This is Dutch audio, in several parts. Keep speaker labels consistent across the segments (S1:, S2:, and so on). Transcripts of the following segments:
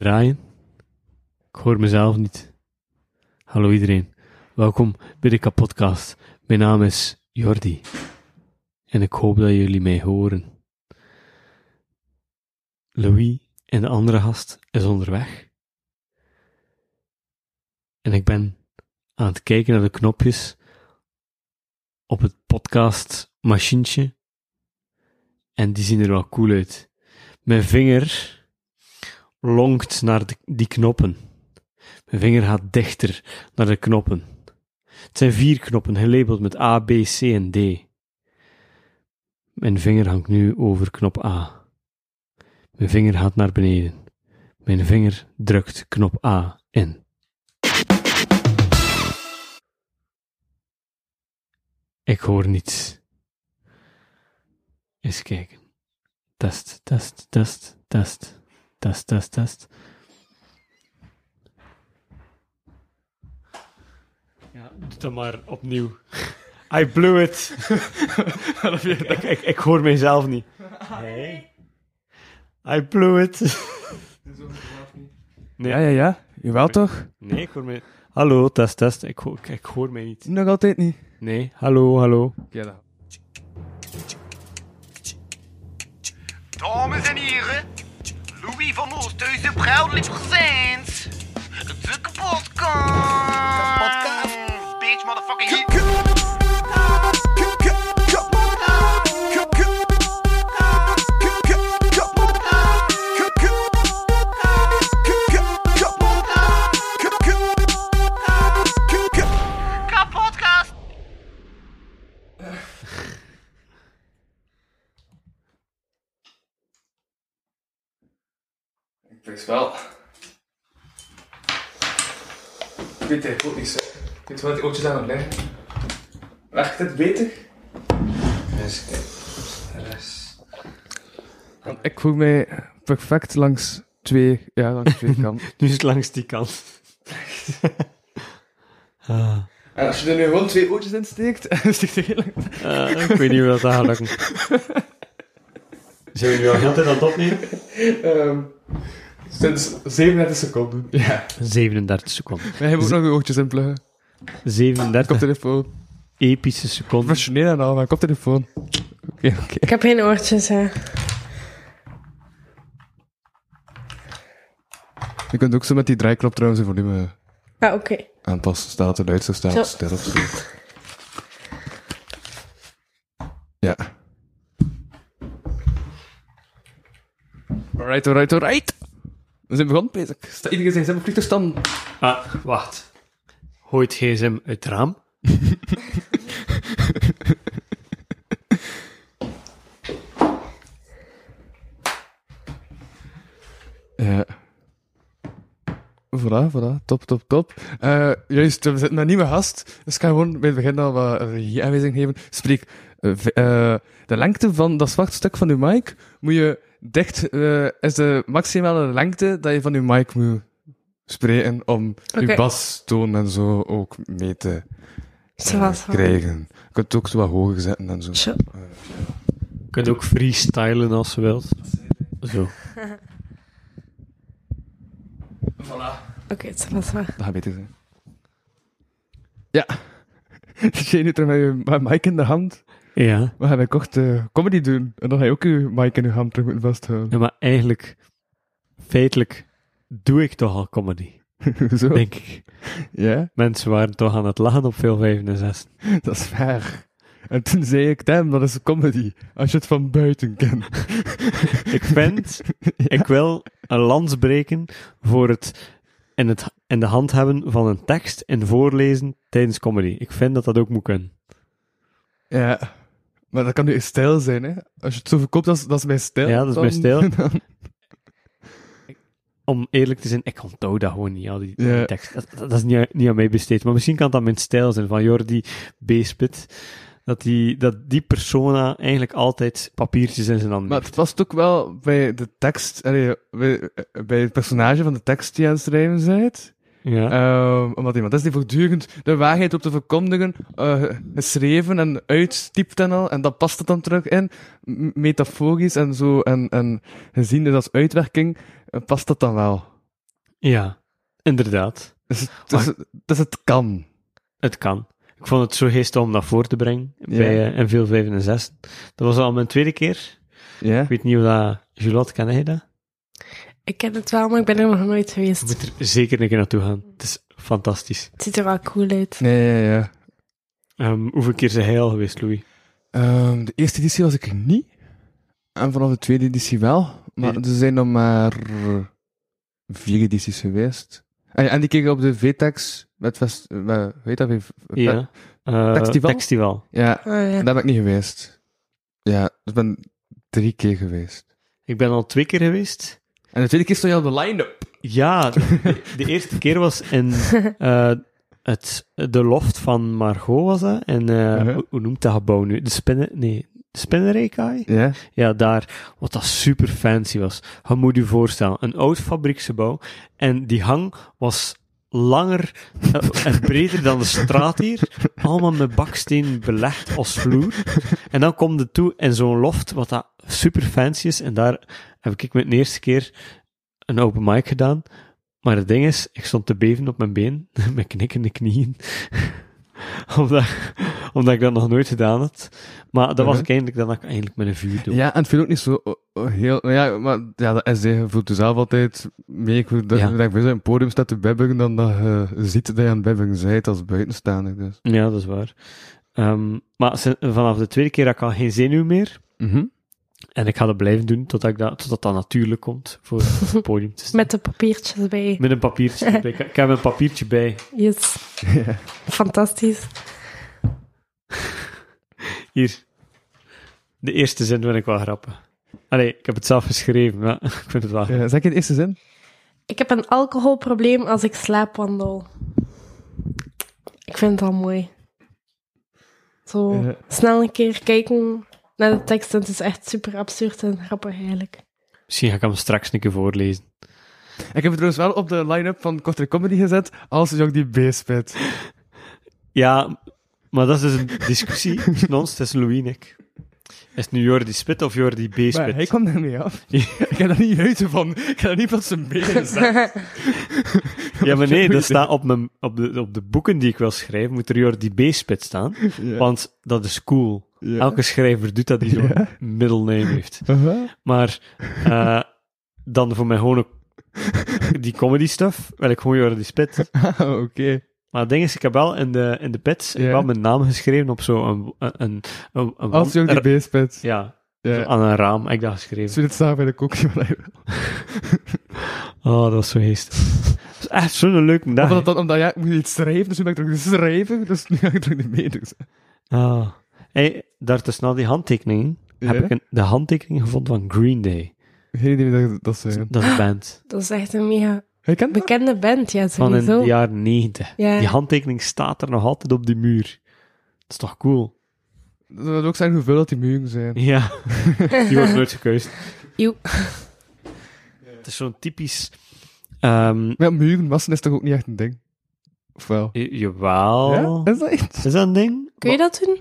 S1: draaien. Ik hoor mezelf niet. Hallo iedereen. Welkom bij de Kapodcast. Mijn naam is Jordi. En ik hoop dat jullie mij horen. Louis en de andere gast is onderweg. En ik ben aan het kijken naar de knopjes op het podcast machientje. En die zien er wel cool uit. Mijn vinger lonkt naar de- die knoppen. Mijn vinger gaat dichter naar de knoppen. Het zijn vier knoppen, gelabeld met A, B, C en D. Mijn vinger hangt nu over knop A. Mijn vinger gaat naar beneden. Mijn vinger drukt knop A in. Ik hoor niets. Eens kijken. Test, test, test, test. Test, test, test. Ja, doe dat maar opnieuw. I blew it. ik, ik, ik, ik hoor mezelf niet. Hey. I blew it.
S2: Ja, ja, ja. Jawel toch?
S1: Nee, ik hoor mij... Hallo, test, test. Ik hoor, ik, ik hoor mij niet.
S2: Nog altijd niet.
S1: Nee, hallo, hallo.
S3: Dames en heren, Louis van Oosthuizen, proudly presents de kapotkast. Podcast, bitch, motherfucking hit. Kapotkast.
S4: Ik wist wel. Ik weet het ook niet zo. Ik weet wel dat die ootjes aan het liggen. Werkt dit beter? Dus, er is...
S2: Ik voel mij perfect langs twee, ja, langs twee kanten.
S1: Nu is het langs die kant. ah.
S4: En als je er nu gewoon twee ootjes...
S2: Als je het insteekt, is het heel lang.
S1: Eh, ik weet niet hoe dat gaat lukken. Zijn we nu al heel tijd aan het opnemen?
S4: ehm sinds 37 seconden. Ja.
S1: 37 seconden.
S2: Wij hebben ook nog je oogjes inpluggen.
S1: 37
S2: Koptelefoon.
S1: epische seconden.
S2: Professioneel en al, maar koptelefoon. Oké, oké.
S5: Ik heb geen oortjes, hè.
S2: Je kunt ook zo met die draaiklap trouwens het volume
S5: Ah, oké.
S2: aanpassen. Staat het uit, zo staat
S5: Zo.
S2: het stil of zo. Ja. Alright, alright, alright. We zijn begonnen, Peter. Staat Iedereen zijn gsm op vliegtuigstand.
S1: Ah, wacht. Gooi het gsm uit het raam.
S2: Ja. Eh, Voilà, voilà. Top, top, top. Eh, juist, we zitten met een nieuwe gast. Dus ik ga gewoon bij het begin al wat regie-aanwijzing geven. Spreek, eh, v- eh, de lengte van dat zwart stuk van uw mic moet je dicht... eh, is de maximale lengte dat je van uw mic moet spreken om
S5: Oké.
S2: uw bastoon en zo ook mee te eh,
S5: Zoals al.
S2: krijgen. Je kunt het ook zo wat hoger zetten en zo.
S5: Zo.
S1: Je kunt ook freestylen als je wilt. Zo.
S4: Voilà.
S5: Oké, het was wel.
S2: Dat gaat beter zijn. Ja. Jij nu terug met je mic in de hand.
S1: Ja.
S2: We hebben kort eh, comedy doen. En dan ga je ook je mic in je hand terug moeten vasthouden.
S1: ja, maar eigenlijk, feitelijk, doe ik toch al comedy.
S2: Zo.
S1: Denk ik.
S2: Ja,
S1: Mensen waren toch aan het lachen op veel vijf en zes.
S2: dat is waar. En toen zei ik, damn, dat is comedy. Als je het van buiten kent.
S1: Ik vind, ik wil een lans breken voor het in, het in de hand hebben van een tekst en voorlezen tijdens comedy. Ik vind dat dat ook moet kunnen.
S2: Ja. Maar dat kan nu een stijl zijn, hè. Als je het zo verkoopt, dat is, dat is mijn stijl.
S1: Ja, dat is mijn
S2: dan-
S1: stijl. Om eerlijk te zijn, ik onthoud dat gewoon niet, al die,
S2: Ja.
S1: die tekst. Dat, dat- dat is niet, niet aan mij besteed. Maar misschien kan dat mijn stijl zijn, van Jordi B-spit. Dat die, dat die persona eigenlijk altijd papiertjes in zijn handen
S2: Maar
S1: heeft.
S2: het past ook wel bij de tekst, allee, bij, bij het personage van de tekst die je aan het schrijven bent.
S1: Ja.
S2: Ehm, omdat iemand is die voortdurend de waarheid op te verkondigen, eh, geschreven en uittypt en al, en dat past het dan terug in, m- metaforisch en zo, en, en gezien dus als uitwerking, eh, past dat dan wel.
S1: Ja, inderdaad.
S2: Dus, dus, dus het kan.
S1: Het kan. Ik vond het zo geestig om dat voor te brengen bij eh veel 5 en 6. Dat was al mijn tweede keer.
S2: Ja?
S1: Ik weet niet hoe dat... Julotte, ken jij dat?
S5: Ik ken het wel, maar ik ben er nog nooit
S1: Je
S5: geweest.
S1: moet er zeker een keer naartoe gaan. Het is fantastisch.
S5: Het ziet er wel cool uit.
S2: Nee, ja, ja.
S1: Ehm, hoeveel keer zijn jij al geweest, Louis?
S2: Ehm, de eerste editie was ik er niet. En vanaf de tweede editie wel. Maar
S1: Nee.
S2: er zijn nog maar vier edities geweest. En, en die keken op de VTEX. Met fest, eh, hoe heet dat? weer?
S1: Ja. Eh,
S2: Textival?
S1: Textival.
S2: Ja,
S5: Oh, ja.
S2: daar ben ik niet geweest. Ja, dus ik ben drie keer geweest.
S1: Ik ben al twee keer geweest.
S2: En de tweede keer stond je op de line-up.
S1: Ja, de, de eerste keer was in eh, het, de loft van Margot, was dat? En eh,
S2: Mhm.
S1: hoe, hoe noemt dat gebouw nu? De spinnen... Nee, de spinnerijkaai?
S2: Ja.
S1: Ja, daar. Wat dat super fancy was. Je moet je voorstellen, een oud fabrieksgebouw. En die hang was langer eh, en breder dan de straat hier. Allemaal met baksteen belegd als vloer. En dan kom je toe in zo'n loft, wat dat super fancy is. En daar heb ik mijn eerste keer een open mic gedaan. Maar het ding is, ik stond te beven op mijn been, met knikkende knieën. omdat, omdat ik dat nog nooit gedaan had. Maar dat was
S2: Mhm.
S1: ik eigenlijk, dat had ik eigenlijk met een vuur doe.
S2: Ja, en het viel ook niet zo oh, oh, heel... nou Ja, maar ja, dat SD, je voelt jezelf altijd mee. Ik voel dat
S1: Ja.
S2: dat je bij zo'n podium staat te bebberen dan dat je ziet dat je aan het bebberen bent als buitenstaander. Dus.
S1: Ja, dat is waar. Ehm, maar sin- vanaf de tweede keer had ik al geen zenuw meer.
S2: Mhm.
S1: En ik ga dat blijven doen totdat, ik dat, totdat dat natuurlijk komt voor het podium te staan.
S5: Met de papiertjes bij.
S1: Met een papiertje erbij. Ik- Ik heb een papiertje bij.
S5: Yes. Fantastisch.
S1: Hier. De eerste zin vind ik wel grappig. Allee, ik heb het zelf geschreven, maar ik vind het wel grappig.
S2: Ja, Eh, zeg ik in de eerste zin?
S5: Ik heb een alcoholprobleem als ik slaapwandel. Ik vind het al mooi. Zo
S2: Ja.
S5: snel een keer kijken naar de tekst. en Het is echt super absurd en grappig eigenlijk.
S1: Misschien ga ik hem straks een keer voorlezen.
S2: Ik heb het trouwens wel op de line-up van Kortere Comedy gezet als Jong die B spit.
S1: Ja, maar dat is dus een discussie. tussen ons, het is Louis en ik. Is het nu Jordi Spit of Jordi B. Spit?
S2: Maar hij kwam daarmee af. ik heb daar niet weten van. Ik heb daar niet van zijn benen gezet.
S1: Ja, maar nee, dat staat op, mijn, op, de, op de boeken die ik wil schrijven, moet er Jordi B. Spit staan.
S2: Ja.
S1: Want dat is cool. Elke schrijver doet dat die zo'n
S2: Ja.
S1: middelname heeft.
S2: Uh-huh.
S1: Maar eh, dan voor mij gewoon ook die comedy stuff, wil ik gewoon Jordi Spit.
S2: Ah, Oké.
S1: Maar het ding is, ik heb wel in de, in de pits, ik
S2: Ja.
S1: heb wel mijn naam geschreven op zo'n... Een, een, een, een
S2: Als
S1: wand-
S2: Jong die B spit.
S1: Ja, zo
S2: Ja.
S1: aan een raam heb ik dat geschreven.
S2: Zullen het staan bij de koekje van hij
S1: Oh, dat was zo geest. Het was echt zo'n leuke dag.
S2: Of dat dan omdat ja, ik moet iets schrijven, dus nu ben ik terug schrijven, dus nu ga ik terug de mening zijn.
S1: Ah. Hey, daartussen al die handtekeningen heb
S2: Ja?
S1: ik een, de handtekening gevonden van Green Day.
S2: Geen idee wie dat, dat zijn.
S1: Dat is een band
S5: Dat is echt een mega
S2: Hij kent dat?
S5: bekende band. Ja,
S1: van in
S5: sowieso.
S1: de jaren negentig.
S5: Ja.
S1: Die handtekening staat er nog altijd op die muur. Dat is toch cool?
S2: Dat wil ook zijn hoeveel dat die muren zijn.
S1: Ja, die wordt nooit gekuist.
S5: Eeuw.
S1: Het is zo'n typisch... ehm
S2: Maar ja, muren wassen is toch ook niet echt een ding? Of wel?
S1: j- jawel.
S2: Ja? Is dat iets?
S1: Is dat een ding?
S5: Kun je dat doen?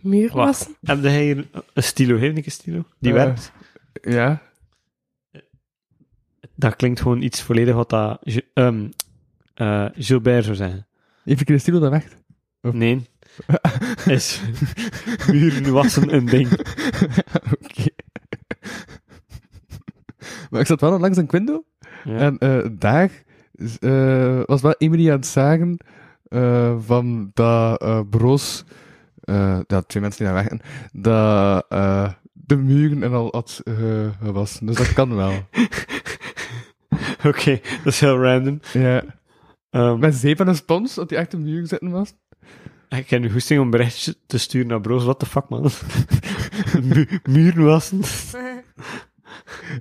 S5: Muur
S1: Wacht.
S5: wassen?
S1: Heb jij hier een- een stilo? Heeft een stilo? Die
S2: Eh.
S1: werkt?
S2: Ja.
S1: Dat klinkt gewoon iets volledig wat dat... Ju- ehm, eh, Gilbert zou zeggen.
S2: Even Christine dat weg. Of-
S1: Nee. Is muren wassen een ding?
S2: Oké. maar ik zat wel langs een window
S1: Ja.
S2: en eh, daar eh, was wel Emily aan het zagen eh, van dat eh broos, eh, dat twee mensen die daar werken, dat eh, de muren en al had eh, gewassen. Dus dat kan wel.
S1: Oké, dat is heel random.
S2: ja.
S1: Ehm,
S2: Met zeep en een spons, dat die echt de muren zitten was.
S1: ik heb nu goesting om een berichtje te sturen naar Broos. What the fuck, man? Mu- muren wassen?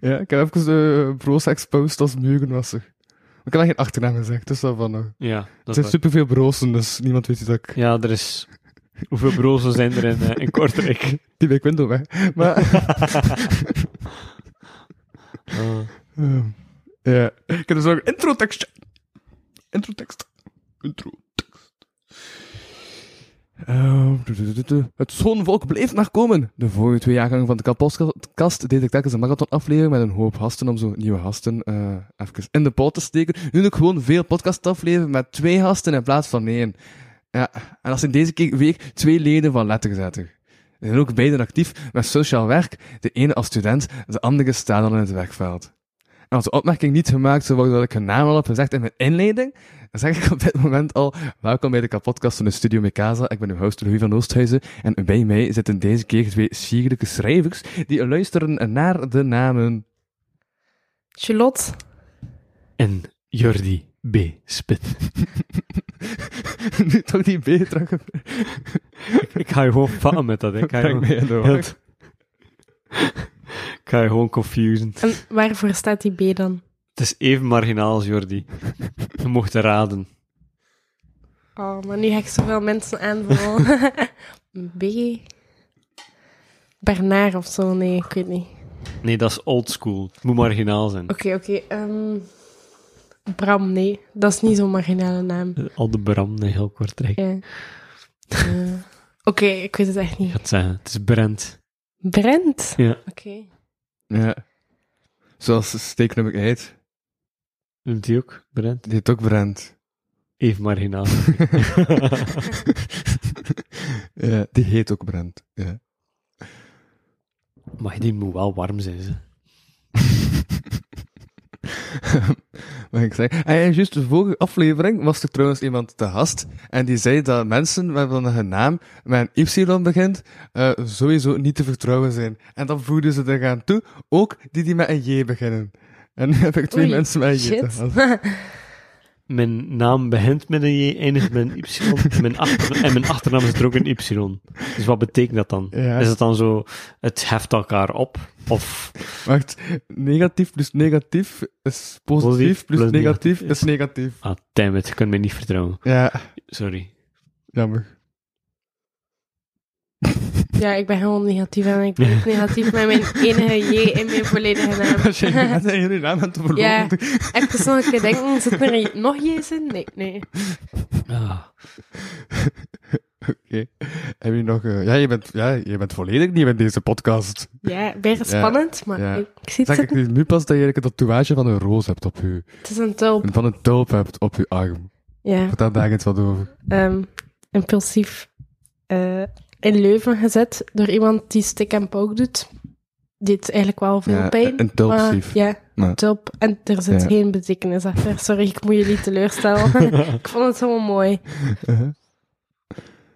S2: Ja, ik heb even de broos exposed als mugenwasser. Ik heb daar geen achternaam gezegd, dus daarvan nog.
S1: Ja,
S2: Er
S1: dat
S2: zijn
S1: is waar.
S2: superveel brozen, dus niemand weet dat ik...
S1: Ja, er is... Hoeveel brozen zijn er in, eh, in Kortrijk?
S2: Die ben ik window weg. Maar,
S1: Ah.
S2: ehm, ja. Ik heb dus ook een introtekstje. Introtekst. Intro. Eh, het schoonvolk bleef maar komen. De vorige twee jaargangen van de kapotkast deed ik telkens een marathon aflevering met een hoop gasten om zo nieuwe gasten eh even in de pot te steken. Nu doe ik gewoon veel podcast afleveren met twee gasten in plaats van één. Ja, en dat zijn deze keer- week twee leden van Letterzetter. Ze zijn ook beiden actief met sociaal werk, de ene als student, de andere staat dan in het werkveld. En als de opmerking niet gemaakt zou worden dat ik hun naam al heb gezegd in mijn inleiding, dan zeg ik op dit moment al welkom bij de kapotkast van de Studio Mekasa. Ik ben uw host Louis van Oosthuizen en bij mij zitten deze keer twee sierlijke schrijvers die luisteren naar de namen.
S5: Charlotte.
S1: En Jordi B. Spit.
S2: nu toch die B terug.
S1: Ik ga je gewoon vallen met dat, hè. Ik ga je
S2: Breng
S1: gewoon,
S2: mij in de war.
S1: Heel- ik ga je gewoon confusen.
S5: En waarvoor staat die B dan?
S1: Het is even marginaal als Jordi. Je mocht raden.
S5: Oh, maar nu ga ik zoveel mensen aanvallen. B. Bernard of zo, nee, ik weet niet.
S1: Nee, dat is old school. Het moet marginaal zijn.
S5: Oké, oké. ehm, Bram, nee. Dat is niet zo'n marginale naam.
S1: Al de Bram, nee, heel kort trek. Ik
S5: Ja. Eh, oké, ik weet het echt niet.
S1: ga het zeggen. Het is Brent.
S5: Brent?
S1: Ja.
S5: Oké.
S2: Ja. Zoals steek nummer 8,
S1: Noemt hij ook Brent?
S2: die heet ook Brent.
S1: Even marginaal.
S2: ja, die heet ook Brent. Ja.
S1: Maar die moet wel warm zijn, ze.
S2: Mag ik zeggen? En ja, juist de vorige aflevering was er trouwens iemand te gast. En die zei dat mensen waarvan hun naam met een Y begint, eh, sowieso niet te vertrouwen zijn. En dan voegden ze eraan toe, ook die die met een J beginnen. En nu heb ik twee
S5: Oei,
S2: mensen met een J te
S5: shit.
S2: gast.
S1: Mijn naam begint met een J, eindigt met een Y. en, mijn achter- en mijn achternaam is er ook een Y. Dus wat betekent dat dan?
S2: Ja.
S1: Is het dan zo, het heft elkaar op? Of
S2: Wacht, negatief plus negatief is positief,
S1: Positief
S2: plus,
S1: plus
S2: negatief,
S1: negatief
S2: is negatief.
S1: Ah, damn it, je kunt mij niet vertrouwen.
S2: Ja,
S1: Sorry.
S2: jammer.
S5: Ja, ik ben gewoon negatief en ik ben ook negatief met mijn enige J in mijn volledige
S2: Als je
S5: naam.
S2: net jullie naam aan te verloren.
S5: Ja. Echt persoonlijk denken, zit er een- nog J's in? Nee, nee.
S1: Ah,
S2: Oké. Heb je nog... eh, ja, je bent, ja, je bent volledig nieuw in deze podcast.
S5: Ja, weer spannend, maar
S2: ja.
S5: ik, ik zie het
S2: Zeg ik
S5: zitten.
S2: nu nu pas dat je eigenlijk een tatoeage van een roos hebt op je...
S5: Het is een tulp.
S2: Van een tulp hebt op je arm.
S5: Ja,
S2: Vertel daar eens wat over.
S5: ehm, impulsief eh, in Leuven gezet door iemand die stick en poke doet. Dit eigenlijk wel veel
S2: Ja,
S5: pijn.
S2: een tulpstief.
S5: maar Ja,
S2: Maar-
S5: tulp. En er zit
S2: Ja.
S5: geen betekenis achter. Sorry, ik moet jullie teleurstellen. ik vond het helemaal mooi.
S2: Uh-huh.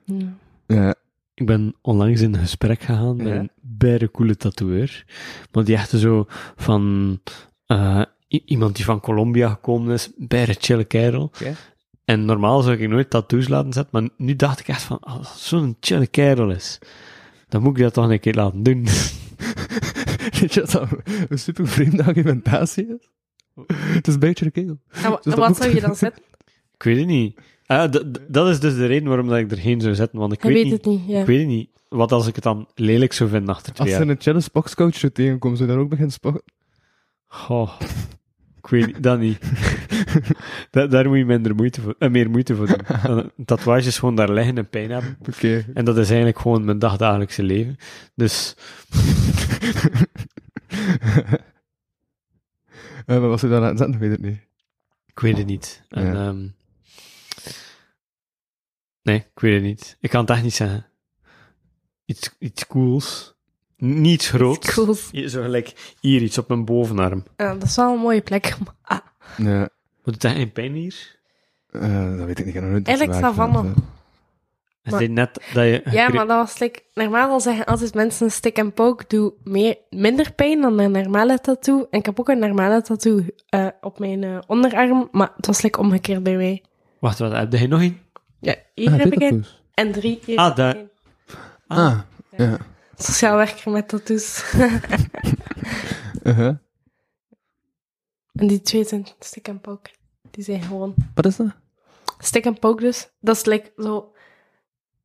S2: Hm.
S5: Ja.
S2: Ja.
S1: ik ben onlangs in een gesprek gegaan met
S2: Ja.
S1: een bijre coole tatoeëer. Maar die echt zo van eh, i- iemand die van Colombia gekomen is, bijre chille kerel.
S2: Ja.
S1: En normaal zou ik nooit tattoos laten zetten, maar nu dacht ik echt van, oh, als dat zo'n chille kerel is, dan moet ik dat toch een keer laten doen.
S2: Weet je wat dat een super vreemde argumentatie is? Het is een beetje een kegel.
S5: En, wa-
S2: Dus dat
S5: en wat
S2: moet-
S5: zou je dan zetten?
S1: ik weet het niet. Ah, d- d- dat is dus de reden waarom dat ik er geen zou zetten, want ik
S5: Hij
S1: weet,
S5: weet
S1: niet,
S5: het niet. Ja.
S1: ik weet het niet. Wat als ik het dan lelijk zou vinden achter twee
S2: Als
S1: jaar?
S2: ze een challenge boxcoach zo tegenkomt, zou je dan ook beginnen sporten?
S1: Goh, ik weet niet, dat niet. Da- daar moet je minder moeite voor, eh, meer moeite voor doen. Want Een tatoeage is gewoon daar liggen en pijn hebben.
S2: Oké.
S1: En dat is eigenlijk gewoon mijn dagdagelijkse leven. Dus
S2: Eh, maar wat ze daarna zetten, ik weet het niet.
S1: ik weet het niet. En,
S2: Ja.
S1: ehm, nee, ik weet het niet. Ik kan het echt niet zeggen. Iets, iets cools. Niets groots.
S5: Cools.
S1: Hier, Zo gelijk hier, iets op mijn bovenarm.
S5: Ja, dat is wel een mooie plek. maar- ah,
S2: Ja.
S1: Wat doet dat geen pijn hier?
S2: Eh, dat weet ik niet. Ik heb nog nooit
S5: Eigenlijk
S2: gevraagd,
S5: savanne.
S2: dus, eh.
S1: Is
S5: Maar-
S1: dit net dat je...
S5: Ja, maar dat was like, normaal zeggen altijd mensen een stick en poke doe meer, minder pijn dan een normale tattoo. En ik heb ook een normale tattoo eh, op mijn eh, onderarm, maar het was like omgekeerd bij mij.
S1: Wacht, wat, heb je nog één?
S5: Ja, hier
S2: Ah,
S5: heb ik een
S2: tattoos.
S5: en drie hier
S1: Ah,
S5: heb ik
S1: daar.
S5: een.
S2: Ah, ja.
S5: Sociaal werker met tattoos.
S2: Uh-huh.
S5: en die twee zijn stick en poke. Die zijn gewoon
S2: Wat is dat?
S5: stick en poke dus. Dat is like zo...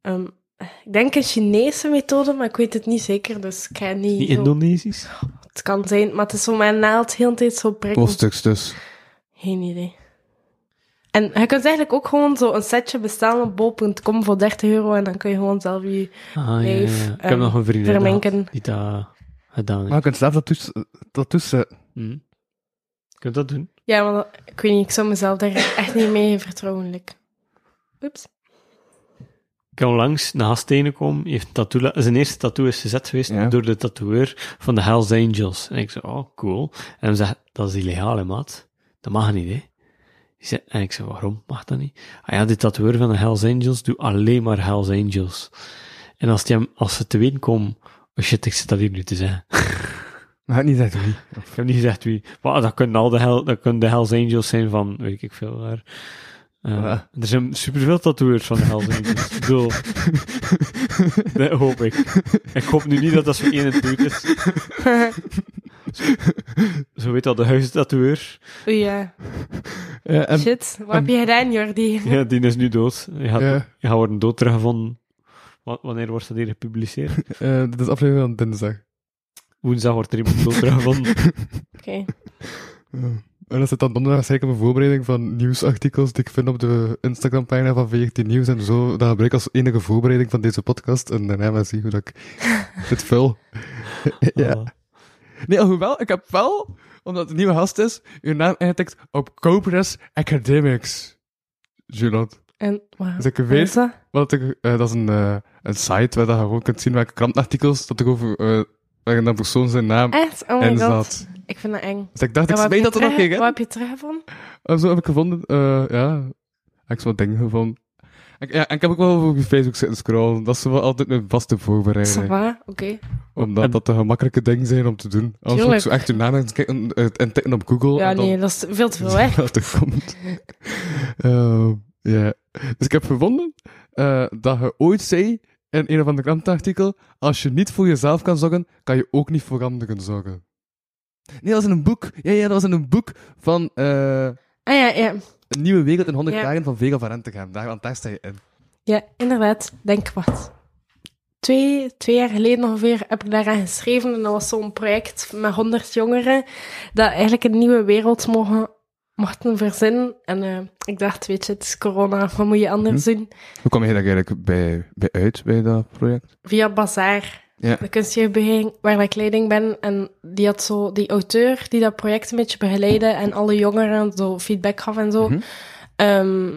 S5: ehm, ik denk een Chinese methode, maar ik weet het niet zeker, dus ik ga niet...
S1: Die
S5: zo-
S1: Indonesisch?
S5: het kan zijn, maar het is zo mijn naald heel de tijd zo prikkelen.
S2: Poststuks dus.
S5: Geen idee. En je kunt eigenlijk ook gewoon zo een setje bestellen op bol.com voor 30 euro en dan kun je gewoon zelf je...
S1: Ah, ja, ja,
S5: Neef,
S1: ja. Ik heb
S5: ehm,
S1: nog een vriendin
S5: vermenken.
S1: gehad die dat gedaan heeft.
S2: Maar je kunt zelf dat toets- dat toetsen.
S1: Hm. Kun je dat doen?
S5: Ja, want ik weet niet, ik zou mezelf daar echt niet mee vertrouwelijk. Oeps.
S1: Ik kan langs naar gast tegenkomen, heeft een tattoo, la- zijn eerste tattoo is gezet geweest
S2: Ja.
S1: door de tatoeëur van de Hells Angels. En ik zei, oh, cool. En hij zegt, dat is illegaal, hè, maat. Dat mag niet, hè. Die zei- En ik zei, waarom mag dat niet? Ah ja, die tatoeëur van de Hells Angels doet alleen maar Hells Angels. En als, die hem, als ze te weten komen, oh shit, ik zit dat hier nu te zeggen.
S2: Maar het niet echt wie.
S1: Ik heb niet gezegd wie. Maar dat kunnen al de, hel, dat kunnen de Hells Angels zijn van, weet ik veel waar. Eh,
S2: Ja.
S1: Er zijn superveel tatoeërs van de Hells Angels. ik bedoel, dat hoop ik. Ik hoop nu niet dat dat zo één en doet is. Zo weet al de huistatoueur.
S5: Oei, ja.
S2: Ja, en,
S5: Shit, wat heb je gedaan, Jordi?
S1: Ja, die is nu dood. Je gaat,
S2: Ja.
S1: je gaat worden dood teruggevonden. Wa- Wanneer wordt dat hier gepubliceerd?
S2: eh, dit is aflevering van dinsdag.
S1: Woensdag wordt er iemand dood teruggevonden.
S5: Oké.
S2: En dat zit dan donderdag zeker een voorbereiding van nieuwsartikels die ik vind op de Instagram-pagina van VRT Nieuws en zo. Dat gebruik ik als enige voorbereiding van deze podcast. En daarna maar zien hoe dat ik dit vul. ja.
S1: Ah.
S2: Nee, alhoewel, ik heb wel, omdat het een nieuwe gast is, uw naam ingetikt op Cobras Academics. Julot.
S5: En waar
S2: Dus ik
S5: is
S2: weet,
S5: dat?
S2: wat ik, eh, dat is een, eh, een site waar dat je gewoon kunt zien welke krantartikels dat ik over, eh waar een persoon zijn naam
S5: Echt? Oh my
S2: en
S5: god.
S2: dat.
S5: Ik vind dat eng.
S2: Dus ik dacht,
S5: En
S2: ik
S5: wat heb
S2: weet
S5: je
S2: dat er nog
S5: terug-
S2: ging,
S5: Wat
S2: hè?
S5: heb je terug van?
S2: En zo heb ik gevonden, eh, ja, heb ik zo'n dingen gevonden. En, ja, en ik heb ook wel over Facebook zitten scrollen. Dat is wel altijd mijn vaste voorbereiding.
S5: Sava, oké.
S2: Omdat
S1: En-
S2: dat de gemakkelijke dingen zijn om te doen. Als moet ik
S5: Tuurlijk.
S2: zo echt uw naam en tikken- eh, en tikken op Google.
S5: Ja,
S2: en dan
S5: nee, dat is veel te veel werk.
S2: dat er komt. Ehm, ja. Dus ik heb gevonden eh, dat je ooit zei in een of ander krantartikel: als je niet voor jezelf kan zorgen, kan je ook niet voor anderen zorgen. Nee, dat was in een boek. Ja, ja dat was in een boek van eh,
S5: Ah ja, ja.
S2: Een Nieuwe Wereld in 100
S5: Ja.
S2: dagen van Vega van Rentegem. Daar, want daar sta je in.
S5: Ja, inderdaad. Denk wat. Twee, twee jaar geleden ongeveer heb ik daaraan geschreven. En dat was zo'n project met honderd jongeren. Dat eigenlijk een nieuwe wereld mogen, mochten verzinnen. En eh, ik dacht, weet je, het is corona. Wat moet je anders doen?
S2: Hoe kwam je daar eigenlijk bij, bij uit, bij dat project?
S5: Via Bazaar.
S2: Ja.
S5: De kunstjeugdbeweging waar ik leiding ben. En die had zo die auteur die dat project een beetje begeleidde. En alle jongeren zo feedback gaf en zo.
S2: Mhm.
S5: ehm,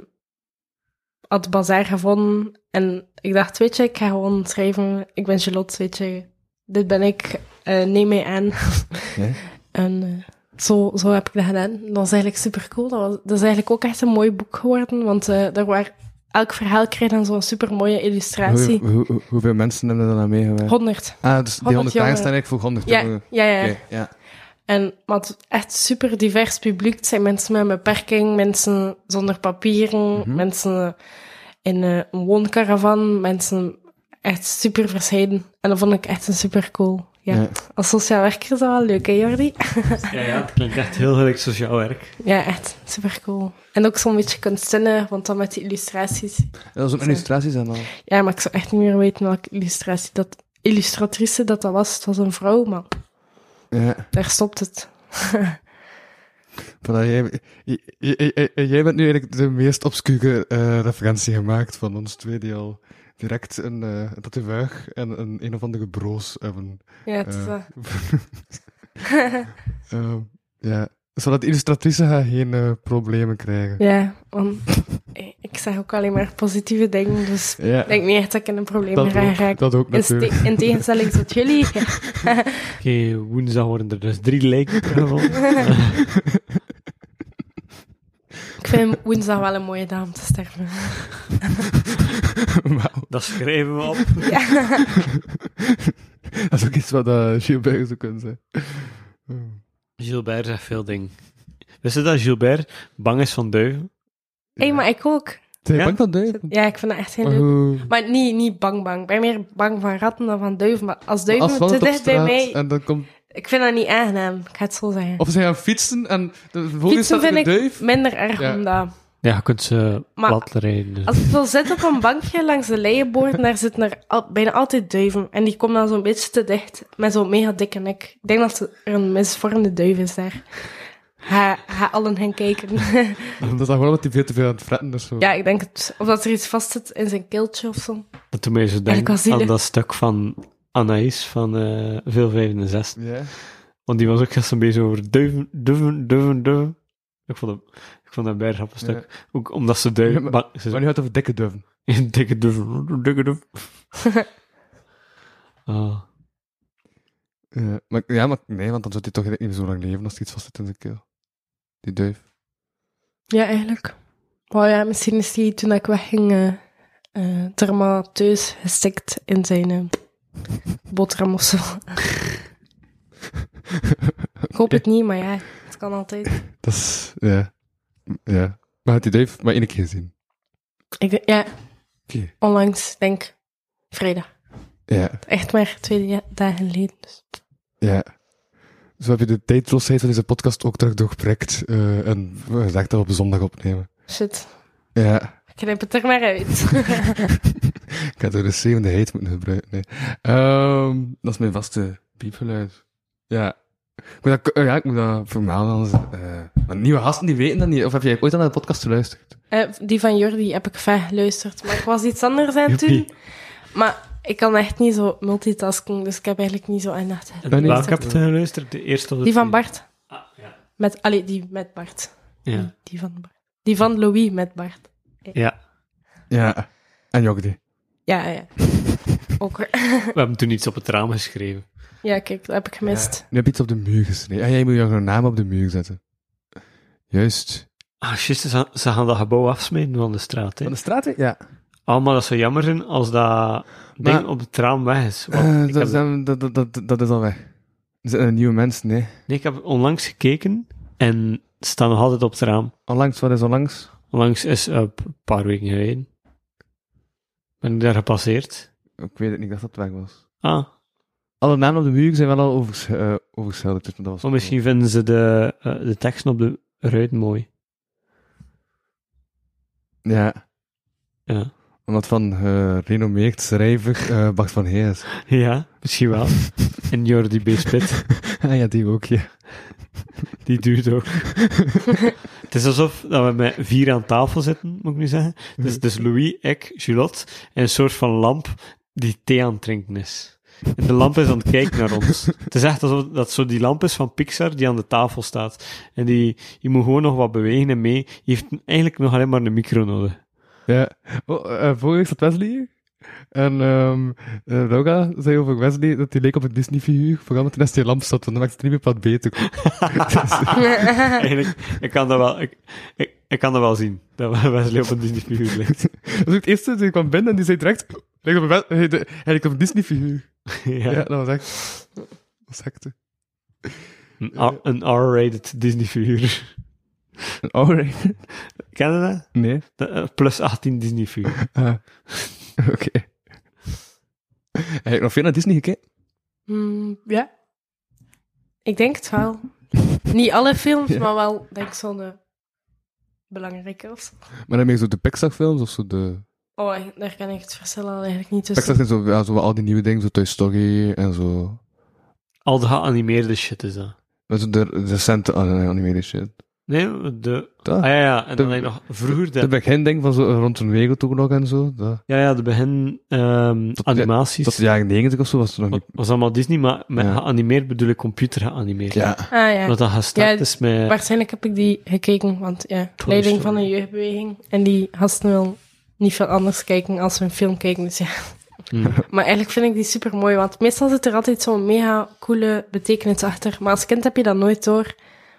S5: had Bazaar gevonden. En ik dacht, weet je, ik ga gewoon schrijven. Ik ben Charlotte, weet je. Dit ben ik. eh, neem mij aan.
S2: Ja.
S5: en eh, zo, zo heb ik dat gedaan. Dat was eigenlijk super cool. Dat, was, dat is eigenlijk ook echt een mooi boek geworden. Want eh er waren, elk verhaal kreeg dan zo'n super mooie illustratie.
S2: Hoe, hoe- hoe- hoeveel mensen hebben er dan aan meegewerkt?
S5: 100.
S2: Ah, dus die 100
S5: 100
S2: dagen
S5: jongeren.
S2: staan eigenlijk voor 100
S5: Ja, ja,
S2: jongeren.
S5: ja. ja.
S2: Oké, ja.
S5: En maar het is echt super divers publiek. Het zijn mensen met een beperking, mensen zonder papieren, mensen in eh, een wooncaravan, mensen echt super verscheiden. En dat vond ik echt een super cool. Ja.
S2: Ja.
S5: Als sociaal werker is dat wel leuk, hè Jordi?
S1: Ja, ja, het klinkt echt heel gelijk sociaal werk.
S5: ja, echt super cool. En ook zo'n beetje kunstzinnig, want dan met die illustraties.
S2: Dat was ook illustraties en al.
S5: Ja, maar ik zou echt niet meer weten welke illustratie dat illustratrice dat, dat was. Het was een vrouw, maar
S2: Ja.
S5: daar stopt het.
S2: Voilà, jij, j- j- j- jij bent nu eigenlijk de meest obscure eh, referentie gemaakt van ons twee, die al direct een eh een tatoeage en een een of andere broos hebben.
S5: Ja, het is,
S2: Eh,
S5: eh,
S2: Ehm, ja. Zodat de illustratrice gaat geen eh, problemen krijgen.
S5: Ja, want ik zeg ook alleen maar positieve dingen, dus
S2: Ja,
S5: ik denk niet echt dat ik in een probleem
S2: dat,
S5: ga
S2: ook,
S5: raken.
S2: dat ook
S5: Is
S2: natuurlijk.
S5: te- in tegenstelling tot jullie. Ja.
S1: Oké, woensdag worden er dus drie lijken teruggevonden.
S5: Ik vind woensdag wel een mooie dag om te sterven.
S2: Maar
S1: Dat schrijven we op.
S2: dat is ook iets wat uh, Gilbert zou kunnen zijn.
S1: Gilbert zegt veel dingen. Wist je dat Gilbert bang is van duiven?
S5: Hé, maar ik ook.
S2: Zijn je
S1: Ja?
S2: bang van duiven?
S5: Ja, ik vind dat echt heel
S2: Maar
S5: leuk.
S2: hoe-
S5: Maar niet, niet bang bang. Ik ben meer bang van ratten dan van duiven. Maar als
S2: als
S5: duiven
S2: van
S5: te
S2: het op
S5: dicht bij
S2: straat
S5: mij...
S2: En dan komt,
S5: Ik vind dat niet aangenaam. Ik ga het zo zeggen.
S2: of ze gaan fietsen en de volgende
S5: Fietsen
S2: staat er
S5: vind
S2: een
S5: ik
S2: duif.
S5: minder erg
S2: Ja.
S5: omdat...
S1: Ja, je kunt ze
S5: Maar-
S1: plat rijden. dus.
S5: Als ik wil zitten op een bankje langs de leienboord, daar zitten er al- bijna altijd duiven. En die komen dan zo'n beetje te dicht met zo'n mega dikke nek. Ik denk dat er een misvormde duif is daar. Ga, ga allen gaan kijken.
S2: Omdat dat gewoon omdat hij veel te veel aan het fretten is. Zo.
S5: ja, ik denk het. Of dat er iets vast zit in zijn keeltje of zo.
S1: Dat doet mij zo
S5: wel
S1: denken
S5: zielig.
S1: aan dat stuk van Anaïs van eh Veel Vijven en Zes.
S2: Ja.
S1: Want die was ook gisteren bezig over duiven, duiven, duiven, duiven. Ik vond dat, ik vond dat bijna grappig stuk. Ook omdat ze duiven...
S2: Ja,
S1: maar, ze
S2: Maar nu gaat het over dikke duiven.
S1: een dikke duiven, dikke duiven. Ah,
S2: Ja maar, ja, maar nee, want dan zou hij toch niet meer zo lang leven als er iets vast zit in zijn keel. Die duif.
S5: Ja, eigenlijk. Maar ja, misschien is hij toen ik wegging eh eh dermateus gestikt in zijn eh, boterham of zo. ik hoop het niet, maar ja, het kan altijd.
S2: Dat is, ja. Ja. Maar had die duif maar één keer gezien.
S5: Ik, denk- ja,
S2: Oké.
S5: onlangs, denk vrijdag.
S2: Ja,
S5: Echt maar twee ja- dagen geleden. Dus.
S2: ja. Zo heb je de tijdloosheid van deze podcast ook terug doorprikt. eh, en we gezegd dat we op zondag opnemen.
S5: Shit,
S2: Ja.
S5: ik knip het er maar uit.
S2: Ik had er de zevende heet moeten gebruiken. Nee. Ehm, dat is mijn vaste piepgeluid. Ja. Ik moet dat, eh, ja, ik moet dat vermelden. Anders, eh, maar nieuwe gasten die weten dat niet. Of heb jij ooit aan de podcast geluisterd?
S5: Eh, die van Jordi heb ik vaak geluisterd, maar ik was iets anders aan
S1: Joepie.
S5: toen. Maar ik kan echt niet zo multitasking, dus ik heb eigenlijk niet zo aandacht.
S2: Ben je-
S1: Welke heb je geluisterd? De eerste of de
S5: Die van
S1: tweede?
S5: Bart.
S1: Ah, ja.
S5: Met, allee, die met Bart.
S1: Ja.
S5: Die van Bart. Die van Louis met Bart.
S1: ja,
S2: Ja. En Jokdi.
S5: Ja, ja. Ook.
S1: we hebben toen iets op het raam geschreven.
S5: Ja, kijk, dat heb ik gemist.
S2: Nu heb je iets op de muur geschreven. En jij moet jouw naam op de muur zetten. Juist.
S1: Ah, shit, ze, gaan- ze gaan dat gebouw afsmijten van de straat. Hè.
S2: Van de straat? Ja.
S1: Ah, maar dat zou jammer zijn als dat ding
S2: Maar-
S1: op het raam weg is. Want
S2: Eh,
S1: ik
S2: dat,
S1: heb-
S2: is dan- dat, dat, dat, dat is al weg. Er zijn nieuwe mensen, nee.
S1: Nee, ik heb onlangs gekeken en het staat nog altijd op het raam.
S2: Onlangs, wat is onlangs?
S1: Onlangs is eh, p- een paar weken geleden. Ben ik daar gepasseerd.
S2: Ik weet het niet, ik dacht dat het weg was.
S1: Ah,
S2: Alle namen op de muur zijn wel al overs, eh, overgeschilderd, dus dat was...
S1: maar misschien vinden ze de, eh, de teksten op de ruit mooi.
S2: Ja,
S1: Ja,
S2: omdat van eh renommeerd schrijver eh Bart van Heers.
S1: ja misschien wel. en Jordi B. Spit,
S2: ah ja, die ook, ja.
S1: die duurt ook. het is alsof dat we met vier aan tafel zitten, moet ik nu zeggen. Dus, dus Louis, ik, Julotte en een soort van lamp die thee aan het drinken is. En de lamp is aan het kijken naar ons. Het is echt alsof dat zo die lamp is van Pixar die aan de tafel staat. En die, je moet gewoon nog wat bewegen en mee. Je heeft eigenlijk nog alleen maar een micro nodig.
S2: ja. Oh, eh, vorige week zat Wesley hier. En ehm eh, Roga zei over Wesley dat hij leek op een Disney-figuur, vooral omdat hij naast die lamp zat, want dan maakt het niet meer wat beter.
S1: Dus, Ah. Eigenlijk, ik kan dat wel, ik, ik, ik kan dat wel zien. Dat Wesley op een Disney-figuur ligt.
S2: Dat was ook het eerste, die kwam binnen en die zei direct, lijkt op een, Wes- eh, de- hij lijkt op een Disney-figuur.
S1: ja.
S2: Ja. dat was echt. Dat was hecte.
S1: Een R- Een R-rated Disney-figuur.
S2: Alright.
S1: Ken je dat?
S2: Nee.
S1: De, eh, plus 18 Disney-figuur.
S2: Ah. Oké. Heb je nog veel naar Disney gekeken?
S5: Hmm, ja. Ik denk het wel. niet alle films, maar wel, denk ik, zo'n eh, belangrijke of zo.
S2: Maar dan meer zo de Pixar-films of zo de...
S5: Oh, daar kan ik het verschil al eigenlijk niet tussen.
S2: Pixar zijn zo, ja, zo wel al die nieuwe dingen, zo Toy Story en zo...
S1: Al de geanimeerde shit is dat.
S2: Dat is de de recente an- animated shit.
S1: Nee, de...
S2: Dat?
S1: Ah ja, ja. En
S2: De-
S1: dan heb je nog vroeger de...
S2: De beginding van zo rond een wereldoorlog en zo. Dat,
S1: Ja, ja, de begin ehm,
S2: Tot-
S1: animaties.
S2: tot de jaren negentig of zo was het nog
S1: Wa-
S2: niet...
S1: was allemaal Disney, maar met
S2: Ja.
S1: geanimeerd bedoel ik computer geanimeerd.
S2: Ja.
S5: Ah ja.
S1: Dat dat gestart
S5: Ja,
S1: is
S2: eh,
S1: met...
S5: Waarschijnlijk heb ik die gekeken, want ja,
S1: Toy
S5: leiding
S1: Story.
S5: van een jeugdbeweging. En die gasten wil niet veel anders kijken als ze een film kijken. Dus ja.
S1: Hmm.
S5: Maar eigenlijk vind ik die super mooi, want meestal zit er altijd zo'n mega coole betekenis achter. Maar als kind heb je dat nooit door.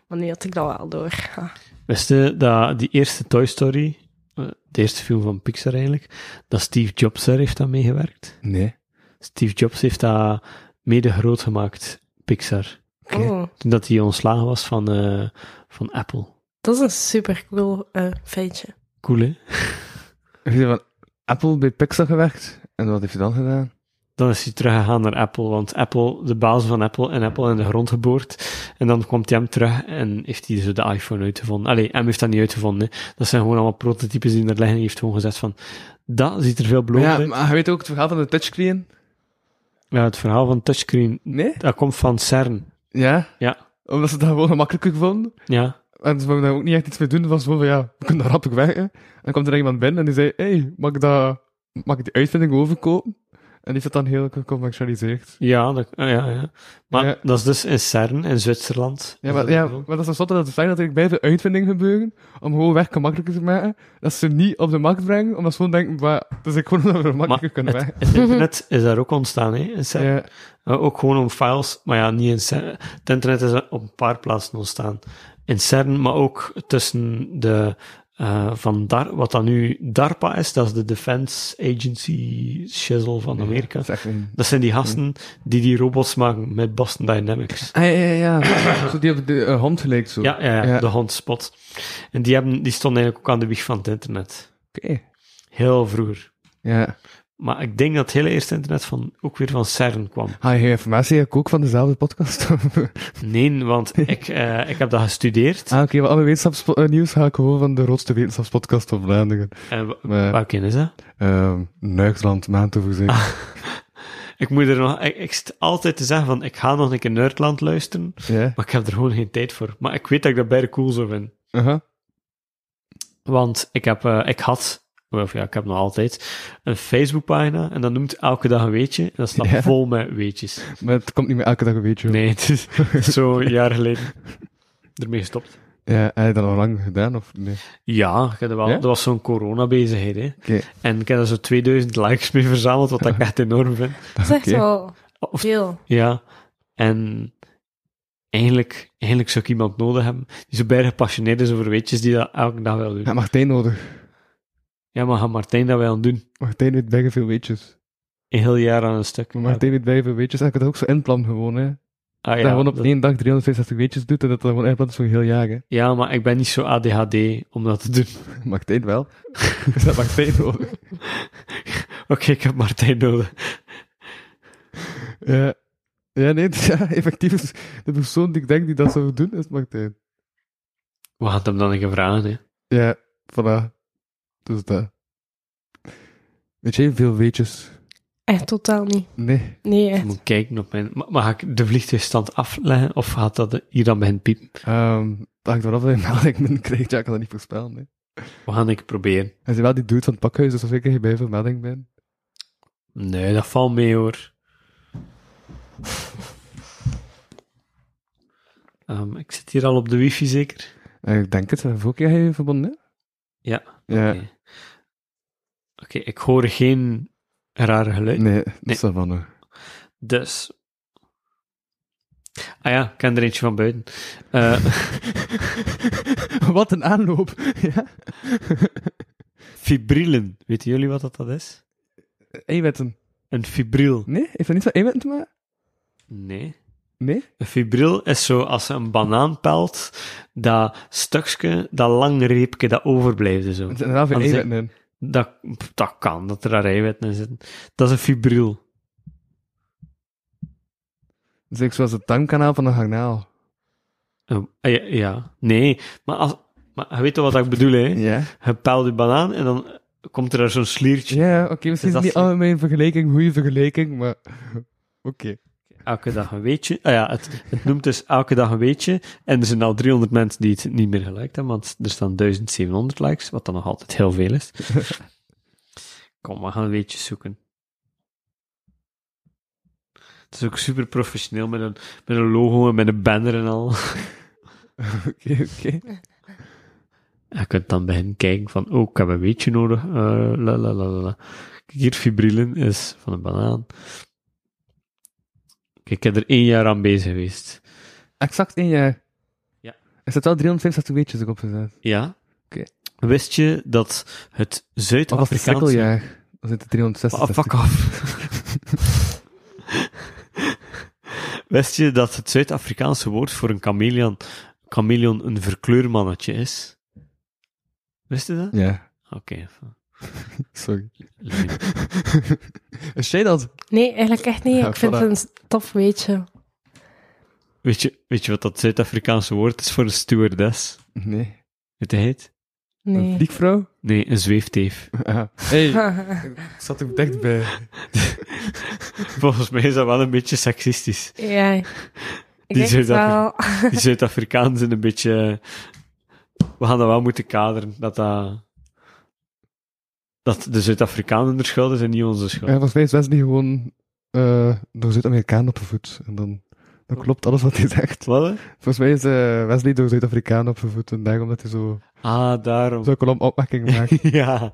S5: Maar nu had ik dat wel door. Ja.
S1: Wist je dat die eerste Toy Story, eh, de eerste film van Pixar eigenlijk, dat Steve Jobs daar heeft aan meegewerkt?
S2: Nee.
S1: Steve Jobs heeft dat mede groot gemaakt, Pixar.
S2: Oké.
S5: Oh,
S1: Toen dat hij ontslagen was van, eh, van Apple.
S5: dat is een super cool eh, feitje.
S1: Cool, hè?
S2: Heb je van Apple bij Pixar gewerkt? En wat heeft hij dan gedaan?
S1: Dan is hij teruggegaan naar Apple, want Apple, de baas van Apple en Apple in de grond geboord. En dan komt hij hem terug en heeft hij zo de iPhone uitgevonden. Allee, hem heeft dat niet uitgevonden. Hè. Dat zijn gewoon allemaal prototypes die er liggen. Hij heeft gewoon gezegd van, dat ziet er veel belovend
S2: Ja,
S1: uit.
S2: maar je weet ook het verhaal van de touchscreen?
S1: Ja, het verhaal van touchscreen,
S2: Nee?
S1: dat komt van CERN.
S2: Ja?
S1: Ja.
S2: Omdat ze dat gewoon gemakkelijker vonden.
S1: Ja.
S2: En ze wilden daar ook niet echt iets mee doen. Van zo van, ja, we kunnen daar rap ook weg. hè. En dan kwam er iemand binnen en die zei, hey, mag ik, dat, mag ik die uitvinding overkopen? En die heeft dat dan heel gecommercialiseerd.
S1: Ja, dat, ah, ja, ja. Maar
S2: Ja.
S1: dat is dus in CERN, in Zwitserland.
S2: Ja,
S1: Is
S2: maar,
S1: dat
S2: ja,
S1: zo?
S2: maar dat is een zotte dat ze zeggen dat er bij de uitvinding gebeuren, om gewoon werk gemakkelijker te maken, dat ze niet op de markt brengen, omdat ze gewoon denken, bah, dus ik gewoon dat we
S1: Maar
S2: makkelijker
S1: het,
S2: kunnen werken.
S1: het internet is daar ook ontstaan, hè? In CERN.
S2: Ja,
S1: Eh, ook gewoon om files, maar ja, niet in CERN. Het internet is op een paar plaatsen ontstaan. In CERN, maar ook tussen de, eh, van Dar wat dan nu DARPA is, dat is de Defense Agency shizzle van Amerika.
S2: dat is echt een...
S1: Dat zijn die gasten die die robots maken met Boston Dynamics.
S2: Ah, ja, ja, ja. zo die op de eh, hand gelijk zo.
S1: Ja, ja, ja,
S2: Ja.
S1: de hondspot. En die, hebben, die stonden eigenlijk ook aan de wieg van het internet.
S2: Oké.
S1: Heel vroeger.
S2: Ja.
S1: Maar ik denk dat het hele eerste internet van, ook weer van CERN kwam.
S2: Ga je informatie heb ik ook van dezelfde podcast? ah, oké,
S1: Nee, want ik, eh, ik heb dat gestudeerd.
S2: maar Ah, alle wetenschapsnieuws ga ik gewoon van de grootste wetenschapspodcast van Vlaanderen.
S1: En Eh, wa-
S2: Maar,
S1: Welke is dat?
S2: ehm Nuigland, maand te voorzien.
S1: Ah. Ik moet er nog... Ik, ik zit altijd te zeggen van, ik ga nog een keer Nerdland luisteren,
S2: Ja.
S1: maar ik heb er gewoon geen tijd voor. Maar ik weet dat ik dat beide cool zou vinden.
S2: Aha.
S1: Want ik, heb, eh, ik had, of ja, ik heb nog altijd, een Facebookpagina en dat noemt elke dag een weetje. En dat staat
S2: Ja.
S1: vol met weetjes.
S2: Maar het komt niet meer elke dag een beetje.
S1: Nee, het is, het is zo een jaar geleden ermee gestopt.
S2: Ja, heb je dat al lang gedaan of nee?
S1: Ja, ik heb dat wel,
S2: Ja?
S1: dat was zo'n coronabezigheid. Hè.
S2: Oké.
S1: En ik heb er zo 2000 likes mee verzameld, wat ik echt enorm vind.
S5: Dat is echt
S2: Oké.
S5: wel
S1: Of-
S5: veel.
S1: Ja, en eigenlijk, eigenlijk zou ik iemand nodig hebben die zo bij gepassioneerd is over weetjes die dat elke dag wil
S2: Ja,
S1: doen.
S2: Martijn nodig.
S1: Ja, maar gaat Martijn dat wel doen?
S2: Martijn weet bij veel weetjes.
S1: Een heel jaar aan een stuk.
S2: Maar Martijn weet bij veel weetjes. En ik had ook zo inplan gewoon, hè.
S1: Ah,
S2: Dat
S1: ja,
S2: je gewoon op
S1: dat-
S2: één dag 365 weetjes doet en dat dat gewoon inplant is voor een heel jaar, hè.
S1: ja, maar ik ben niet zo ADHD om dat te doen.
S2: Martijn wel. dus dat Martijn nodig.
S1: Oké, ik heb Martijn nodig.
S2: Ja. Ja, nee, ja, effectief is de persoon die ik denk die dat zou doen, is Martijn.
S1: We gaan het hem dan een keer vragen, hè.
S2: Ja, voilà. Dus dat. Weet jij veel weetjes?
S5: Echt totaal niet.
S2: Nee.
S5: Nee, eh, echt.
S1: Ik moet kijken op mijn... Ma- Maar ga ik de vliegtuigstand afleggen of gaat dat hier dan bij hen piepen?
S2: Ehm dat hangt eraf dat je melding minder krijgt. Ja, ik kan dat niet voorspellen, nee.
S1: We gaan het proberen.
S2: Hij is wel die dude van het pakhuis, dus als ik er bij veel melding ben.
S1: Nee, dat valt mee hoor. Ehm, ik zit hier al op de wifi zeker.
S2: Eh, ik denk het, eh, vorige keer heb je verbonden,
S1: Ja.
S2: hè? Ja.
S1: Oké, Oké, ik hoor geen rare geluid.
S2: Nee, dat is wel van, eh,
S1: Dus. Ah ja, ik ken er eentje van buiten. Eh,
S2: Wat een aanloop. ja.
S1: fibrillen. Weten jullie wat dat, dat is?
S2: Eiwitten.
S1: Een fibril.
S2: Nee, heeft dat niet van eiwitten te maken?
S1: Nee.
S2: Nee?
S1: Een fibril is zo als ze een banaan pelt, dat stukje, dat lang reepje dat overblijft. Zo.
S2: Er zitten wel veel
S1: Anders-
S2: eiwitten in.
S1: Dat, dat kan, dat er daar eiwitten in zitten. Dat is een fibril.
S2: Dat is ook zoals het darmkanaal van een garnaal.
S1: Eh, ja, ja. nee, maar, als, maar je weet toch wat ik bedoel, hè?
S2: Ja.
S1: Je pelt die banaan en dan komt er daar zo'n sliertje.
S2: Ja, oké, misschien
S1: Is
S2: Dus is
S1: dat
S2: het niet
S1: zo?
S2: allemaal een vergelijking, goede vergelijking, maar... Oké.
S1: Elke dag een weetje. Ah ja, het, het noemt dus elke dag een weetje. En er zijn al 300 mensen die het niet meer geliked hebben, want er staan 1700 likes, wat dan nog altijd heel veel is. Kom, we gaan weetjes zoeken. Het is ook super professioneel met een, met een logo en met een banner en al.
S2: Oké, oké.
S1: Je kunt dan bij hen kijken van, oh, ik heb een weetje nodig. eh, la, la, la, la, la. Kijk, hier fibrillen is van een banaan. Kijk, ik heb er één jaar aan bezig geweest.
S2: Exact één jaar.
S1: Ja.
S2: Er zitten wel 365 weetjes erop gezet.
S1: Ja?
S2: Oké.
S1: Wist je dat het
S2: Of als het
S1: Zuid-Afrikaanse...
S2: cirkeljaar. Dan
S1: Ah,
S2: zitten 366.
S1: fuck off. Wist je dat het Zuid-Afrikaanse woord voor een chameleon, chameleon een verkleurmannetje is? Wist je dat?
S2: Ja,
S1: Oké.
S2: sorry.
S1: leuk.
S2: Is jij dat?
S5: Nee, eigenlijk echt niet.
S2: Ja,
S5: Ik vind
S2: voilà.
S5: het een tof weetje.
S1: Weet je, weet je wat dat Zuid-Afrikaanse woord is voor een stewardess?
S2: Nee.
S1: Weet je het?
S2: Een
S5: Nee.
S2: vliegvrouw?
S1: Nee, een zweefteef.
S2: Ah. Hey, ik zat er dichtbij.
S1: Volgens mij is dat wel een beetje seksistisch.
S5: ja, Ik
S1: Die
S5: denk
S1: zit
S5: het
S1: daar.
S5: wel.
S1: Die Zuid-Afrikanen zijn een beetje... We gaan dat wel moeten kaderen, dat dat... Dat de Zuid-Afrikanen er schulden zijn, niet onze
S2: Ja,
S1: schuld.
S2: volgens mij is Wesley gewoon eh door Zuid-Amerikaan opgevoed. En dan, dan klopt alles wat hij zegt.
S1: Wat? hè?
S2: Volgens mij is eh, Wesley door Zuid-Afrikaan opgevoed. En daarom dat hij zo,
S1: Ah, daarom.
S2: zo kolom opmerkingen maakt.
S1: ja.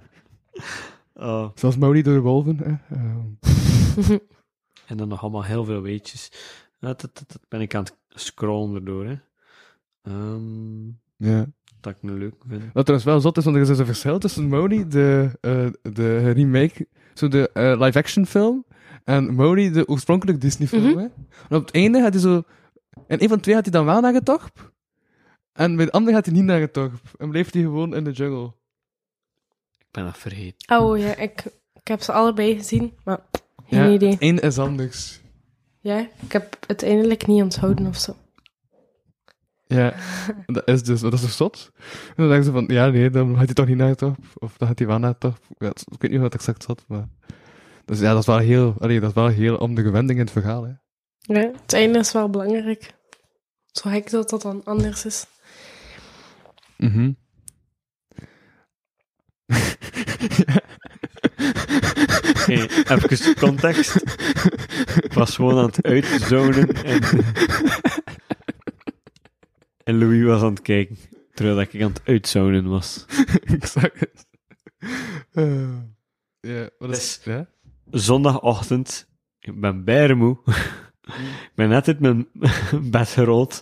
S1: Oh.
S2: Zoals Maori door de wolven. Hè? Ehm,
S1: En dan nog allemaal heel veel weetjes. Dat, dat, dat, dat ben ik aan het scrollen erdoor, hè. Ehm,
S2: ja.
S1: dat ik een leuk vind.
S2: Wat trouwens wel zot is, want er is dus een verschil tussen Maori, de, eh, de remake, zo de eh, live-action film, en Maori, de oorspronkelijke Disney-film.
S5: Mhm.
S2: hè. En op het einde had hij zo... In een van de twee had hij dan wel naar getorp, en bij de andere had hij niet naar getorp. En bleef hij gewoon in de jungle.
S1: Ik ben dat vergeten.
S5: Oh ja, ik, ik heb ze allebei gezien, maar geen
S2: Ja,
S5: idee.
S2: het een is anders.
S5: Ja, ik heb uiteindelijk niet onthouden of zo.
S2: Ja, dat is dus, dat is dus zot. En dan denken ze van, ja nee, dan had hij toch niet naar het op. Of dan had hij wel naar het op. Ja, het- ik weet niet hoe dat exact zat, maar... Dus ja, dat is wel heel, allee, dat is wel heel om de gewending in het verhaal, hè.
S5: Ja, het einde is wel belangrijk. Zo gek dat dat dan anders is.
S2: Mhm.
S1: Oké, even context. Ik was gewoon aan het uitzonen en... En Louis was aan het kijken, terwijl dat ik aan het uitzonen was.
S2: ik zag het. Eh, ja, wat is...
S1: Dus-
S2: Ja?
S1: Zondagochtend, ik ben bijremoe. Ik ben net uit mijn bed gerold.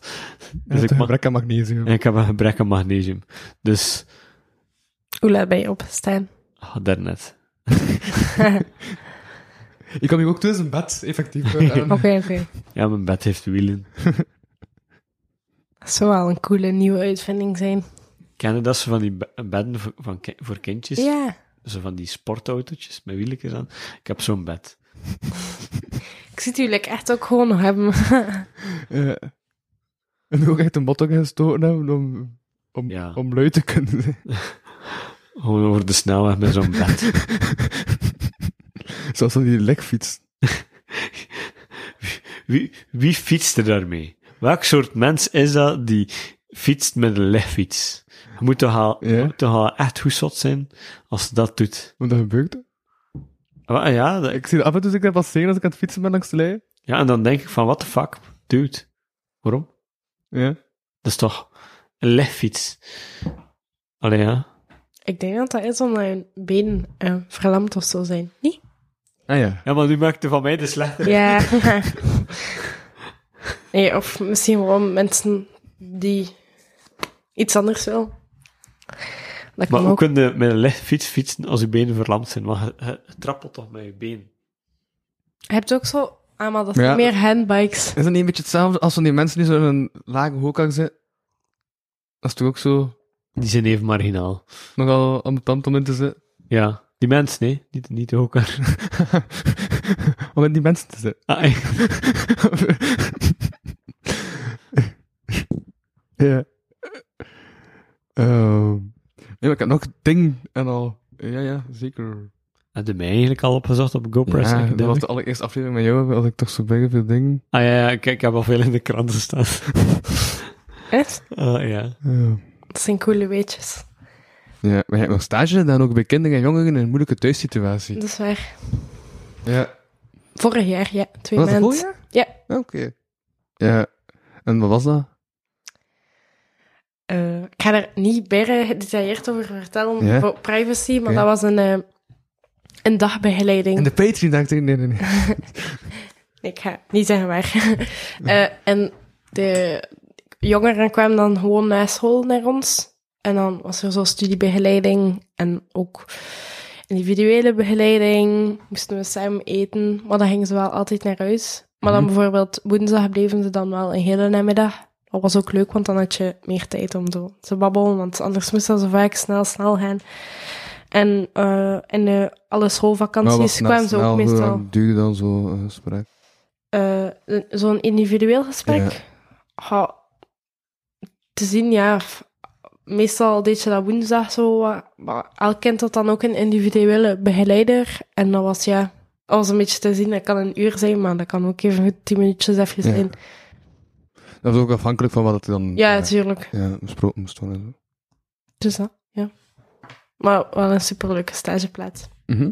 S1: Dus ik,
S2: het
S1: mag,
S2: gebrek aan magnesium.
S1: en ik heb een gebrek aan magnesium. Dus,
S5: Hoe laat ben je opgestaan?
S1: ah, daarnet.
S2: Ik kwam hier ook tussen in bed, effectief. eh, aan-
S5: Oké, oké.
S1: Ja, mijn bed heeft wielen.
S5: Dat zou wel een coole nieuwe uitvinding zijn.
S1: Kennen dat ze van die be- bedden voor, van ki- voor kindjes?
S5: Ja,
S1: Zo van die sportautootjes met wieltjes aan. Ik heb zo'n bed.
S5: ik zie het jullie echt ook gewoon nog hebben.
S2: Ja. En ook echt een botok gestoten hebben om, om,
S1: Ja.
S2: om lui te kunnen zijn.
S1: Gewoon over de snelweg met zo'n bed.
S2: Zoals van die lekfiets.
S1: Wie, wie fietst er daarmee? Welk soort mens is dat die fietst met een legfiets? Je moet toch al,
S2: Ja.
S1: moet toch al echt goed zot zijn als ze dat doet.
S2: Want dat gebeurt. hè.
S1: Ah, ja, dat-
S2: Ik zie dat af en toe als ik dat passeer als ik aan het fietsen ben langs de lijn.
S1: ja, en dan denk ik van, what the fuck, dude. Waarom?
S2: Ja.
S1: Dat is toch een legfiets? Allee, ja.
S5: Ik denk dat dat is omdat hun benen eh, verlamd of zo zijn. Niet?
S2: Ah ja.
S1: Ja, maar nu maakte van mij de slechter.
S5: Ja. nee, of misschien gewoon mensen die iets anders willen. Dat
S1: Maar
S5: kan
S1: hoe
S5: ook.
S1: kun je met een licht fiets fietsen als je benen verlamd zijn? Want je, je- je trappelt toch met je been?
S5: Je hebt ook zo... Ah, maar dat
S2: Ja.
S5: zijn meer handbikes.
S2: Is dat niet een beetje hetzelfde als van die mensen die zo in een lage hooggang zitten? Dat is toch ook zo
S1: Die zijn even marginaal.
S2: nogal ambetant om in te zitten?
S1: Ja, die mensen, nee. Niet, niet de hoker.
S2: om in die mensen te zitten.
S1: Ah, eh.
S2: ja. Ehm. nee, maar ik heb nog ding en al. Ja, ja, zeker.
S1: Heb je mij eigenlijk al opgezocht op GoPress?
S2: Ja, dat was
S1: Academic?
S2: de allereerste aflevering met jou, had ik toch zo bij veel dingen.
S1: Ah ja, ja, kijk, ik heb al veel in de kranten staan.
S5: Echt?
S1: Ah ja.
S2: Ja.
S5: Dat zijn coole weetjes.
S2: Ja, maar je hebt nog stage gedaan, ook bij kinderen en jongeren in een moeilijke thuissituatie.
S5: Dat is waar.
S2: Ja.
S5: Vorig jaar, ja. Twee
S2: Was dat
S5: maanden.
S2: vorig jaar?
S5: Ja.
S2: Oké. Ja. En wat was dat?
S5: Eh, ik ga er niet bij gedetailleerd over vertellen
S2: Ja.
S5: voor privacy, maar
S2: Ja.
S5: dat was een, eh, een dagbegeleiding.
S2: En de Patreon dacht ik, nee, nee, nee.
S5: Nee, ik ga niet zeggen waar. Eh, en de jongeren kwamen dan gewoon na school naar ons. En dan was er zo'n studiebegeleiding en ook individuele begeleiding. Moesten we samen eten, maar dan gingen ze wel altijd naar huis. Maar dan bijvoorbeeld woensdag bleven ze dan wel een hele namiddag. Dat was ook leuk, want dan had je meer tijd om zo te babbelen, want anders moest dat zo vaak snel, snel gaan. En eh, in de- alle
S2: Nou,
S5: schoolvakanties kwamen ze ook meestal...
S2: duurde dan zo eh, gesprek?
S5: Eh, een- zo'n individueel gesprek. Ja, te zien, ja. f- Meestal deed je dat woensdag zo. eh, Maar elk kind had dan ook een individuele begeleider. En dat was, ja, dat was een beetje te zien. Dat kan een uur zijn, maar dat kan ook even goed tien minuutjes even
S2: Ja.
S5: zijn.
S2: Dat is ook afhankelijk van wat het dan
S5: Ja,
S2: eh,
S5: natuurlijk.
S2: ja, besproken moest worden. en zo.
S5: Dus dat, ja. Maar wel een superleuke stageplaats.
S2: Mhm.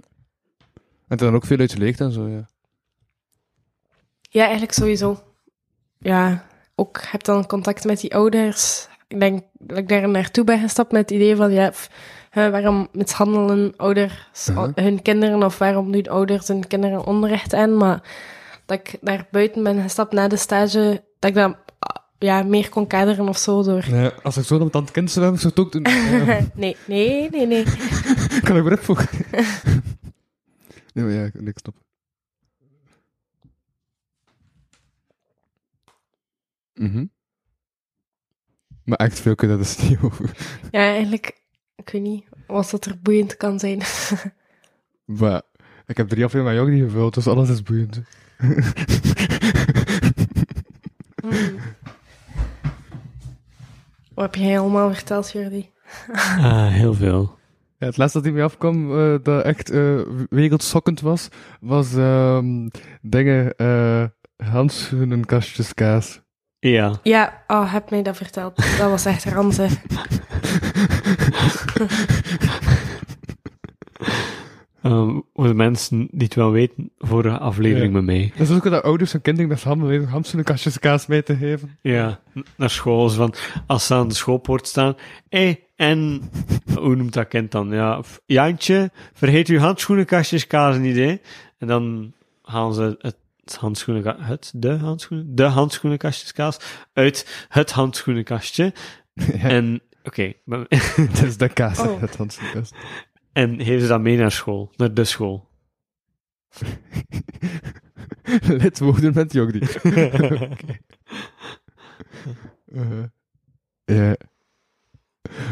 S2: En dan ook veel uit geleerd en zo, ja.
S5: Ja, eigenlijk sowieso. Ja, ook heb dan contact met die ouders. Ik denk dat ik daar naartoe ben gestapt met het idee van, ja, pff, hè, waarom mishandelen ouders
S2: Mhm.
S5: hun kinderen of waarom doen ouders hun kinderen onrecht aan? Maar dat ik daar buiten ben gestapt na de stage, dat ik dat ah, ja, meer kon kaderen of zo door.
S2: als ik zo dan met aan het kind zou hebben, zou ik het ook doen. Ja,
S5: Nee, nee, nee, nee.
S2: ik kan er weer opvoegen. nee, maar ja, ik- niks stop. Mhm. Maar echt veel kun je dat dus niet over.
S5: Ja, eigenlijk, ik weet niet, was dat er boeiend kan zijn.
S2: Maar ik heb drie afleveringen met jou niet gevuld, dus alles is boeiend.
S5: Hmm. Wat heb jij allemaal verteld, Jordi?
S1: Ah, heel veel.
S2: Ja, het laatste dat hij mij afkwam, eh, dat echt eh, wereldschokkend was, was ehm, dingen, eh handschoenen, kastjes, kaas.
S1: Ja.
S5: Ja, oh, heb mij dat verteld. Dat was echt ranzig.
S1: Ehm, voor de mensen die het wel weten, vorige aflevering
S2: Ja.
S1: met mij.
S2: Dat is ook dat ouders hun kinderen met handen bezig handschoenen, kastjes, kaas mee te geven.
S1: Ja, n- naar school. is van, als ze aan de schoolpoort staan. Hé, en... Hoe noemt dat kind dan? Ja, f- Jantje, vergeet uw handschoenenkastjes, kazen niet, hè? En dan gaan ze het handschoenen... Het? De handschoenen? De handschoenenkastjes, kaas. Uit het handschoenenkastje. En... Oké. maar-
S2: Het is de kaas,
S5: Oh.
S2: het handschoenenkast.
S1: en geven ze dat mee naar school. Naar de school.
S2: Lid worden met Jogdi. Eh, Ja.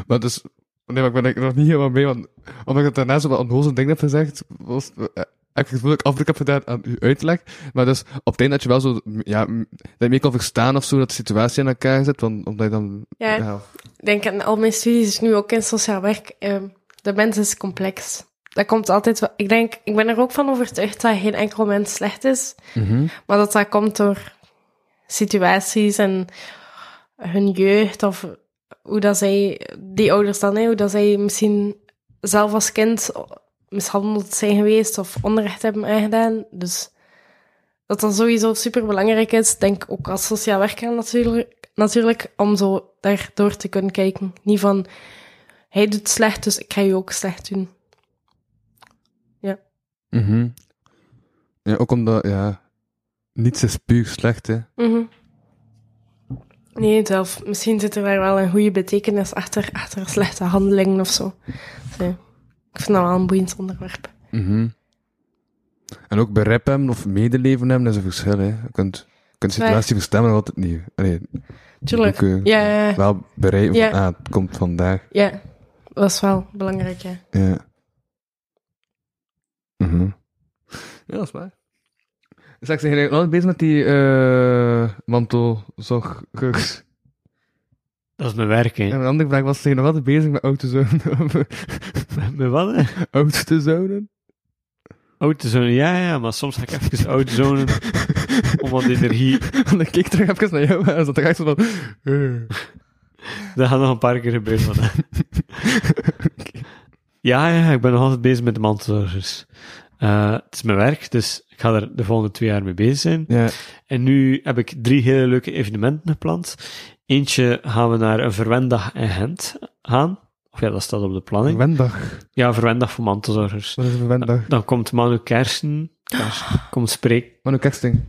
S2: Maar dus... Nee, maar ik ben er nog niet helemaal mee, want omdat ik het daarna zo wat onnozel ding heb gezegd, was, eh, heb ik het gevoel dat ik afdruk heb gedaan aan uw uitleg. Maar dus, op het einde dat je wel zo, ja, m- dat je mee kan verstaan of zo, dat de situatie in elkaar zit, want omdat je dan...
S5: Ja,
S2: ja,
S5: Ik denk aan al mijn studies, nu ook in sociaal werk, eh, de mens is complex. Dat komt altijd wel... Ik denk, ik ben er ook van overtuigd dat geen enkel mens slecht is. Maar dat dat komt door situaties en hun jeugd of hoe dat zij, die ouders dan, hè, hoe dat zij misschien zelf als kind mishandeld zijn geweest of onrecht hebben aangedaan. Dus dat dat sowieso super belangrijk is, denk ik ook als sociaal werker natuurlijk, natuurlijk, om zo daardoor te kunnen kijken. Niet van, hij doet slecht, dus ik ga je ook slecht doen.
S2: Mhm. Ja, ook omdat, ja, niets is puur slecht, hè.
S5: Mhm. Nee, zelf. Misschien zit er daar wel een goede betekenis achter, achter slechte handelingen of zo. Dus, ja, ik vind dat wel een boeiend onderwerp.
S2: Mhm. En ook bij rap hebben of medeleven hebben, dat is een verschil. Hè. Je kunt, je kunt de
S5: Waar?
S2: situatie verstaan, maar altijd niet. Allee,
S5: Tuurlijk.
S2: ook, eh,
S5: Ja, ja, ja.
S2: Wel bereiden van,
S5: Ja.
S2: ah, het komt vandaag.
S5: ja, dat is wel belangrijk, ja.
S2: Ja. Mhm. Ja, dat is waar. Dus ik zeg, je altijd bezig met die eh mantel, zog, kuks.
S1: Dat is mijn werk, hè.
S2: En een andere vraag was, zijn je nog altijd bezig met autozonen?
S1: Met wat, hè?
S2: autozonen?
S1: Autozonen, ja, ja, maar soms ga ik even autozonen om wat energie...
S2: Want ik keek terug even naar jou en zat er echt zo van... eh.
S1: Dat gaat nog een paar keer gebeuren vandaag. Ja, ja, ik ben nog altijd bezig met de mantelzorgers. Eh, het is mijn werk, dus ik ga er de volgende twee jaar mee bezig zijn.
S2: Ja.
S1: En nu heb ik drie hele leuke evenementen gepland. Eentje gaan we naar een verwendag in Gent gaan. Of ja, dat staat op de planning.
S2: Wendag. Ah.
S1: Ja, verwendag voor mantelzorgers.
S2: Wat is een wendag?
S1: Dan komt Manu Kersen, Kersen komt spreken.
S2: Manu Kersting.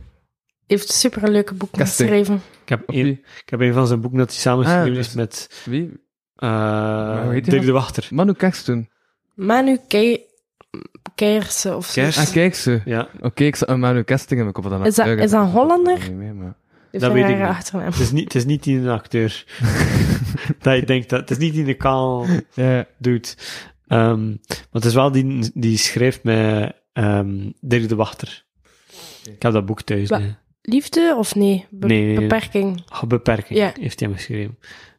S5: Heeft super leuke boeken
S2: Casting.
S5: geschreven.
S1: Ik heb,
S2: Of
S1: een,
S2: wie?
S1: ik heb een van zijn boeken dat hij samengeschreven
S2: Ah,
S1: heeft
S2: dus-
S1: met
S2: Wie?
S1: eh,
S2: hoe heet die
S1: Dirk
S2: gast?
S1: de Wachter.
S2: Manu Kersten.
S5: Manu Kei- Keirse of zo.
S1: Kers?
S2: Ah, Kijkse.
S1: Ja,
S2: Oké, ik zat een Manu Kersting in mijn kop. Dan
S5: Is dat- is dat een Hollander?
S2: Nee, nee, maar...
S5: Die
S1: dat
S5: heeft een
S1: weet ik
S5: rare
S1: niet.
S5: achternaam.
S1: het is niet, het is niet die acteur. dat je denkt dat. Het is niet die de kaal
S2: Ja.
S1: doet. Ehm, maar het is wel die, die schrijft met ehm, Dirk de Wachter. Ik heb dat boek thuis.
S5: Wa-
S1: nee.
S5: Liefde of nee? Be-
S1: Nee, nee, nee.
S5: Beperking.
S1: Ah, Beperking
S5: Ja.
S1: heeft hij hem geschreven.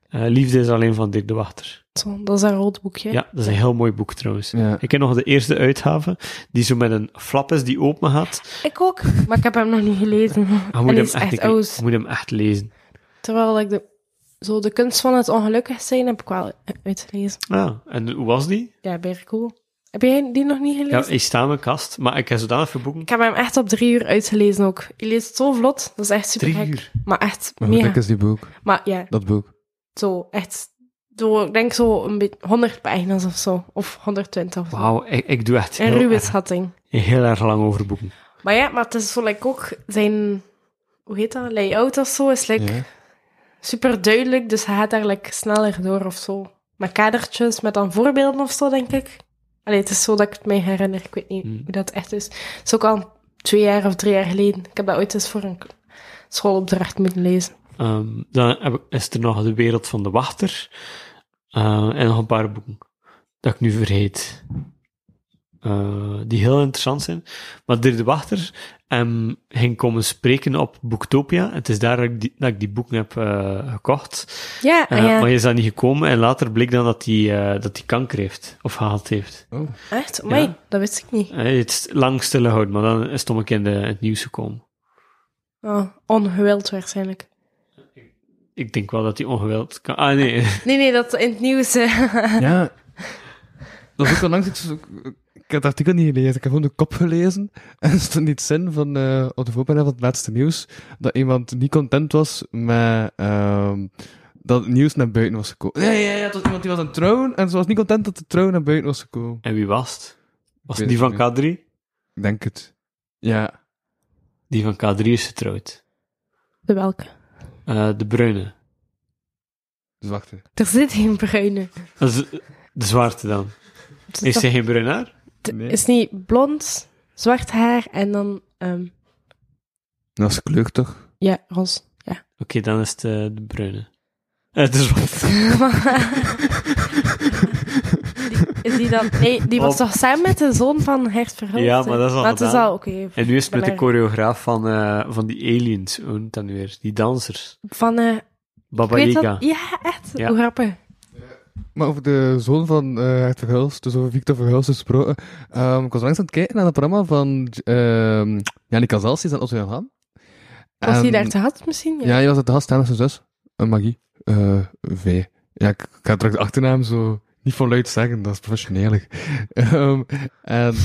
S1: Eh, Liefde is alleen van Dirk de Wachter.
S5: Zo, dat is een rood boekje.
S1: Ja, dat is een heel mooi boek trouwens.
S2: Ja.
S1: Ik ken nog de eerste uitgave, die zo met een flap is die open gaat.
S5: Ik ook, maar ik heb hem nog niet gelezen.
S1: Ah, Je
S5: en
S1: moet,
S5: die
S1: hem
S5: is
S1: echt,
S5: echt
S1: een keer-
S5: oud.
S1: je moet hem echt lezen.
S5: Terwijl ik de, zo de kunst van het ongelukkig zijn heb ik wel eh, uitgelezen.
S1: Ah, en hoe was die?
S5: Ja, bij cool. Heb jij die nog niet gelezen?
S1: Ja, ik sta in mijn kast, maar ik heb zodanig verboeken.
S5: Ik heb hem echt op drie uur uitgelezen ook. Je leest het zo vlot, dat is echt super
S1: Drie
S5: gek.
S1: uur.
S5: Maar echt
S2: Maar
S5: mega.
S2: gek is die boek.
S5: Maar ja,
S2: Dat boek.
S5: zo echt. Zo, ik denk zo een beetje 100 pagina's of zo. Of 120 of zo.
S1: Wauw, ik, ik doe echt
S5: Een
S1: heel,
S5: ruwe
S1: erg,
S5: schatting.
S1: heel erg lang over boeken.
S5: Maar ja, maar het is zo like, ook zijn. Hoe heet dat? Layout of zo is like,
S2: Ja.
S5: super duidelijk. Dus hij gaat daar like, sneller door of zo. Met kadertjes, met dan voorbeelden of zo, denk ik. Allee, het is zo dat ik het mij herinner. Ik weet niet
S1: Hmm.
S5: hoe dat echt is. Het is ook al twee jaar of drie jaar geleden. Ik heb dat ooit eens voor een schoolopdracht moeten lezen.
S1: Ehm, dan heb ik- is er nog De Wereld van de Wachter. eh, en nog een paar boeken dat ik nu vergeet. Eh, die heel interessant zijn. Maar Dirk de Wachter ehm, ging komen spreken op Boektopia. Het is daar dat ik die, dat ik die boeken heb eh, gekocht.
S5: Ja,
S1: Eh,
S5: ah ja.
S1: Maar hij is daar niet gekomen en later bleek dan dat hij, eh, dat hij kanker heeft. Of gehad heeft.
S2: Oh.
S5: echt? Amai,
S1: Ja.
S5: dat wist ik niet.
S1: Eh, het is lang stilgehouden, maar dan is het om een keer in de- in het nieuws gekomen.
S5: Oh, ongewild waarschijnlijk.
S1: Ik denk wel dat hij ongewild kan... Ah, nee.
S5: Nee, nee, dat in het nieuws. eh,
S2: Ja. Dat is ook al lang iets. Ik heb het artikel niet gelezen, ik heb gewoon de kop gelezen. En er stond iets in van, eh, op de voorpagina van het laatste nieuws, dat iemand niet content was met ehm, dat het nieuws naar buiten was gekomen. Ja, ja, ja, het was iemand die was aan het trouwen, en ze was niet content dat de trouw naar buiten was gekomen.
S1: En wie was het? Was
S2: Ik
S1: het die
S2: weet
S1: van
S2: het
S1: K3?
S2: Ik denk het. Ja.
S1: Die van K3 is getrouwd.
S5: De welke?
S1: Eh, de bruine.
S2: Dus wacht. hè.
S5: Er zit geen bruine.
S1: Dat is eh, de zwarte dan.
S5: Het is
S1: Is
S5: toch-
S1: hij geen bruin haar?
S5: het
S2: Nee.
S5: is niet blond, zwart haar en dan ehm,
S2: Dat is kleur toch?
S5: ja, roze. Ja.
S1: Oké, dan is het eh, de bruine. Eh, de zwarte.
S5: Die- is die dan? Nee, die was
S1: Op-
S5: toch samen met de zoon van Hert Verhulst?
S1: Ja,
S5: hè?
S1: maar dat is al
S5: Maar het is
S1: gedaan.
S5: al oké.
S1: En nu is het met de
S5: Belangrijk.
S1: choreograaf van, eh, van die aliens. Hoe noemt dat nu weer? Die dansers.
S5: Van eh, ik
S1: Baba
S5: weet
S1: Yaga.
S5: dat. Ja, echt.
S1: Ja.
S5: Hoe grappig.
S2: Maar over de zoon van eh Hert Verhulst, dus over Victor Verhulst gesproken. Ehm, ik was langs aan het kijken naar het programma van ehm Jannie Casals, die is aan Otto Jan Haan.
S5: Was
S2: En-
S1: Ehm,
S5: die daar te had misschien?
S2: Ja, die was het de gast samen met zijn zus. Een Magie. eh v. Ja, ik, ik ga direct de achternaam zo niet voluit zeggen, dat is professioneel. Ehm, en...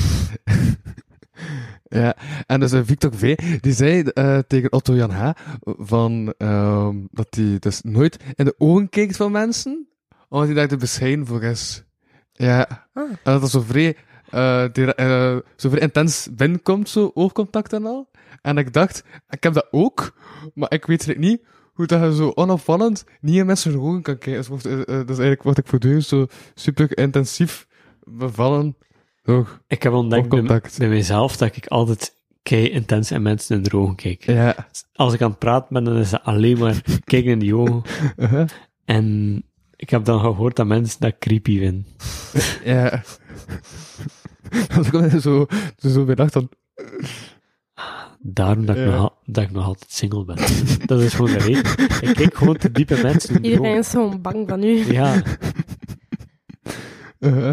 S2: ja, en dus eh, Victor V. Die zei eh, tegen Otto Jan H. Van, ehm, dat hij dus nooit in de ogen kijkt van mensen, omdat hij daar te bescheiden voor is. Ja,
S5: Ah.
S2: en dat dat zo vrij... eh, die- eh, zo vrij intens binnenkomt, zo, oogcontact en al. En ik dacht, ik heb dat ook, maar ik weet eigenlijk niet hoe dat je zo onopvallend niet in mensen hun ogen kan kijken. Dus, wordt, eh, eh, dat is eigenlijk wat ik voortdurend zo super intensief bevallen. Toch?
S1: Ik heb ontdekt bij,
S2: Oogcontact.
S1: bij mezelf dat ik altijd kei intens en mensen in de ogen kijk.
S2: Ja.
S1: Als ik aan het praten ben, dan is dat alleen maar kijken in die ogen.
S2: Uh-huh.
S1: En ik heb dan gehoord dat mensen dat creepy vinden.
S2: Ja. dat ik altijd zo, zo bedacht dan.
S1: Daarom dat ik,
S2: Ja.
S1: nog, al- dat ik nog altijd single ben. dat is gewoon de reden. Ik kijk gewoon te diepe mensen in de
S5: Iedereen
S1: ogen.
S5: is gewoon bang van u.
S1: Ja,
S2: eh,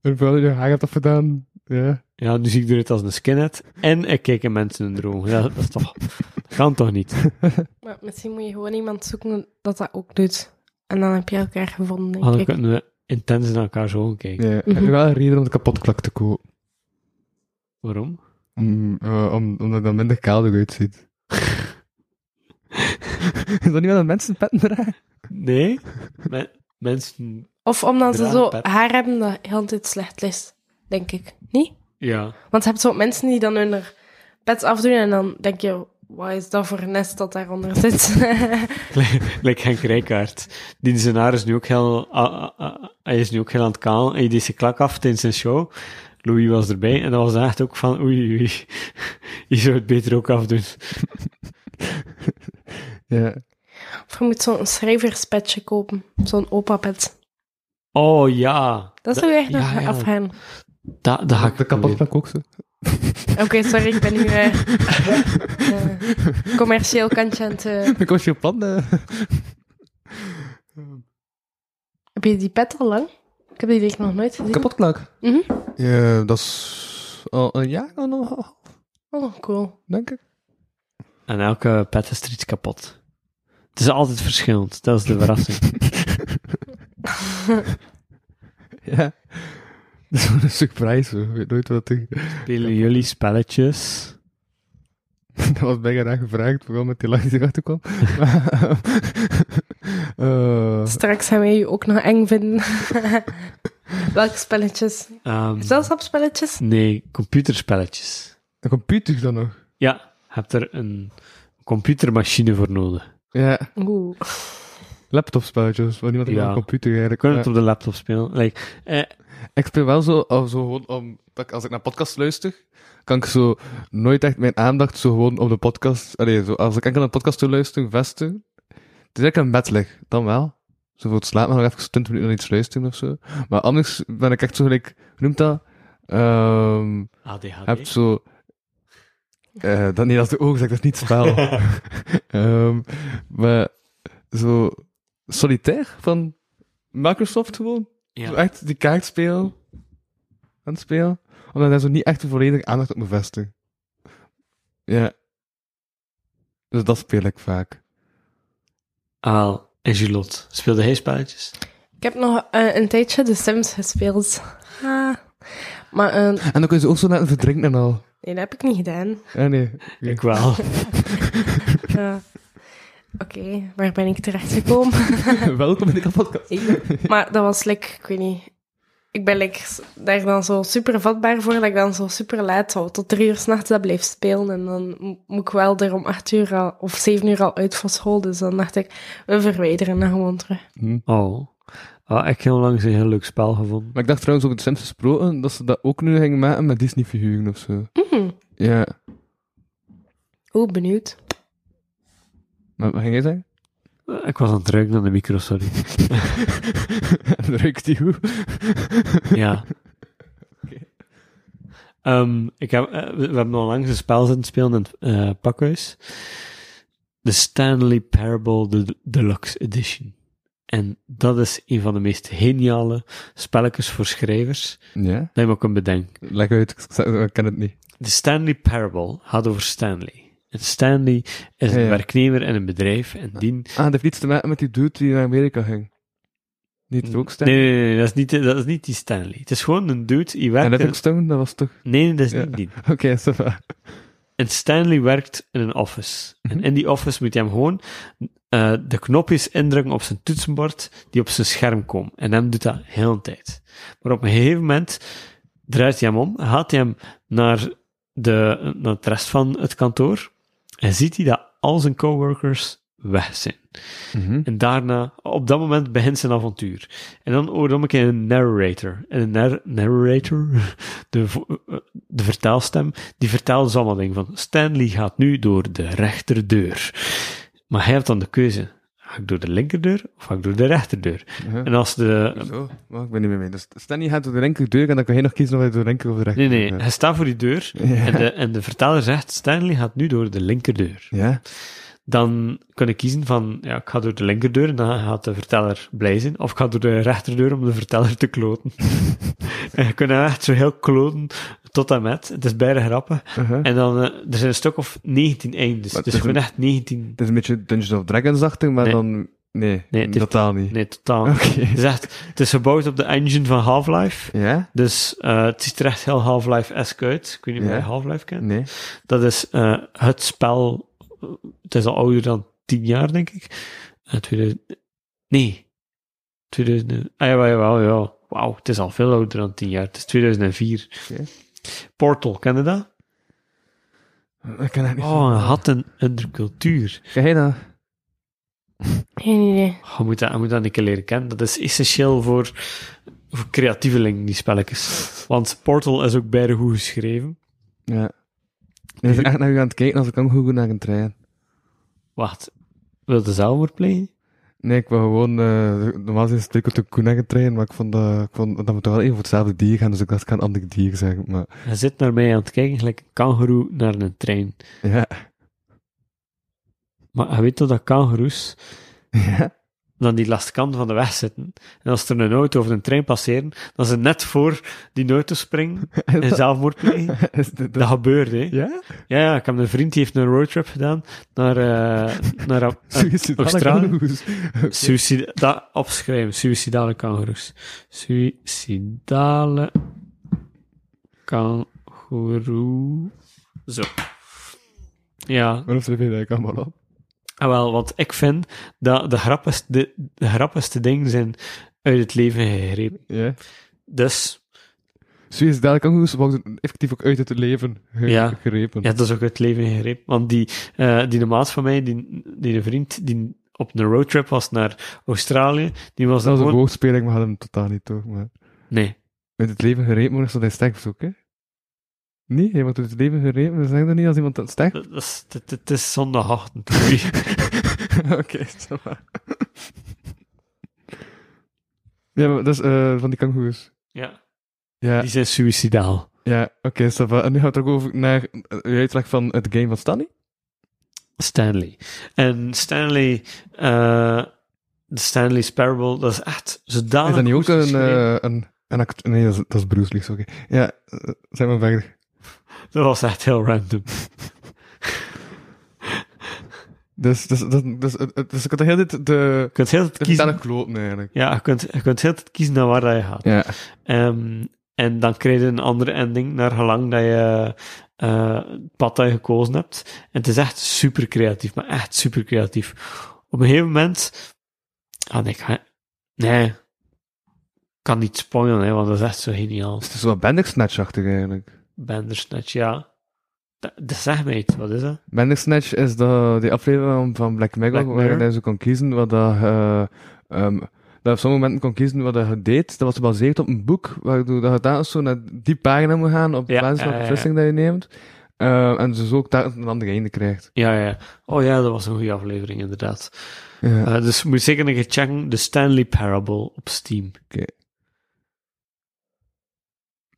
S2: en vooral je haar hebt afgedaan. Ja.
S1: ja, nu zie ik eruit als een skinhead. En ik kijk in mensen in de ogen. Ja, dat, is toch, dat kan toch niet?
S5: Maar misschien moet je gewoon iemand zoeken dat dat ook doet. En dan heb je elkaar gevonden, denk
S1: Anders
S5: ik.
S1: kunnen we intens naar elkaar zo gaan kijken.
S2: ja. Heb je wel een reden om de kapotklak te kopen?
S1: Waarom?
S2: Om, eh, om, omdat het dan minder kaalder uitziet. Is dat niet wel een mensenpet dragen?
S1: Nee, me- mensen...
S5: Of omdat ze
S1: Draag,
S5: zo
S1: Pep.
S5: haar hebben dat heel de tijd slecht is, denk ik. Niet?
S1: Ja,
S5: Want je hebt zo mensen die dan hun er pet afdoen en dan denk je, wat is dat voor een nest dat daaronder zit?
S1: like Henk Rijkaard. Die zijn haar is nu ook heel... ah, ah, ah, hij is nu ook heel aan het kaal. Hij deed zijn klak af tijdens zijn show. Louis was erbij en dat was echt ook van oei, oei, oei. je zou het beter ook afdoen.
S2: Ja.
S5: of je moet zo'n schrijverspetje kopen, zo'n opa-pet.
S1: Oh ja,
S5: Dat zou je echt nog
S1: ja, ja.
S5: afgaan.
S1: dat, dat ga ik
S2: De
S1: proberen.
S2: kapotklak ook zo.
S5: Oké, sorry, ik ben nu eh, eh, commercieel kantje aan het... eh,
S2: Ik was je plan. eh.
S5: heb je die pet al lang? Ik heb die denk ik nog nooit gezien.
S2: Kapotklak.
S5: Mhm.
S2: Ja, dat is al een jaar en een half,
S5: Oh, cool.
S2: denk ik.
S1: En elke pet is er iets kapot. Het is altijd verschillend. Dat is de verrassing.
S2: Ja. Dat is gewoon een surprise, hoor. ik weet nooit wat ik...
S1: Spelen jullie spelletjes?
S2: Dat was bijna raar gevraagd, vooral met die lach die erachter kwam. Maar, eh,
S5: Straks gaan wij je ook nog eng vinden. Welke spelletjes?
S1: Ehm,
S5: Gezelschapsspelletjes?
S1: nee, computerspelletjes.
S2: de computer dan nog.
S1: Ja, je hebt er een computermachine voor nodig.
S2: Ja,
S5: Oeh.
S2: laptopspelletjes, waar niemand
S1: Ja.
S2: ja. een computer eigenlijk.
S1: Je kunt het
S2: Ja.
S1: op de laptop spelen. Like, eh,
S2: Ik speel wel zo, al zo gewoon om, dat ik- als ik naar podcasts luister, kan ik zo nooit echt mijn aandacht zo gewoon op de podcast, allee, zo, als ik enkel naar een podcast toe luister, vesten. Het is eigenlijk een bed lig, dan wel. Zo voor het slapen nog even 20 minuten naar iets luisteren of zo. Maar anders ben ik echt zo gelijk, hoe noemt dat? Ehm
S1: ADHD.
S2: hebt zo. eh, dat, nee, dat is de oog, zeg, dat is niet spel. Ehm, maar zo. Solitair van Microsoft gewoon. Zo
S1: Ja.
S2: echt die kaartspel aan het spelen. Omdat daar zo niet echt de volledige aandacht op moet vestigen. Ja. Dus dat speel ik vaak.
S1: Aal en Julot. Ah, Speelde hij spelletjes?
S5: Ik heb nog eh, een tijdje The Sims gespeeld. Ah. Maar eh,
S2: En dan kun je ze ook zo laten verdrinken en al.
S5: nee, dat heb ik niet gedaan.
S2: Ja, nee.
S1: Ik wel.
S5: Eh, Oké, waar ben ik terechtgekomen?
S2: Welkom in de podcast.
S5: Ik- maar dat was like, ik weet niet. Ik ben like, s- daar dan zo super vatbaar voor, dat ik dan zo super laat zo tot drie uur s'nachts dat blijf spelen. En dan mo- moet ik wel er om acht uur al, of zeven uur al uit voor school. Dus dan dacht ik, we verwijderen dat gewoon terug.
S2: Hm?
S1: Oh. Ah, ik heb heel langs een heel leuk spel gevonden.
S2: Maar ik dacht trouwens over de Sims gesproken dat ze dat ook nu gingen maken met Disney-figuren of zo. Ja.
S5: Oeh, benieuwd.
S2: Maar wat ging jij zeggen?
S1: Eh, Ik was aan het ruiken aan de micro, sorry.
S2: Dan Ruikt die hoe?
S1: Ja. Ehm, ik heb, eh, we, we hebben onlangs een spel zitten spelen in het eh, pakhuis. De Stanley Parable de Deluxe Edition. En dat is een van de meest geniale spelletjes voor schrijvers
S2: Ja?
S1: dat je maar kunt bedenken.
S2: Leg uit, ik sta- ik ken het niet.
S1: De Stanley Parable gaat over Stanley. En Stanley is een
S2: Ja, ja.
S1: werknemer in een bedrijf en die...
S2: Ah, dat heeft niets te maken met die dude die naar Amerika ging. Niet het ook stem?
S1: Mm. Nee, nee, nee, nee, dat, is niet, dat is niet die Stanley. Het is gewoon een dude die
S2: En
S1: werkt...
S2: dat
S1: in-
S2: ook stem, dat was toch...
S1: Nee, nee, dat is
S2: Ja.
S1: niet die.
S2: Oké, ça va.
S1: En Stanley werkt in een office. En in die office moet hij hem gewoon eh, de knopjes indrukken op zijn toetsenbord die op zijn scherm komen. En hem doet dat heel de tijd. Maar op een gegeven moment draait hij hem om, gaat hij hem naar, de, naar het rest van het kantoor en ziet hij dat al zijn coworkers weg zijn. En daarna, op dat moment begint zijn avontuur. En dan hoorde ik een narrator. En een nar- narrator, de, vo- eh, de vertaalstem, die vertelt dus allemaal dingen van Stanley gaat nu door de rechterdeur. Maar hij heeft dan de keuze. Ga ik door de linkerdeur of ga ik door de rechterdeur? En als de...
S2: Zo, maar ik ben niet meer mee. Dus Stanley gaat door de renkerdeur en dan kan je nog kiezen of hij door de renker of de rechter
S1: Nee, nee, hij staat voor die deur en de, en de vertaler zegt Stanley gaat nu door de linkerdeur.
S2: Ja?
S1: dan kun je kiezen van, ja, ik ga door de linkerdeur en dan gaat de verteller blij zijn. Of ik ga door de rechterdeur om de verteller te kloten. en je kunt hem echt zo heel kloten tot en met. Het is bijna grappig.
S2: Uh-huh.
S1: En dan, eh, er zijn een stuk of 19 eindes.
S2: Maar
S1: dus
S2: het is
S1: gewoon
S2: een-
S1: echt 19...
S2: Het is een beetje Dungeons of Dragons-achtig, maar
S1: Nee.
S2: dan... Nee,
S1: Nee, het is-
S2: totaal niet.
S1: Nee, totaal.
S2: Oké.
S1: Het, is echt, het is gebouwd op de engine van Half-Life.
S2: Ja?
S1: Dus eh, het ziet er echt heel Half-Life-esque uit. Ik weet niet of
S2: Ja.
S1: je Half-Life kent.
S2: Nee.
S1: Dat is eh, het spel. eh, Het is al ouder dan 10 jaar, denk ik. Eh, 2000, nee. 2000. en- Ah ja, jawel, ja. Wauw, het is al veel ouder dan 10 jaar. Het is 2004.
S2: Oké.
S1: Portal, ken je dat?
S2: Ik ken dat niet.
S1: Oh, een had een undercultuur.
S2: Ken jij dat?
S5: Geen idee.
S1: Oh, je, moet dat, je moet dat een keer leren kennen. Dat is essentieel voor, voor creatievelingen, die spelletjes. Want Portal is ook bijna goed geschreven.
S2: Ja. Nee, ik ben echt naar u aan het kijken als ik kan googlen naar een trein.
S1: Wacht, wil je zelfmoord plegen?
S2: Nee, ik wil gewoon... eh, normaal is het op de koe naar een trein, maar ik vond, dat, ik vond dat we toch wel even voor hetzelfde dier gaan, dus ik dacht, ik ga een ander dier zeggen, maar...
S1: Hij zit naar mij aan het kijken, gelijk een kangeroe naar een trein.
S2: Ja.
S1: Maar je weet toch dat kangoeroes
S2: Ja?
S1: dan die laatste kant van de weg zitten. En als er een auto of een trein passeren, dan ze net voor die auto springen en zelfmoord plegen.
S2: Is dit-
S1: Dat gebeurde, hè.
S2: Ja?
S1: Ja, ja, ik heb een vriend die heeft een roadtrip gedaan naar, eh naar Au- eh,
S2: Suicidale
S1: Australië.
S2: kangoeroes.
S1: Suicida dat opschrijven. Suicidale kangoeroes. Suicidale kangoeroe. Zo. Ja,
S2: Waarom schrijf je dat eigenlijk allemaal op?
S1: ah, wel, want ik vind dat de grappigste, de, de grappigste dingen zijn uit het leven gegrepen.
S2: Ja.
S1: Dus,
S2: Suicidale kangoeroes worden effectief ook uit het leven ge-
S1: Ja.
S2: gegrepen.
S1: ja, dat is ook uit het leven gegrepen. Want die, eh die maat van mij, die, die een vriend, die op een roadtrip was naar Australië, die was
S2: Dat
S1: dan
S2: was een
S1: gewoon...
S2: woordspeling, maar had hem totaal niet door. Maar...
S1: Nee.
S2: Uit het leven gerepen worden, is dat hij sterft ook, hè? Nee, je wordt uit het leven gerepen, dat zeg je niet als iemand dat sterft.
S1: Dat, dat is, dat- dat is zondagochtend. Oei.
S2: Oké, zo maar. Ja, maar dat is eh, van die kangoeroes.
S1: ja,
S2: Ja,
S1: die zijn suicidaal.
S2: ja oké, ça va. En nu gaat het ook over naar eh, uw uitleg van het game van Stanley.
S1: Stanley. En Stanley, eh, de Stanley's Parable, dat is echt zodanig.
S2: is dat niet ook
S1: goed
S2: een,
S1: geschreven.
S2: eh, een, een act... Nee, dat is, dat is Bruce Lee, sorry. Ja, eh, zeg maar verder.
S1: Dat was echt heel random.
S2: Dus, dus, dus, dus, eh, eh, dus ik had de hele tijd de...
S1: Je kunt heel de
S2: De
S1: tijd kiezen.
S2: vertellen kloten, eigenlijk.
S1: Ja, je kunt, je kunt heel de tijd kiezen naar waar dat je gaat.
S2: Ja.
S1: Ehm, en dan krijg je een andere ending naar gelang dat je eh, het pad dat je gekozen hebt. En het is echt super creatief, maar echt super creatief. Op een gegeven moment. Ah, nee, ik ga- nee. Ik kan niet spoilen, hè, want dat is echt zo geniaal.
S2: Dus het is wel Bandersnatch-achtig, eigenlijk.
S1: Bandersnatch, ja. Dat, dat zegt mij iets, wat is dat?
S2: Bandersnatch is de, die aflevering van- van Black Mirror,
S1: Black
S2: waarin
S1: Mirror.
S2: hij zo kon kiezen wat dat, eh, ehm, dat op sommige momenten kon kiezen wat dat je deed. Dat was gebaseerd op een boek, waardoor dat je daar zo naar die pagina moet gaan, op
S1: Ja,
S2: basis van
S1: ja,
S2: de
S1: ja,
S2: beslissing dat je neemt. Eh, en dus ook daar een andere einde krijgt.
S1: Ja, ja. Oh ja, dat was een goede aflevering, inderdaad.
S2: Ja.
S1: Eh, dus moet je zeker nog eens checken, de Stanley Parable op Steam.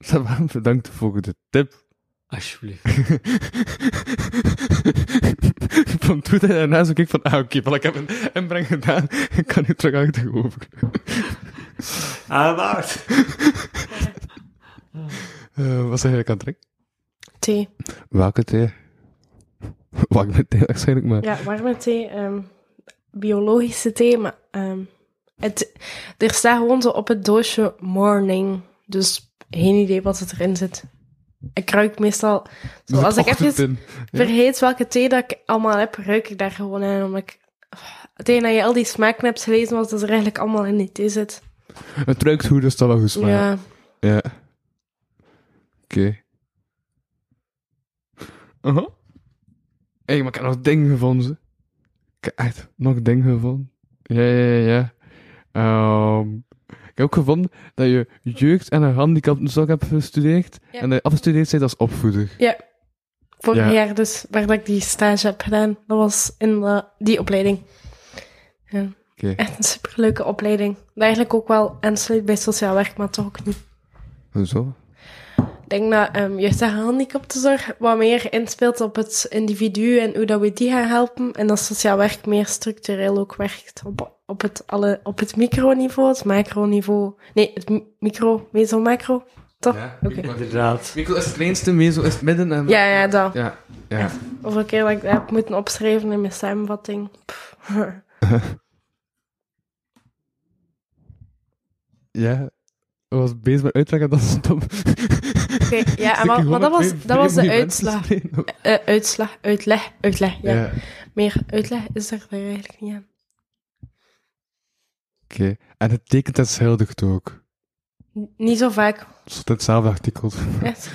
S2: Savan, bedankt voor de tip.
S1: Alsjeblieft.
S2: van toen en daarna zo keek van, ah oké, wel, ik heb een inbreng gedaan, ik kan nu terug achterover.
S1: Ah, wacht.
S2: Eh wat zeg je, kan terug?
S5: Thee.
S2: Welke thee? Welke thee waarschijnlijk, maar...
S5: Ja, warme thee. ehm, biologische thee, maar... ehm, het, er staat gewoon zo op het doosje morning. Dus geen idee wat het erin zit. Ik ruik meestal...
S2: Dus
S5: Zo, als ik even
S2: Ochtendthee.
S5: vergeet welke thee dat ik allemaal heb, ruik ik daar gewoon aan. Omdat ik... Tegen dat je al die smaken hebt gelezen, wat er eigenlijk allemaal in die thee zit.
S2: Het ruikt goed, dus dat wel goed smaakt. Ja.
S5: Ja.
S2: Oké. Aha. Hé, Uh-huh. maar ik heb nog dingen gevonden. ze. Ik heb echt nog dingen gevonden. Ja, ja, ja. ja. Ehm, ik heb ook gevonden dat je jeugd- en een handicapzorg hebt gestudeerd.
S5: Ja.
S2: En dat je afgestudeerd bent als opvoeder.
S5: Vorig
S2: Ja.
S5: jaar dus, waar dat ik die stage heb gedaan. Dat was in de- die opleiding. Ja.
S2: Oké.
S5: Echt een superleuke opleiding. Dat eigenlijk ook wel aansluit bij sociaal werk, maar toch ook niet.
S2: Hoezo?
S5: Ik denk dat ehm juist de handicaptenzorg wat meer inspeelt op het individu en hoe dat we die gaan helpen. En dat sociaal werk meer structureel ook werkt op, op, het, alle, op het microniveau, het macroniveau. Nee, het mi- micro, meso, macro. Toch?
S2: Ja,
S5: Oké.
S1: Inderdaad.
S2: Mikkel is het kleinste, Mezo is het midden en...
S5: Ja, ja, dat.
S2: Ja, ja.
S5: Hoeveel keer dat ik dat heb moeten opschrijven in mijn samenvatting. Pff.
S2: Ja. Ik was bezig met uitleggen, dat is stom.
S5: Oké, ja, maar, maar dat, was, dat was de uitslag. Eh, uitslag, uitleg, uitleg. Ja.
S2: Ja,
S5: Meer uitleg is er daar eigenlijk niet aan.
S2: oké. En het tekent is helder ook.
S5: N- niet zo vaak.
S2: Het stond in hetzelfde artikel.
S5: Echt?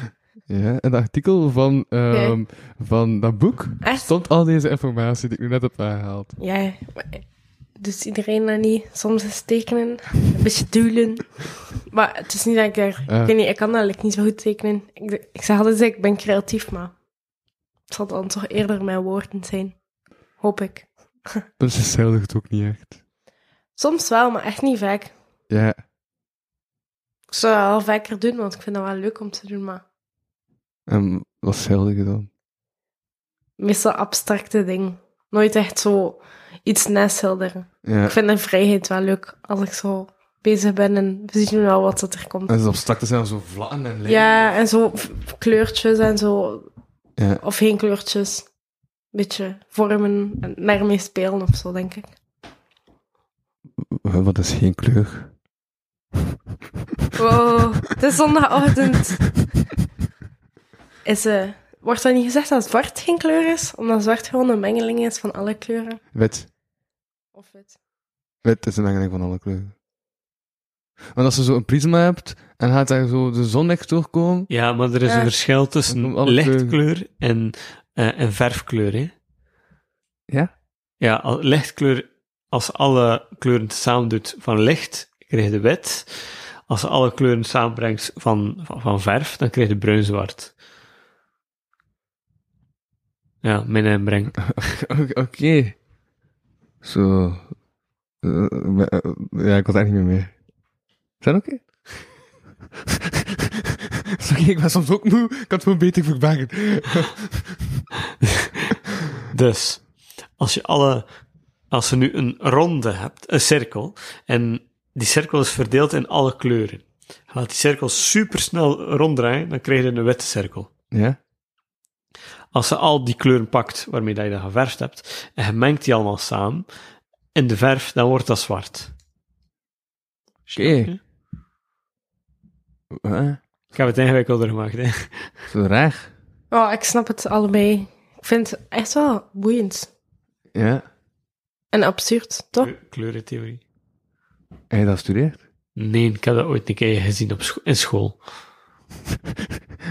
S2: Ja, en het artikel van, ehm, van dat boek
S5: Echt?
S2: stond al deze informatie die ik nu net heb aangehaald.
S5: Ja, maar- dus iedereen dat niet. Soms is tekenen, een beetje duelen. Maar het is niet dat ik daar...
S2: Ja.
S5: Ik weet niet, ik kan eigenlijk niet zo goed tekenen. Ik, ik zeg altijd, ik ben creatief, maar... Het zal dan toch eerder mijn woorden zijn. Hoop ik.
S2: Dus het is helder ook niet echt.
S5: Soms wel, maar echt niet vaak.
S2: Ja.
S5: Ik zou dat wel vaker doen, want ik vind dat wel leuk om te doen, maar...
S2: En ehm, wat is helder dan?
S5: Meestal abstracte dingen. Nooit echt zo iets naschilderen.
S2: Ja.
S5: Ik vind de vrijheid wel leuk als ik zo bezig ben en we zien wel wat dat er komt.
S2: En ze abstracten zijn zo vlakken en lijnen.
S5: Ja, en zo v- kleurtjes en zo.
S2: Ja.
S5: Of geen kleurtjes. Beetje vormen en daarmee spelen of zo, denk ik.
S2: Huh, Wat is geen kleur?
S5: Wow, het is zondagochtend. Is, eh, wordt dat niet gezegd dat zwart geen kleur is? Omdat zwart gewoon een mengeling is van alle kleuren.
S2: Wit.
S5: Of het.
S2: Wit is een mengeling van alle kleuren. Want als je zo een prisma hebt en gaat daar zo de zon niks doorkomen.
S1: Ja, maar er is
S5: Ja.
S1: een verschil
S2: Dan
S1: tussen
S2: komen alle
S1: lichtkleur en, eh, en verfkleur. Hè?
S2: Ja?
S1: Ja, al- lichtkleur, als alle kleuren samen doet van licht, krijg je wit. Als je alle kleuren samenbrengt van, van, van verf, dan krijg je bruin-zwart. Ja, mijn inbreng.
S2: Oké. Zo. Eh, eh, eh, ja, ik had eigenlijk niet meer meer. Is dat oké? Is oké, ik ben soms ook moe. Ik kan het gewoon beter verbergen.
S1: Dus, als je alle, als je nu een ronde hebt, een cirkel, en die cirkel is verdeeld in alle kleuren. Je Laat die cirkel supersnel ronddraaien, dan krijg je een witte cirkel.
S2: ja?
S1: Als je al die kleuren pakt waarmee dat je dat geverfd hebt, en je mengt die allemaal samen, in de verf, dan wordt dat zwart.
S2: Oké.
S1: je?
S2: Eh,
S1: Ik heb het ingewikkelder gemaakt, hè.
S2: Zo raar.
S5: Oh, ik snap het allebei. Ik vind het echt wel boeiend.
S2: Ja.
S5: En absurd, toch?
S1: Kleu- Kleurentheorie.
S2: Heb je dat gestudeerd?
S1: Nee, ik heb dat ooit een keer gezien op scho- in school.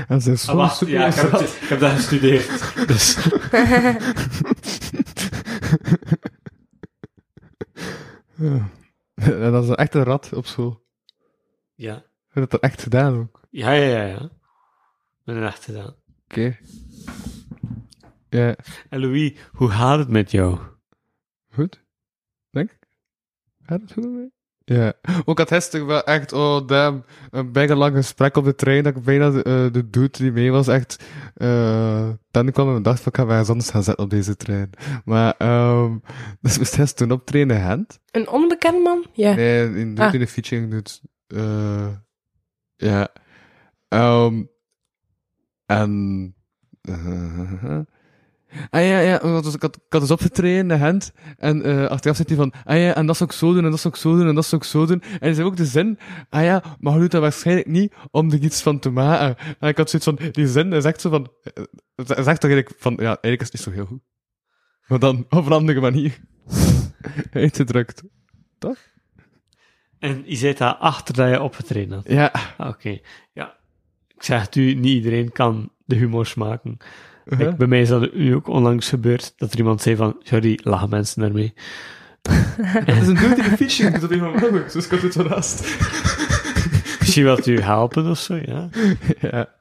S2: Dat is
S1: Ah, wacht, ja, ik heb, het- ik heb dat gestudeerd. Dus...
S2: dat is echt een rat op school.
S1: Ja.
S2: Ik heb dat echt gedaan ook.
S1: Ja, ja, ja, ja. Met een echt gedaan.
S2: Oké. Ja,
S1: En Louis, hoe gaat het met jou?
S2: goed. Denk ik. Gaat het goed mee? Ja. Ook had gisteren wel echt, oh damn, een bijna lang gesprek op de trein dat ik bijna de, eh, de dude die mee was echt eh dan kwam en dacht van ik ga mij ergens anders gaan zetten op deze trein. Maar ehm dus we moest gisteren optreden in Gent.
S5: Een onbekend man? Ja.
S2: Nee, in, doet
S5: Ah.
S2: in de featuring doet. eh, ja. Ehm, en. eh, ah ja, ja, want dus ik had, ik had dus opgetreden in Gent. En eh achteraf zit hij van. Ah ja, en dat zou ik zo doen, en dat zou ik zo doen, en dat zou ik zo doen. En hij zei ook de zin. Ah ja, maar je doet dat waarschijnlijk niet om er iets van te maken. En ik had zoiets van. Die zin is echt zo van. eh, Is echt toch eigenlijk van. Ja, eigenlijk is het niet zo heel goed. Maar dan op een andere manier. Uitgedrukt.
S1: En je zit daar achter dat je opgetreden had.
S2: Ja.
S1: Ah, Oké, ja. Ik zeg het u, niet iedereen kan de humor smaken. Ik, bij mij is dat nu ook onlangs gebeurd, dat er iemand zei van, sorry, lachen mensen daarmee.
S2: Dat is een dude in de fishing, dat is iemand anders, dus ik had het zo naast.
S1: Misschien wilt u helpen of zo, ja.
S2: Ja.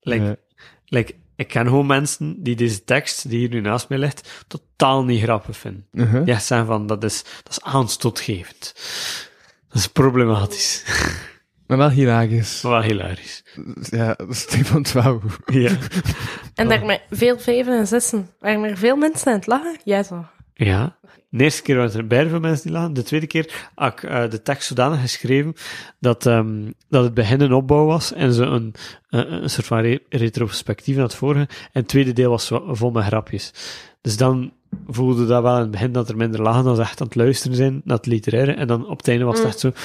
S1: Like,
S2: Ja.
S1: like, ik ken gewoon mensen die deze tekst, die hier nu naast mij ligt, totaal niet grappig vinden. Die echt zeggen van, dat is, dat is aanstootgevend. Dat is problematisch.
S2: Maar wel hilarisch.
S1: Maar wel hilarisch.
S2: Ja, dat is Stefan Trouw.
S1: Ja.
S5: En daarmee veel vijven en zessen. Waren er veel mensen aan het lachen? Ja, zo.
S1: Ja. De eerste keer waren er bijna veel mensen die lagen. De tweede keer had ik eh, de tekst zodanig geschreven dat, ehm, dat het begin een opbouw was en ze een, een, een soort van re- retrospectief naar het vorige. En het tweede deel was wa- vol met grapjes. Dus dan voelde dat wel in het begin dat er minder lagen dan ze echt aan het luisteren zijn naar het literaire. En dan op het einde was het echt zo...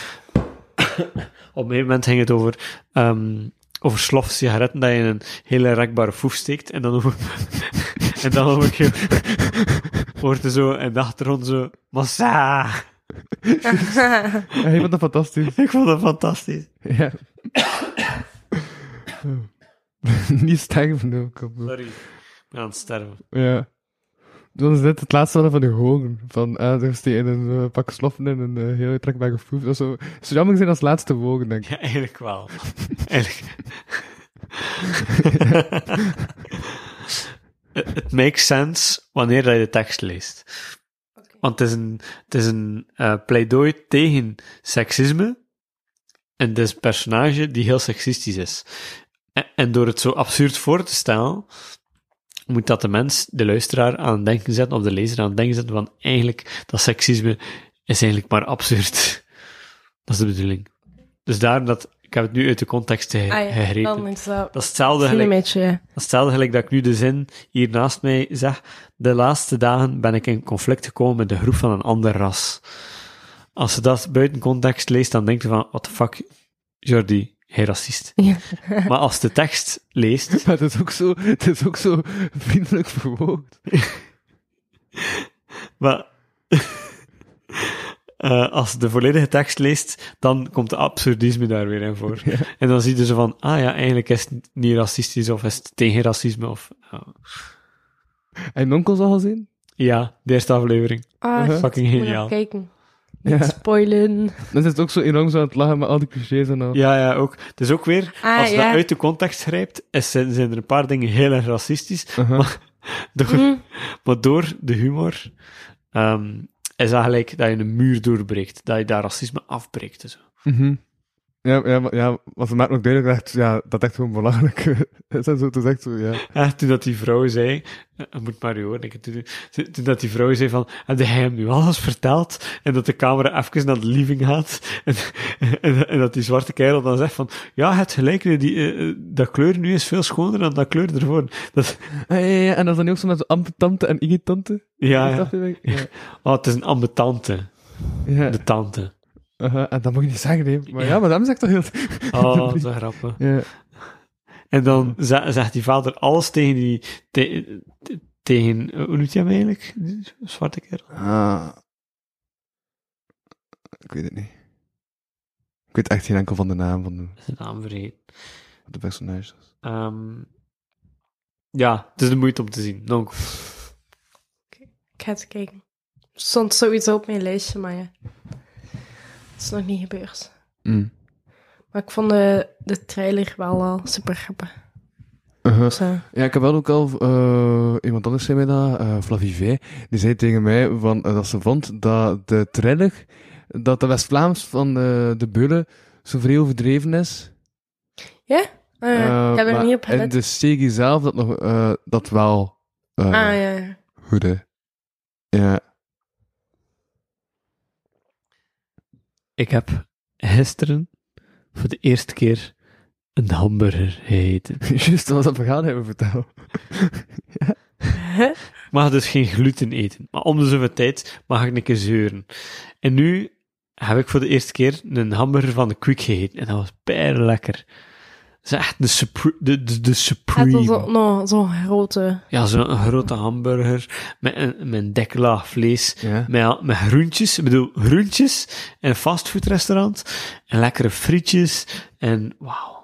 S1: op een gegeven moment ging het over... ehm, over slof sigaretten dat je in een hele rekbare foef steekt en dan over, en dan over heel, hoort er zo en de achtergrond zo, massa.
S5: Ah
S2: Ja, je vond dat fantastisch.
S1: Ik vond dat fantastisch.
S2: Ja. Niet sterven ook. op-
S1: Sorry. Ik ben aan het sterven.
S2: Ja. Dat is net het laatste wat van de horen. Van, ah, er is die in een eh, pak sloffen en een eh, heel uittrekbare foef. Dat zou, zou jammer zijn als laatste wogen, denk ik.
S1: Ja, eigenlijk wel. eigenlijk. Het het makes sense wanneer dat je de tekst leest. Want het is een, het is een eh, pleidooi tegen seksisme. En het is een personage die heel seksistisch is. En, en door het zo absurd voor te stellen, moet dat de mens, de luisteraar, aan het denken zetten, of de lezer aan het denken zetten, van eigenlijk, dat seksisme is eigenlijk maar absurd. Dat is de bedoeling. Dus daar dat, ik heb het nu uit de context ge-
S5: Ah ja,
S1: gegrepen.
S5: dan is dat
S1: Dat is hetzelfde
S5: misschien een
S1: gelijk, dat
S5: beetje... ja.
S1: is hetzelfde gelijk dat ik nu de zin hier naast mij zeg. De laatste dagen ben ik in conflict gekomen met de groep van een ander ras. Als ze dat buiten context leest, dan denkt je van, what the fuck, Jordi, hij racist.
S5: Ja.
S1: Maar als de tekst leest,
S2: Maar het is ook zo, het is ook zo vriendelijk verwoord.
S1: Maar eh, als je de volledige tekst leest, dan komt de absurdisme daar weer in voor. En dan zie je zo van, ah ja, eigenlijk is het niet racistisch of is het tegen racisme. Of, eh, ja.
S2: Heb je Onkels al gezien?
S1: ja, de eerste aflevering.
S5: Ah,
S2: Uh-huh.
S5: shit,
S1: Fucking
S5: moet nog
S1: geniaal.
S5: kijken.
S2: Ja.
S5: Spoilen.
S2: Dan zit het ook zo enorm zo aan het lachen met al die clichés en al.
S1: Ja, ja, ook. Het is ook weer,
S5: Ah,
S1: als je
S5: ja.
S1: dat uit de context grijpt, is, zijn, zijn er een paar dingen heel erg racistisch.
S2: Uh-huh.
S1: Maar, door,
S5: Mm.
S1: maar door de humor ehm, is dat gelijk dat je een muur doorbreekt. Dat je daar racisme afbreekt. en zo.
S2: Mhm. Ja, ja, maar, ja, want ze maakt ook duidelijk dat, het- ja, dat echt gewoon belangrijk is. En zo, het is echt zo, ja.
S1: Ja, Eh, toen dat die vrouw zei, eh, je moet maar je horen, ik, toen, toen- toen dat die vrouw zei van, heb jij hem nu alles verteld? En dat de camera even naar de living gaat, en, en, en dat die zwarte kerel dan zegt van, ja, het gelijk, die, eh, eh, dat kleur nu is veel schoner dan dat kleur ervoor. Dat,
S2: Ah, ja, ja, ja. En dat is dan ook zo met zo'n ambetante en irritante.
S1: ja, ja.
S2: Snap je, denk ik? ja.
S1: Oh, het is een ambetante,
S2: ja.
S1: de tante.
S2: Aha, En dat moet je niet zeggen, hè. Maar ja, maar daarom zeg ik toch heel...
S1: Oh, zo grappig.
S2: Ja.
S1: En dan ze- zegt die vader alles tegen die, te- te- tegen, eh, hoe noemt hij hem eigenlijk? Die zwarte kerel?
S2: Ah. Ik weet het niet. Ik weet echt geen enkel van de naam van de,
S1: Zijn naam vergeten.
S2: van de personages.
S1: Ehm, ja, het is de moeite om te zien. Dank.
S5: Ik ga eens kijken. Er stond sowieso op mijn lijstje, maar ja. Het is nog niet gebeurd.
S2: Mm.
S5: Maar ik vond de, de trailer wel al super grappig. Dus, eh,
S2: Ja, ik heb wel ook al... eh, iemand anders zei mij dat, eh Flavie V, die zei tegen mij van, eh, dat ze vond dat de trailer, dat de West-Vlaams van eh, de Beulen zo vrij overdreven is.
S5: ah ja,
S2: Eh,
S5: ik heb er
S2: maar
S5: niet op
S2: En
S5: gelet.
S2: de serie zelf dat, nog, eh, dat wel eh,
S5: Ah ja.
S2: goed is. Ja.
S1: Ik heb gisteren voor de eerste keer een hamburger gegeten.
S2: Juist, wat dat we gaan hebben verteld.
S5: Huh?
S1: Ik mag dus geen gluten eten. Maar om de zoveel tijd mag ik een keer zeuren. En nu heb ik voor de eerste keer een hamburger van de Quick gegeten. En dat was per lekker. Dat is echt de, supre- de, de, de
S5: Had
S1: supreme.
S5: al zo- nou, zo'n grote...
S1: Ja, zo'n grote hamburger met een, met een dikke laag vlees.
S2: Ja.
S1: Met, met groentjes, ik bedoel, groentjes in een fastfoodrestaurant. En lekkere frietjes. En wauw.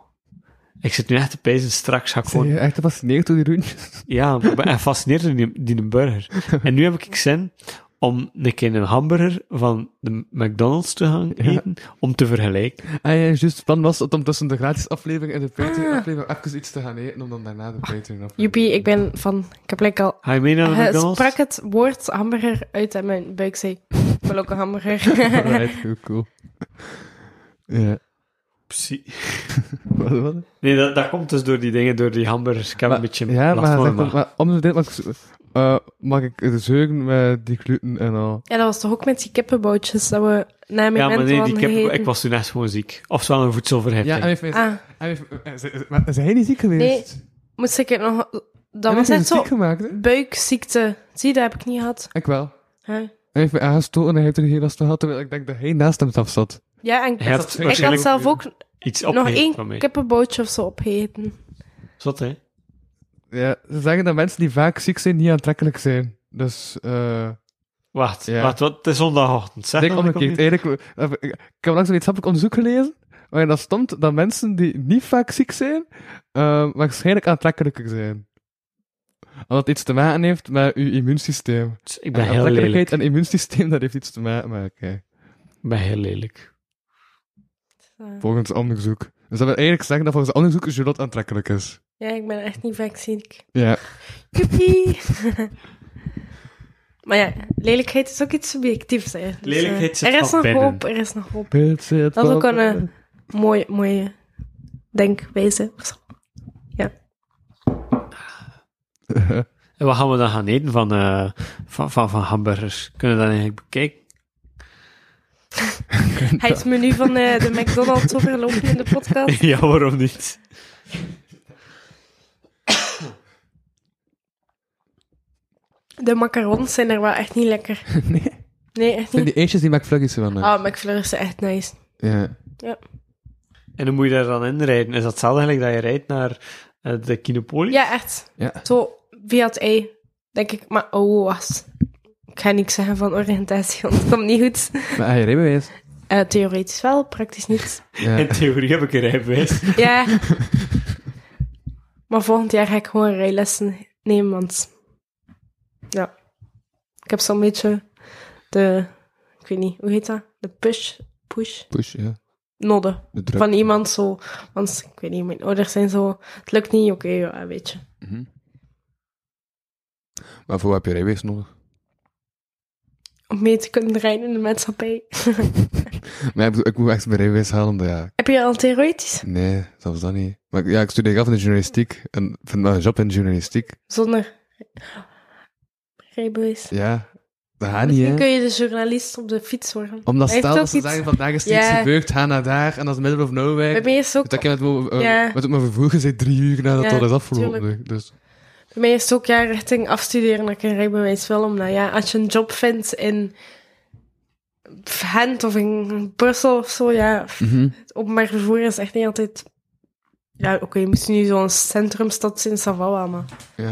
S1: Ik zit nu echt te pijzen, straks ga ik
S2: Zijn
S1: gewoon...
S2: je echt gefascineerd door die rondjes?
S1: Ja, ik ben echt gefascineerd door die, die burger. En nu heb ik zin om een keer een hamburger van de McDonald's te gaan eten, om te vergelijken.
S2: Ah ja, juist. Het plan was het om tussen de gratis aflevering en de Patreon
S5: Ah.
S2: aflevering even iets te gaan eten, om dan daarna de Patreon aflevering...
S5: Joepie, ik ben van... Ik heb lekker al...
S1: Ga je mee naar de
S2: Eh,
S5: Hij
S1: McDonald's?
S5: sprak het woord hamburger uit en mijn buik zei... Ik wil ook een hamburger.
S2: Alright, heel cool. Ja.
S1: Psy-
S2: Wat, wat?
S1: Nee, dat, dat komt dus door die dingen, door die hamburgers. Ik heb
S2: Maar-
S1: een beetje
S2: Ja,
S1: last
S2: maar,
S1: van
S2: zeg,
S1: mijn
S2: maar,
S1: maag.
S2: maar om de tijd mag ik, zo- eh, mag ik de zeugen met die gluten en al.
S5: Ja, dat was toch ook met die kippenboutjes dat we na mijn
S1: Ja, maar nee, die
S5: hadden
S1: kippen,
S5: gegeten?
S1: ik was toen echt gewoon ziek. Oftewel een voedselverhefting.
S2: Ja, eh, en heeft, hij
S5: Ah,
S2: heeft, eh, ze- maar zijn hij niet ziek geweest? Nee,
S5: moest ik het nog... Dat was echt zo
S2: ziek gemaakt, hè?
S5: buikziekte. Zie, dat heb ik niet gehad.
S2: Ik wel.
S5: Huh?
S2: Hij heeft me aangestoken en hij heeft er geen last van gehad, terwijl ik denk dat hij naast hem zelf zat.
S5: Ja, en
S1: Hij had
S5: ik had
S1: waarschijnlijk
S5: zelf ook
S1: iets
S5: nog
S1: opgegeten van
S5: één
S1: mij.
S5: kippenboutje of zo opgegeten.
S1: Zot, hè?
S2: Ja, ze zeggen dat mensen die vaak ziek zijn, niet aantrekkelijk zijn. Dus, eh...
S1: Wacht,
S2: Ja.
S1: wacht, wat, het is zondagochtend. Zeg
S2: Denk
S1: dat ik
S2: omgekeerd.
S1: opnieuw-
S2: Eigenlijk, eh, ik heb langs een wetenschappelijk onderzoek gelezen, waarin dat stond dat mensen die niet vaak ziek zijn, eh, waarschijnlijk aantrekkelijker zijn. Omdat het iets te maken heeft met uw immuunsysteem.
S1: Ik
S2: En
S1: ben heel lelijk.
S2: aantrekkelijkheid en immuunsysteem, dat heeft iets te maken met elkaar,
S1: Ik ben heel lelijk.
S2: volgens onderzoek. Dus dat wil eigenlijk zeggen dat volgens onderzoek Charlotte aantrekkelijk is.
S5: Ja, ik ben echt niet vaak ziek.
S2: Ja.
S5: Joepie! maar ja, lelijkheid is ook iets subjectiefs. Hè. Dus, eh,
S1: Lelijkheid zit
S5: Er is
S1: van
S5: nog
S1: binnen.
S5: hoop, er is nog hoop.
S2: Dat is
S5: Dat is ook een eh, mooie, mooie denkwijze.
S2: een...
S1: En wat gaan we dan gaan eten van, eh, van, van, van hamburgers? Kunnen we dat eigenlijk bekijken?
S5: Hij het menu van eh, de McDonald's overlopen in de podcast.
S1: ja, waarom niet?
S5: De macarons zijn er wel echt niet lekker.
S2: nee.
S5: Nee, echt
S2: Zijn
S5: niet.
S2: die eentjes die McFluggies van eh? mij.
S5: Ah, McFlurry is echt nice.
S2: Ja.
S1: En dan moet je daar dan in rijden. Is dat hetzelfde eigenlijk dat je rijdt naar eh, de Kinopolis?
S5: Ja, echt.
S2: Ja.
S5: Zo, via het ei, denk ik. Maar oh, was. Ik ga niks zeggen van oriëntatie, want het komt niet goed.
S2: Maar hij rijbewijs.
S5: Eh, theoretisch wel, praktisch niet.
S1: In
S2: Ja.
S1: theorie heb ik een rijbewijs.
S5: Ja. Maar volgend jaar ga ik gewoon rijlessen nemen, want... Ja. Ik heb zo'n beetje de... Ik weet niet, hoe heet dat? De push... Push?
S2: Push, ja.
S5: Nodden.
S2: De druk.
S5: Van iemand zo... Want, ik weet niet, mijn ouders zijn zo... Het lukt niet, oké, ja, weet je.
S2: Mhm. Maar voor wat heb je rijbewijs nodig?
S5: Om mee te kunnen rijden in de maatschappij.
S2: Maar ik, bedoel, ik moet echt mijn rijbewijs halen, dat ja.
S5: Heb je al theoretisch?
S2: Nee, zelfs dat niet. Maar ik- ja, ik studeer af in de journalistiek. En vind wel een job in de journalistiek.
S5: Zonder rijbewijs.
S2: Ja, dat gaat niet,
S5: Misschien
S2: hè.
S5: kun je de journalist op de fiets worden.
S2: Omdat
S5: Hij
S2: stel
S5: heeft
S2: dat ze
S5: ook iets-
S2: zeggen, vandaag is niks
S5: Ja.
S2: gebeurd, ga naar daar. En dat is middle of nowhere.
S5: Bij mij is het ook
S2: Dat ik met, mijn- eh,
S5: Ja.
S2: met mijn vervoer gezeten drie uur nadat
S5: Ja,
S2: dat is afgelopen.
S5: tuurlijk.
S2: Dus
S5: Bij mij is het ook ja, richting afstuderen dat ik een rijbewijs wil. Omdat ja, als je een job vindt in Gent of in Brussel of zo, ja,
S2: Mhm.
S5: het openbaar vervoer is echt niet altijd... Ja, oké, je moet nu zo'n centrumstad zijn, Savawa, maar...
S2: ja.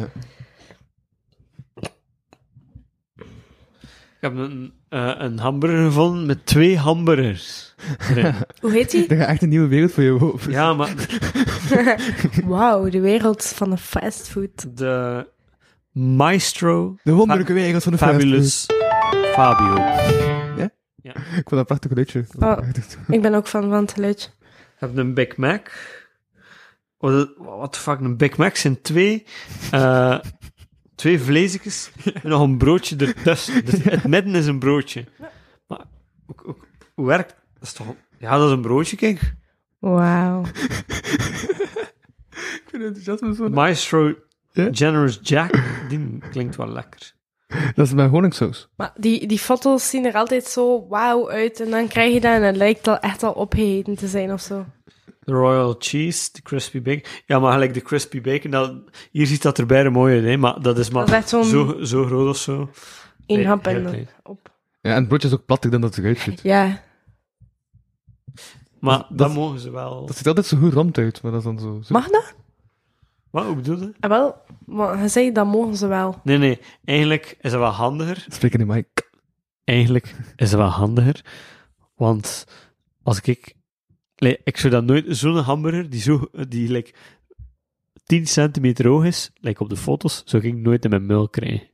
S1: Ik heb een, eh, een hamburger gevonden met twee hamburgers. erin.
S5: Hoe heet die?
S2: Er gaat echt een nieuwe wereld voor je open.
S1: ja, maar
S5: Wauw, de wereld van de fastfood.
S1: de Maestro
S2: De wonderlijke wereld van de
S1: Fabulous Fabio.
S2: fastfood. Ik vond dat een prachtig geluidje.
S5: Oh. Ik ben ook fan van het geluidje.
S1: Ik heb een Big Mac. Wat de fuck, een Big Mac zijn twee, eh, twee vleesjes en nog een broodje ertussen. Dus het midden is een broodje. Maar hoe, hoe, hoe werkt dat? Is toch, ja, dat is een broodje, kijk.
S5: Wauw.
S2: Ik vind enthousiasme zo.
S1: Maestro
S2: Ja?
S1: Generous Jack, die klinkt wel lekker.
S2: Dat is mijn honingsaus.
S5: Maar die, die foto's zien er altijd zo wauw uit. En dan krijg je dat en het lijkt al echt al opgegeten te zijn of zo.
S1: De Royal Cheese, de Crispy Bacon. Ja, maar gelijk de Crispy Bacon, dat, hier ziet dat er bijna mooi uit, hè, maar dat is maar
S5: Dat is echt zo'n-
S1: zo, zo groot of zo.
S5: Eén
S1: Nee,
S5: hap
S1: heel
S5: en dan
S1: klein.
S5: op.
S2: Ja, en het broodje is ook platter dan dat het eruit ziet.
S5: Ja,
S1: Maar
S2: Dat-
S1: dat,
S2: dat-
S1: mogen ze wel.
S2: Dat ziet altijd zo goed rond uit, maar dat is dan zo. zo-
S5: mag dat?
S1: Wat, hoe bedoel je?
S5: Ah, wel, maar hij zei dat mogen ze wel.
S1: Nee, nee, eigenlijk is dat wel handiger.
S2: Spreek in de mic.
S1: Eigenlijk is dat wel handiger, want als ik... nee, Ik zou dat nooit... Zo'n hamburger, die zo... Die, like, 10 centimeter hoog is, like op de foto's, zou ik nooit in mijn muil krijgen.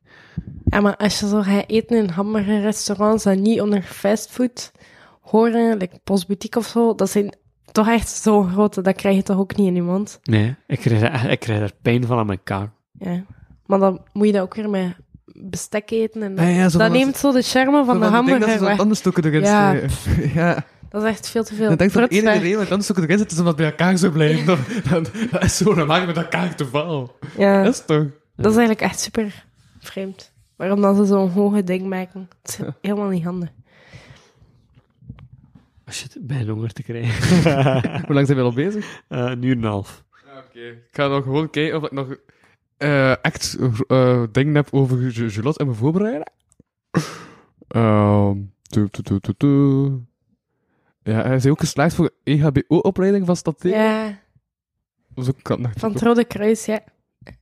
S5: Ja, maar als je zo gaat eten in hamburgerrestaurants en niet onder fastfood horen, like postboutique of zo, dat zijn toch echt zo'n grote, dat krijg je toch ook niet in je mond.
S1: Nee, ik krijg, daar- ik krijg daar pijn van aan mijn kaak.
S5: Ja. Maar dan moet je dat ook weer met bestek eten. En dat,
S2: Ah ja, zo
S5: dat
S2: van dat-
S5: neemt zo de charme van
S2: Zo
S5: de
S2: Ik denk
S5: hamburger
S2: dat ze zo'n
S5: weg.
S2: tandenstokken erin
S5: Ja.
S2: steken. Ja.
S5: Dat is echt veel te veel.
S2: Ik denk dat de enige
S5: Fruitwerk.
S2: reden dat tandenstokken erin zitten is omdat het bij elkaar zo blijven. Dan, dan- dat is zo normaal met elkaar te val.
S5: Ja,
S2: Dat is toch?
S5: dat is eigenlijk echt super vreemd. Waarom dan ze zo'n hoge ding maken? Het is helemaal niet handig.
S1: Als je het bij een honger te krijgen.
S2: Hoe lang zijn we al bezig?
S1: Eh, een uur en een half.
S2: Oké. Ik ga nog gewoon kijken of ik nog eh, echt eh, dingen heb over Ju- Julot en me voorbereiden. Ehm, tu, tu, tu, tu, tu. Ja, hij is ook geslaagd voor E EHBO-opleiding van Staté.
S5: Ja,
S2: Zo kan dat
S5: van
S2: toch?
S5: het Rode Kruis, ja.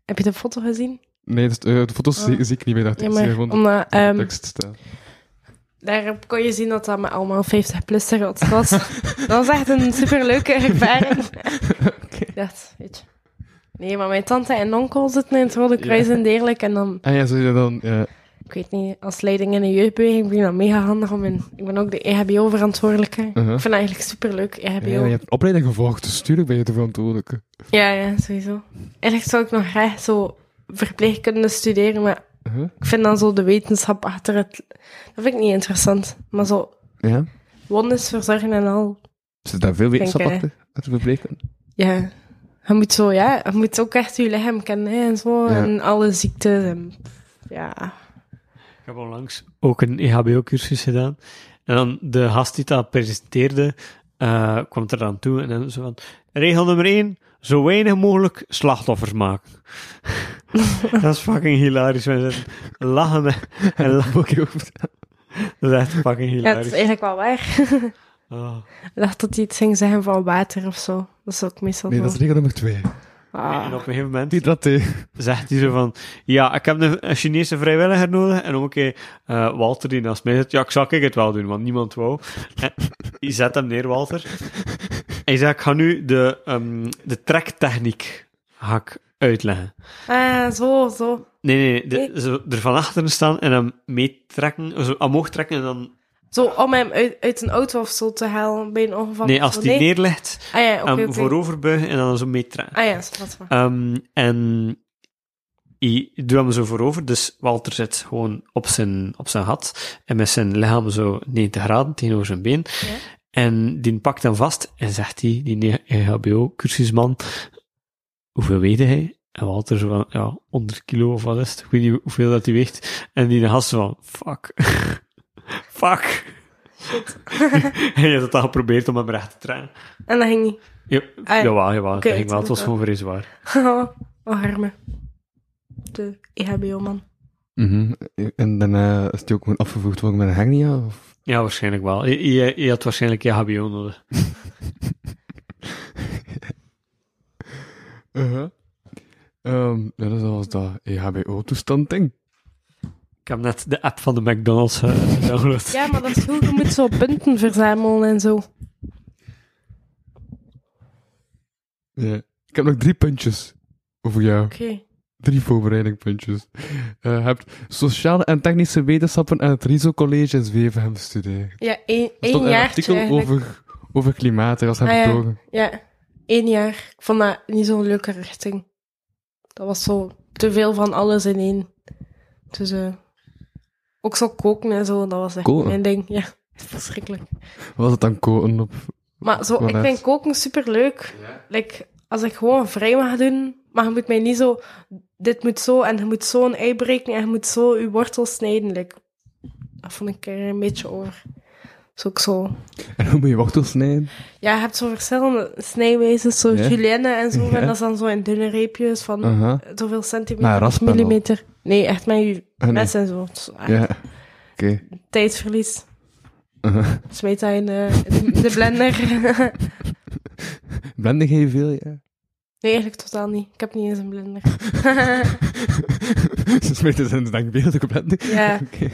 S5: Heb je de foto gezien?
S2: Nee, dus, eh, de foto's zie, zie ik niet meer. Dat
S5: Ah. Ja,
S2: is hier
S5: maar
S2: gewoon eh, de
S5: omdat, ehm,
S2: tekst staan.
S5: daarop kon je zien dat dat met allemaal 50-plussers was. dat was echt een superleuke ervaring. Dat, weet je. Nee, maar mijn tante en onkel zitten in het Rode Kruis en dergelijke. En dan,
S2: Ah ja, zou je dan... ja.
S5: ik weet niet, als leiding in een jeugdbeweging vind ik dat mega handig. Om in, ik ben ook de E EHBO-verantwoordelijke.
S2: Uh-huh.
S5: Ik vind dat eigenlijk superleuk, E EHBO.
S2: Ja, je hebt een opleiding gevolgd, dus tuurlijk ben je de verantwoordelijke.
S5: Ja, ja, sowieso. Eigenlijk zou ik nog graag zo verpleegkunde studeren, maar
S2: Uh-huh.
S5: ik vind dan zo de wetenschap achter het... Dat vind ik niet interessant. Maar zo
S2: Ja.
S5: wondes verzorgen en al,
S2: Zit daar veel
S5: wetenschap
S2: wetenschap
S5: Denk, eh,
S2: achter? Dat we verpleegkunde?
S5: ja. Je moet zo, ja, je moet ook echt je lichaam kennen hè, en zo.
S2: Ja.
S5: En alle ziektes en... Ja.
S1: Ik heb onlangs ook een E EHBO-cursus gedaan. En dan de gast die dat presenteerde, eh, kwam er aan toe en dan zo van... Regel nummer één, zo weinig mogelijk slachtoffers maken. dat is fucking hilarisch. Wij zijn lachen met- en lachen. Dat is echt fucking
S5: ja, dat
S1: hilarisch.
S5: is eigenlijk wel waar.
S1: Ah.
S5: Ik dacht dat hij iets ging zeggen van water of zo. Dat is ook meestal
S2: Nee,
S5: zo.
S2: dat is regel nummer twee.
S5: Ah.
S1: En op een gegeven moment
S2: Hydraté.
S1: zegt hij zo van... Ja, ik heb een, een Chinese vrijwilliger nodig. En om een keer eh, Walter die naast mij zit... Ja, ik zou ik het wel doen, want niemand wou. En je zet hem neer, Walter. En hij zegt, ik ga nu de, ehm, de trektechniek ga ik uitleggen.
S5: Ah, zo, zo.
S1: Nee, nee, nee. de- zo er van achteren staan en hem meetrekken. Zo omhoog trekken en dan...
S5: Zo om hem uit, uit een auto of zo te halen bij een ongeval.
S1: Nee,
S5: of
S1: als
S5: zo.
S1: die neer Ehm, ligt,
S5: Ah ja, oké,
S1: hem
S5: oké.
S1: vooroverbuigen en dan zo meetrekken.
S5: Ah ja, zo, dat is waar.
S1: Ehm, en ik doe hem zo voorover, dus Walter zit gewoon op zijn, op zijn gat en met zijn lichaam zo 90 graden tegenover zijn been.
S5: Ja.
S1: En die pakt hem vast en zegt die, eh, die EHBO-cursusman, hoeveel weegt hij? En Walter zo van, ja, 100 kilo of wat is het? Ik weet niet hoeveel dat hij weegt. En die gast zo van, fuck. fuck. en je hebt het al geprobeerd om hem recht te trainen.
S5: En dat ging niet.
S1: Ja,
S5: Ah, ja.
S1: jawel, jawel.
S5: Oké,
S1: dat ging wel, het was
S5: tuurlijk
S1: gewoon vrij zwaar.
S5: Oh, arme. De E EHBO-man.
S2: En daarna is die ook gewoon afgevoerd worden met een hernia? Of...
S1: Ja, waarschijnlijk wel. Je, je, je had waarschijnlijk je HBO nodig.
S2: Uh-huh. Ehm, ja, dat is alles dat E EHBO-toestand ding.
S1: Ik heb net de app van de McDonald's eh, gedownload.
S5: Ja, maar dat is goed. Je moet zo punten verzamelen en zo.
S2: Ja. Ik heb nog drie puntjes over jou.
S5: Oké.
S2: Drie voorbereidingpuntjes. Eh, je hebt sociale en technische wetenschappen aan het Riso College in Zwevenhem studeren.
S5: Ja, één,
S2: Er
S5: één
S2: stond een
S5: jaar.
S2: artikel over, over klimaat, en dat heb
S5: Ah, ja.
S2: ik door.
S5: Ja, één jaar. Ik vond dat niet zo'n leuke richting. Dat was zo te veel van alles in één. Dus eh, ook zo koken en zo, dat was echt
S2: Koken?
S5: mijn ding. Ja, verschrikkelijk.
S2: Was het dan koten op?
S5: Maar zo, ik
S2: Voilà.
S5: vind koken superleuk. Like, als ik gewoon vrij mag doen, maar je moet mij niet zo... Dit moet zo, en je moet zo een ei breken, en je moet zo je wortel snijden. Like, dat vond ik er een beetje over. Dat is ook zo...
S2: En hoe moet je wortels snijden?
S5: Ja, je hebt zo verschillende snijwijzen, zo
S2: Ja.
S5: julienne en zo.
S2: Ja.
S5: En dat is dan zo in dunne reepjes van
S2: Aha.
S5: zoveel
S2: Maar
S5: centimeter, of
S2: raspen wel.
S5: millimeter. Nee, echt met je
S2: Ah, nee.
S5: mes en zo. Het is echt
S2: Ja. Oké.
S5: Tijdverlies.
S2: Aha.
S5: Smeet dat in eh, de, de blender.
S2: Blende jij veel, ja?
S5: nee, eigenlijk totaal niet. Ik heb niet eens een blender.
S2: Ze smeten zijn dankbeeld ook op blende.
S5: Ja.
S2: Oké.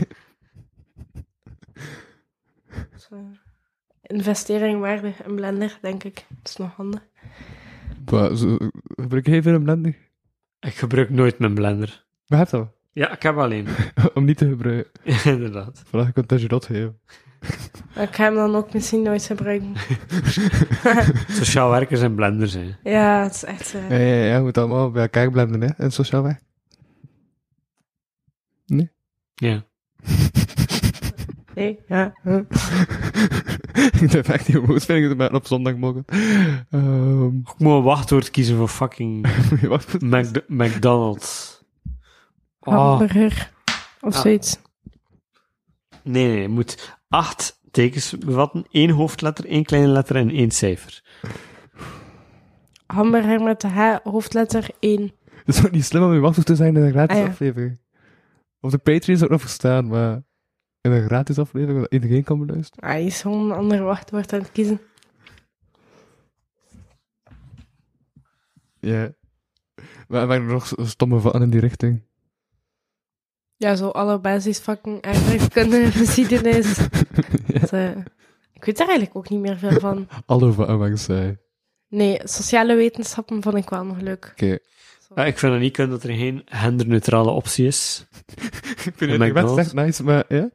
S5: Dus, eh, investering waarde, een blender, denk ik. Dat is nog handig.
S2: Maar zo- Gebruik jij veel een blender?
S1: Ik gebruik nooit mijn blender.
S2: We hebben het
S1: Ja, ik heb alleen.
S2: al. Om niet te gebruiken.
S1: Inderdaad.
S2: Vandaag ik het je dat geven.
S5: Maar ik ga hem dan ook misschien nooit gebruiken.
S1: Sociaal werkers en blenders, hè.
S5: Ja, het is echt... eh,
S2: Ja, ja, ja. Je moet allemaal bij elkaar blenden, hè. En sociaal weg.
S1: Ja.
S5: nee, ja.
S2: ik durf echt niet om woordspeling te maken op zondagmorgen. Ehm,
S1: Ik moet een wachtwoord kiezen voor fucking
S2: moet je wachten?
S1: Mcd- McDonald's. Oh, nee,
S5: Hamburger. Of
S1: Ah.
S5: zoiets.
S1: nee, nee. Het moet acht tekens bevatten. één hoofdletter, één kleine letter en één cijfer.
S5: Hamburger met de H, hoofdletter 1.
S2: Het is ook niet slim om je wachtwoord te zijn in een gratis
S5: Ah, ja.
S2: aflevering. Op de Patreon is het ook nog verstaan, maar in een gratis aflevering dat iedereen kan beluisteren.
S5: Hij Ah, is gewoon een ander wachtwoord aan het kiezen.
S2: Ja. Maar er waren nog s- stomme van in die richting.
S5: Ja, zo alle basisvakken, aardrijkskunde, geschiedenis. Dat, eh, ik weet daar eigenlijk ook niet meer veel van.
S2: Alle van wat ik zei.
S5: Nee, sociale wetenschappen vond ik wel nog leuk.
S2: Oké.
S1: Ja, ik vind het niet kunnen dat er geen genderneutrale optie is.
S2: Ik
S1: het-
S2: vind
S1: ik ben
S2: het
S1: het
S2: echt
S1: echt
S2: nice, maar ja.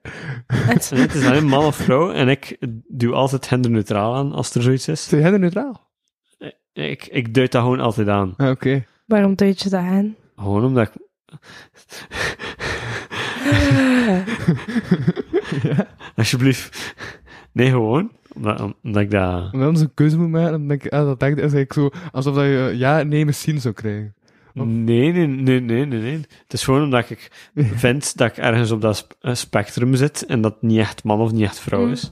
S5: Het-
S1: Nee, het is alleen man of vrouw en ik doe altijd genderneutraal aan als er zoiets is.
S2: Zijn jij er neutraal?
S1: Ik, ik duid dat gewoon altijd aan.
S2: Ah, oké.
S5: waarom duid je dat aan?
S1: Gewoon omdat ik... Alsjeblieft. Nee, gewoon Omdat, omdat ik dat...
S2: Omdat je een keuze moet maken, dan denk ik, ah, dat denk ik, is eigenlijk zo alsof dat je eh, ja, nee, misschien zou krijgen. Of-
S1: Nee, nee, nee, nee, nee, nee. Het is gewoon omdat ik vind dat ik ergens op dat sp- eh, spectrum zit en dat het niet echt man of niet echt vrouw
S5: Mm.
S1: is.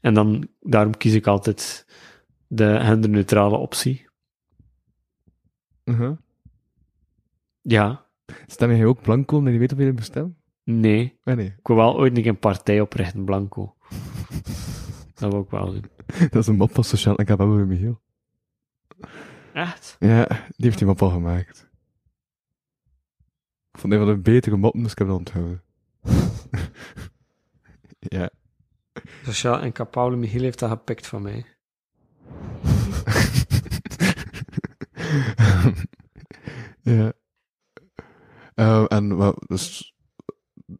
S1: En dan, daarom kies ik altijd de genderneutrale optie.
S2: Uh-huh.
S1: Ja,
S2: Stem jij ook blanco omdat je weet of je dat moet stemmen?
S1: nee.
S2: Ah, nee,
S1: Ik wil wel ooit een keer een partij oprichten, Blanco. Dat wil ik wel doen.
S2: dat is een mop van Sociaal en Kababbe Michiel.
S1: Echt?
S2: Ja, die heeft die mop al gemaakt. Ik vond een van de betere moppen, dus ik heb dat onthouden. ja.
S1: Sociaal en Capable Michiel heeft dat gepikt van mij.
S2: ja. Ehm, en wat, dus,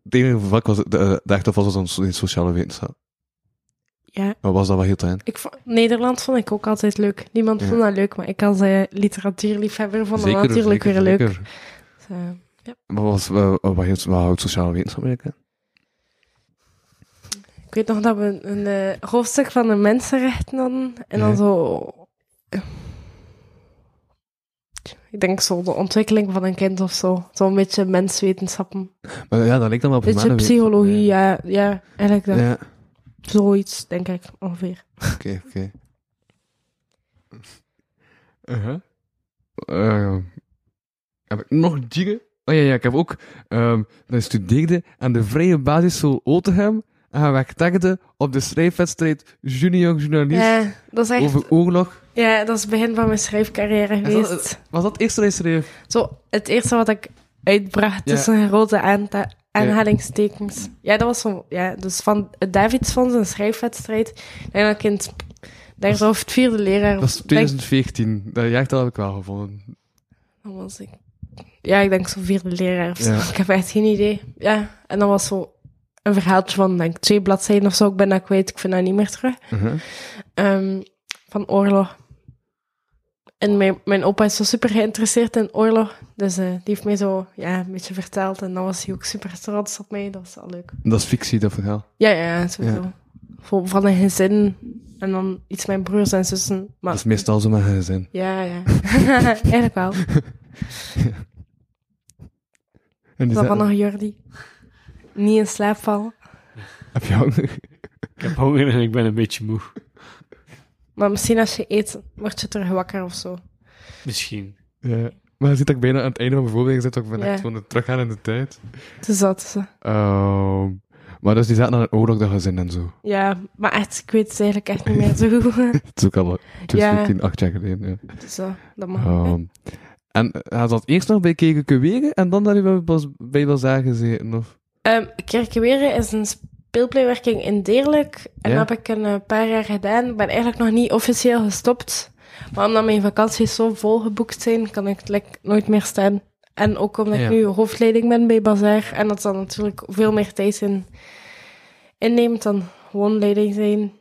S2: het enige vak was, de, de, de echte vak was dan so- in sociale wetenschap.
S5: Ja,
S2: Maar was dat wel heel talent?
S5: ik vond, Nederland vond ik ook altijd leuk. Niemand
S2: Ja.
S5: vond dat leuk, maar ik als eh, literatuurliefhebber vond dat natuurlijk weer leuk. Dus, eh,
S2: Maar was, wat, wat, wat, wat houdt sociale wetenschap eigenlijk in?
S5: Ik weet nog dat we een, een eh, hoofdstuk van de mensenrechten hadden. En dan
S2: Ja.
S5: zo... eh, Ik denk zo de ontwikkeling van een kind of zo. Zo'n beetje menswetenschappen. Een
S2: Maar ja, dat lijkt dan wel op
S5: beetje
S2: humane
S5: psychologie,
S2: wetenschap,
S5: ja. Ja, eigenlijk dat.
S2: Ja, Ja,
S5: zoiets, denk ik, ongeveer.
S2: oké, oké. Uh-huh. Ehm, heb ik nog dingen? Oh ja, ja, ik heb ook... ehm dat ik studeerde aan de Vrije Basisschool Otegem en hij werkte op de schrijfwedstrijd Junior Journalist
S5: Ja, dat is echt...
S2: over oorlog.
S5: Ja, dat is het begin van mijn schrijfcarrière
S2: dat-
S5: geweest.
S2: Was dat eerst dat je schreef?
S5: Zo, het eerste wat ik uitbracht
S2: Ja.
S5: tussen grote aanta- aanhalingstekens. Ja. dat was van, ja, dus van het Davidsfonds, een schrijfwedstrijd. Ik denk dat ik in het, daar zo of het vierde leraar
S2: Dat was
S5: denk-
S2: 2014. Dat jaartal heb ik wel gevonden.
S5: dan was ik, ja, ik denk zo vierde leraar of zo.
S2: Ja.
S5: Ik heb echt geen idee. Ja, en dan was zo een verhaaltje van, denk ik, twee bladzijden of zo. Ik ben dat kwijt, ik vind dat niet meer terug.
S2: Uh-huh.
S5: Ehm, van oorlog. En mijn, mijn opa is zo super geïnteresseerd in oorlog. Dus eh, die heeft mij zo ja, een beetje verteld. En dan was hij ook super trots op mij. Dat was al leuk.
S2: Dat is fictie, dat verhaal.
S5: Ja, ja, ja, sowieso.
S2: Ja.
S5: Voor, van een gezin. En dan iets mijn broers en zussen. Maar
S2: Dat is meestal zo mijn gezin.
S5: ja, ja. Eigenlijk wel.
S2: En die
S5: Dan van
S2: zetten-
S5: nog Jordi. Niet in slaap vallen.
S2: Heb je honger?
S1: Ik heb honger en ik ben een beetje moe.
S5: Maar misschien als je eet, word je terug wakker of zo.
S1: Misschien.
S2: Ja. Maar je ziet dat ik bijna aan het einde van mijn voorbereiding zit, ook van
S5: Ja.
S2: echt gewoon teruggaan in de tijd.
S5: Dus dat is... eh,
S2: Ehm, maar dus die zaten aan het oorlog, dat gezin en zo.
S5: Ja, maar echt, ik weet het eigenlijk echt niet meer zo goed.
S2: Het is ook al
S5: Ja.
S2: 2014, 8 jaar geleden. Ja.
S5: Dus eh, dat mag. hè.
S2: Ehm, en had dat eerst nog bij Keken Kewegen en dan dat je pas bij Bazaar gezeten? Of?
S5: Ehm Kerkeweren is een speelpleiwerking in Deerlijk. En
S2: Ja.
S5: dat heb ik een eh, paar jaar gedaan. Ik ben eigenlijk nog niet officieel gestopt. Maar omdat mijn vakanties zo vol geboekt zijn, kan ik like, nooit meer staan. En ook omdat
S2: Ja.
S5: ik nu hoofdleiding ben bij Bazaar. En dat dan natuurlijk veel meer tijd in, inneemt dan gewoon leiding zijn.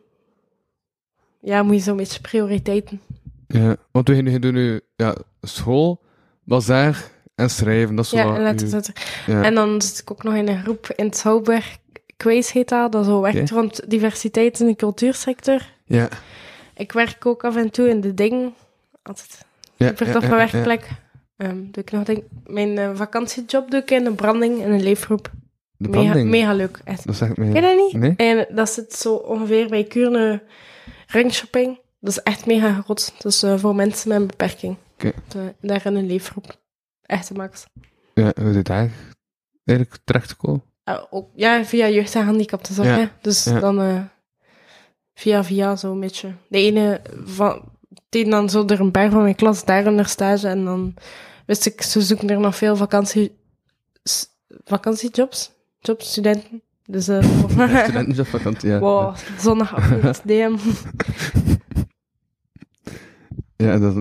S5: Ja, moet je zo'n beetje prioriteiten.
S2: Ja, want we gingen- doen nu ja, school, Bazaar en schrijven. Dat is zo
S5: Ja,
S2: wat
S5: en laten
S2: uw-
S5: we het
S2: ja.
S5: En dan zit ik ook nog in een groep in het Schouwburg. Kwees heet dat. Dat zo werkt
S2: Oké.
S5: rond diversiteit in de cultuursector.
S2: ja.
S5: Ik werk ook af en toe in de ding. Altijd
S2: Ja,
S5: super
S2: ja,
S5: toffe
S2: ja, ja.
S5: werkplek. Ehm, doe ik nog ding. Mijn eh, vakantiejob doe ik in de branding in een leefgroep.
S2: De
S5: Mega,
S2: branding.
S5: mega leuk, echt.
S2: Dat zegt mij.
S5: Ken je dat niet?
S2: Nee?
S5: En dat zit zo ongeveer bij Kuurne Ringshopping. Dat is echt mega groot. Dus eh, voor mensen met een beperking.
S2: Oké.
S5: Eh, daar in een leefgroep. Echt de max.
S2: Ja, hoe is het daar eigenlijk terechtgekomen?
S5: Eh, ook, ja, via jeugd en handicaptenzorg.
S2: Ja,
S5: hè. Dus
S2: ja.
S5: dan eh, via via zo'n beetje. De ene van, deed dan zo er een paar van mijn klas daar een stage. En dan wist ik, ze zoeken er nog veel vakantie, s- vakantiejobs. Jobs, studenten. Dus eh
S2: Studenten op vakantie, ja.
S5: wow, zondag afgelopen DM.
S2: Ja, dat,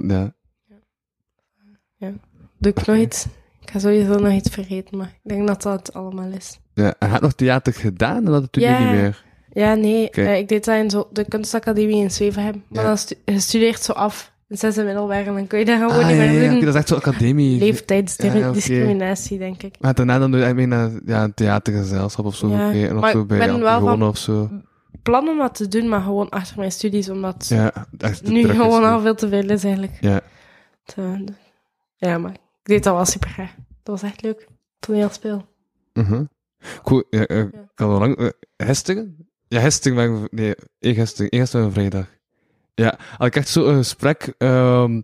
S2: ja.
S5: Doe ik nog iets? Ik ga sowieso nog iets vergeten, maar ik denk dat dat het allemaal is.
S2: ja. Hij had nog theater gedaan en dat het toen
S5: Ja.
S2: niet meer.
S5: Ja, nee.
S2: Oké.
S5: eh, ik deed dat in zo, de kunstacademie in Zwevenhem. Maar
S2: Ja.
S5: dan stu- je studeert zo af. In zes en middelbaar en dan kun je daar gewoon
S2: Ah,
S5: niet
S2: ja, ja,
S5: meer
S2: ja.
S5: doen.
S2: Oké, dat is echt zo'n academie. Ja, oké.
S5: Leeftijdsdiscriminatie, denk ik.
S2: Maar daarna dan doe je eigenlijk mee naar ja, een theatergezelschap of zo.
S5: Ja.
S2: oké, En of
S5: Maar
S2: zo
S5: ik
S2: bij
S5: ben wel
S2: Antigone of zo.
S5: plan om dat te doen, maar gewoon achter mijn studies, omdat
S2: Ja, echt, de
S5: nu
S2: druk is
S5: gewoon
S2: er.
S5: al veel te veel is eigenlijk.
S2: Ja.
S5: Te- ja, maar ik deed dat wel super graag. Dat was echt leuk. Toneelspel.
S2: Mhm. Cool, ja, eh, ik
S5: Ja.
S2: had al lang... eh, Gisteren? Ja, gisteren ben ik... Nee, eergisteren. Eergisteren ben ik vrijdag. Ja, had ik echt zo'n eh, gesprek ehm,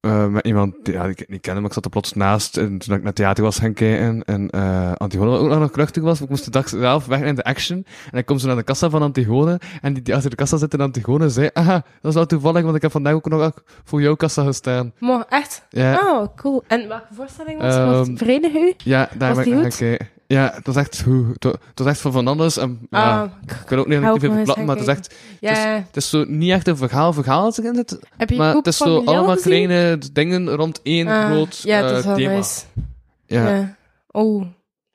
S2: eh, met iemand die, ja, die ik niet kende, maar ik zat er plots naast. En toen ik naar theater was gaan kijken en eh Antigone ook nog nog krachtig was, ik moest de dag zelf weg in de action. En ik kom zo naar de kassa van Antigone en die, die achter de kassa zit in Antigone zei, aha, dat is wel toevallig, want ik heb vandaag ook nog voor jouw kassa gestaan.
S5: Maar echt?
S2: Ja,
S5: Oh, cool. En welke voorstelling was het?
S2: Ehm,
S5: Um, Verenig u?
S2: ja daar ben ik
S5: was die
S2: naar
S5: goed?
S2: gaan kijken. Ja, het was echt, hoe, het wa- het was echt van van alles. En, ja.
S5: Ah, k-
S2: Ik kan ook niet
S5: Hou ik
S2: veel
S5: nog eens
S2: verplatten, maar
S5: gaan
S2: het is echt...
S5: ja.
S2: Het is zo niet echt een verhaal, verhaal als ik in zit,
S5: Heb je
S2: maar
S5: Koep
S2: het is
S5: van
S2: zo
S5: Miljel
S2: allemaal
S5: gezien?
S2: kleine dingen rond één
S5: Ah,
S2: groot
S5: Ja, dat is
S2: eh,
S5: wel
S2: thema.
S5: nice.
S2: Ja.
S5: Ja. Oh.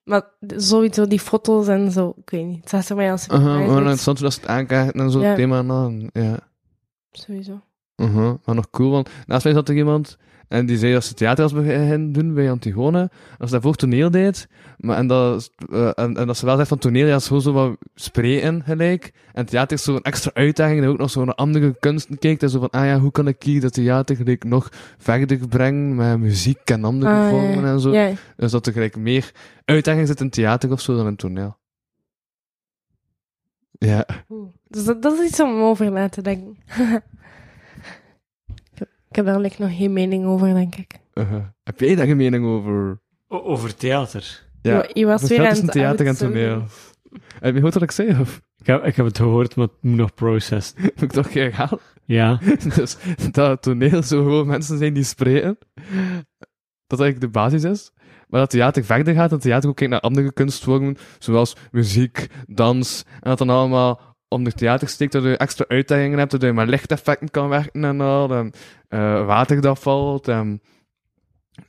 S5: Maar sowieso die foto's en zo, ik weet niet. Het staat er mij als
S2: Uh-huh, maar
S5: uit.
S2: interessant hoe dat ze het aankaarten en zo'n
S5: Ja.
S2: thema. En dan, ja.
S5: Sowieso.
S2: Uh-huh. Maar nog cool, want naast mij zat er iemand en die zei dat ze theater was beginnen doen bij Antigone. Dat ze daarvoor toneel deed. Maar, en, dat, eh, en, en dat ze wel zegt van toneel, ja, is gewoon zo wat spreken gelijk. En theater is zo'n extra uitdaging. En ook nog zo'n andere kunsten kijkt. En zo van, ah ja, hoe kan ik hier dat theater gelijk nog verder brengen met muziek en andere
S5: Ah, ja,
S2: vormen en zo.
S5: Ja.
S2: Dus dat er gelijk meer uitdaging zit in theater of zo dan in toneel. Ja.
S5: Oeh. Dus dat, dat is iets om over na te denken. Ik heb- ik heb daar eigenlijk nog geen mening over, denk ik.
S2: uh-huh. Heb jij daar een mening over?
S1: O- over theater.
S2: Ja.
S5: Je- je was
S2: Het
S5: weer
S2: verschil
S5: aan
S2: tussen dus
S5: het
S2: theater en
S5: uitzoeken.
S2: toneel. Heb je gehoord wat ik zei? Of
S1: Ik heb, ik heb het gehoord, maar het moet nog processen.
S2: moet ik toch herhalen?
S1: Ja.
S2: Dus dat het toneel zo gewoon mensen zijn die spreken. Dat eigenlijk de basis is. Maar dat theater verder gaat, dat theater ook kijkt naar andere kunstvormen, zoals muziek, dans, en dat dan allemaal om de theater steekt, dat je extra uitdagingen hebt, dat je met lichteffecten kan werken en al, en eh, water dat valt, en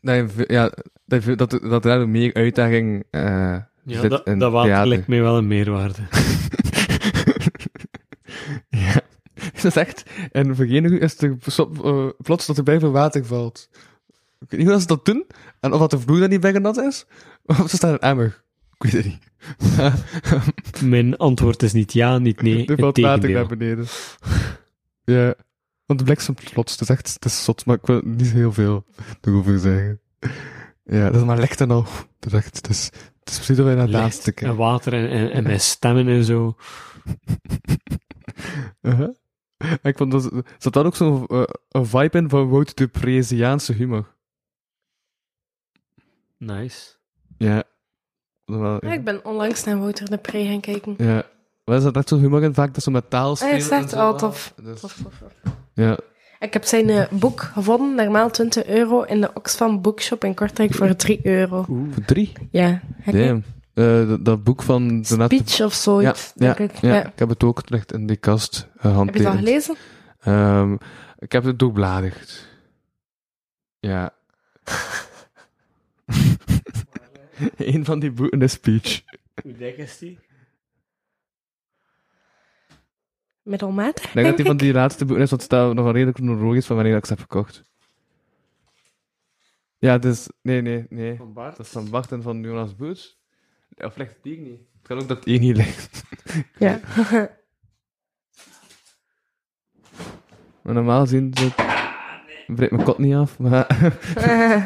S2: dat, je, ve- ja, dat, je- dat, dat er meer uitdaging eh,
S1: Ja,
S2: zit
S1: dat,
S2: in
S1: dat water
S2: theater.
S1: lijkt mij wel een meerwaarde.
S2: ja. Dat is echt. En vereniging is er so- eh, plots dat er bij veel water valt. Ik weet niet hoe ze dat doen. En of dat de vloer dan niet bij nat is. Of ze staan in een emmer. Ik weet het niet.
S1: Mijn antwoord is niet ja, niet nee.
S2: er
S1: Het
S2: valt water naar
S1: tegendeel.
S2: beneden. ja. Want de bliksem plots. Het is echt het is zot, maar ik wil er niet heel veel over zeggen. Ja, dat is maar licht en al. Dat is echt. Het is, het is precies dat wij naar het
S1: Licht
S2: laatste kijken.
S1: En water en, en, en mijn stemmen en zo.
S2: Uh-huh. Ik vond dat, zat daar ook zo'n eh, een vibe in van Wout de Preziaanse humor.
S1: Nice.
S2: Ja. Wel,
S5: Ja,
S2: ja.
S5: Ah, ik ben onlangs naar Wouter de Pre gaan kijken.
S2: ja. Maar is dat echt zo'n humor in? Vaak dat ze met taal spelen.
S5: is echt
S2: en zo.
S5: al oh, tof.
S2: Dus-
S5: Tof, tof, tof.
S2: Ja.
S5: Ik heb zijn eh, boek gevonden, normaal 20 euro, in de Oxfam Bookshop in Kortrijk voor 3 euro.
S1: Oeh.
S2: Voor drie.
S5: Ja, heb je
S2: Damn. Eh, dat, dat boek van de net-
S5: speech of
S2: Ja,
S5: zoiets,
S2: ja,
S5: denk ik.
S2: ja.
S5: Ja.
S2: ik heb het ook terecht in die kast
S5: Heb je het
S2: gehanteerd.
S5: al gelezen?
S2: Ehm, ik heb het doorbladerd. Ja. Eén van die boeken is speech.
S1: Hoe dik is die?
S5: Middelmatig,
S2: Ik denk dat die van
S5: ik.
S2: die laatste boeken is, want het staat nog wel redelijk chronologisch van wanneer ik ze heb gekocht. Ja, dus... Nee, nee, nee.
S1: Van Bart?
S2: Dat is van Bart en van Jonas Boots. Of ligt het hier niet? Het kan ook dat het hier niet ligt.
S5: Ja.
S2: Maar normaal gezien... Zit... breekt mijn kot niet af, maar...
S5: Eh,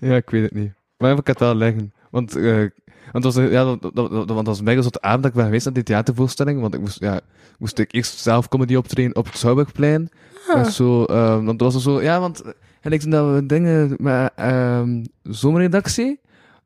S2: ja, ik weet het niet. Maar ik heb het wel liggen. Want... eh, want het was, ja, dat, dat, dat, want dat was mega zotte avond dat ik ben geweest naar die theatervoorstelling. Want ik moest, ja, moest ik eerst zelf comedy optreden op het Zouwbergplein.
S5: Ah.
S2: Met zo, ehm, want dat was er zo, ja, want en ik toen dat we dingen met ehm zomerredactie.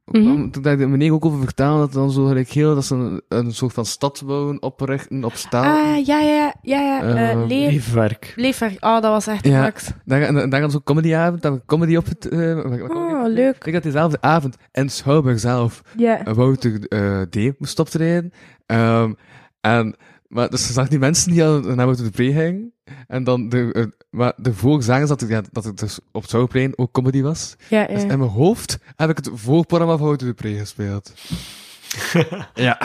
S5: Mhm.
S2: om- Toen dacht ik de meneer ook over vertalen dat dan zo gelijk heel dat ze een, een soort van stad wouden oprichten op staal.
S5: Ah, ja, ja, ja, ja. eh,
S2: Oh. Ehm,
S5: leer,
S1: Liefwerk.
S5: lever. Oh, dat was echt
S2: Ja.
S5: max.
S2: Daar, en, en daar hadden ze ook comedyavond, daar hebben we comedy op het. eh
S5: Oh, leuk.
S2: Ik had diezelfde avond en Schouwburg zelf
S5: Ja.
S2: eh, Wouter eh D moest optreden. Ehm, en, maar dus je zag die mensen die al naar Wouter de Pre gingen. En dan de, eh, maar de vorige zagen ze dat, het- ja, dat het dus op het Zouwplein ook comedy was.
S5: Ja,
S2: Dus
S5: ja.
S2: in mijn hoofd heb ik het voorprogramma van Wouter de Pre gespeeld. ja,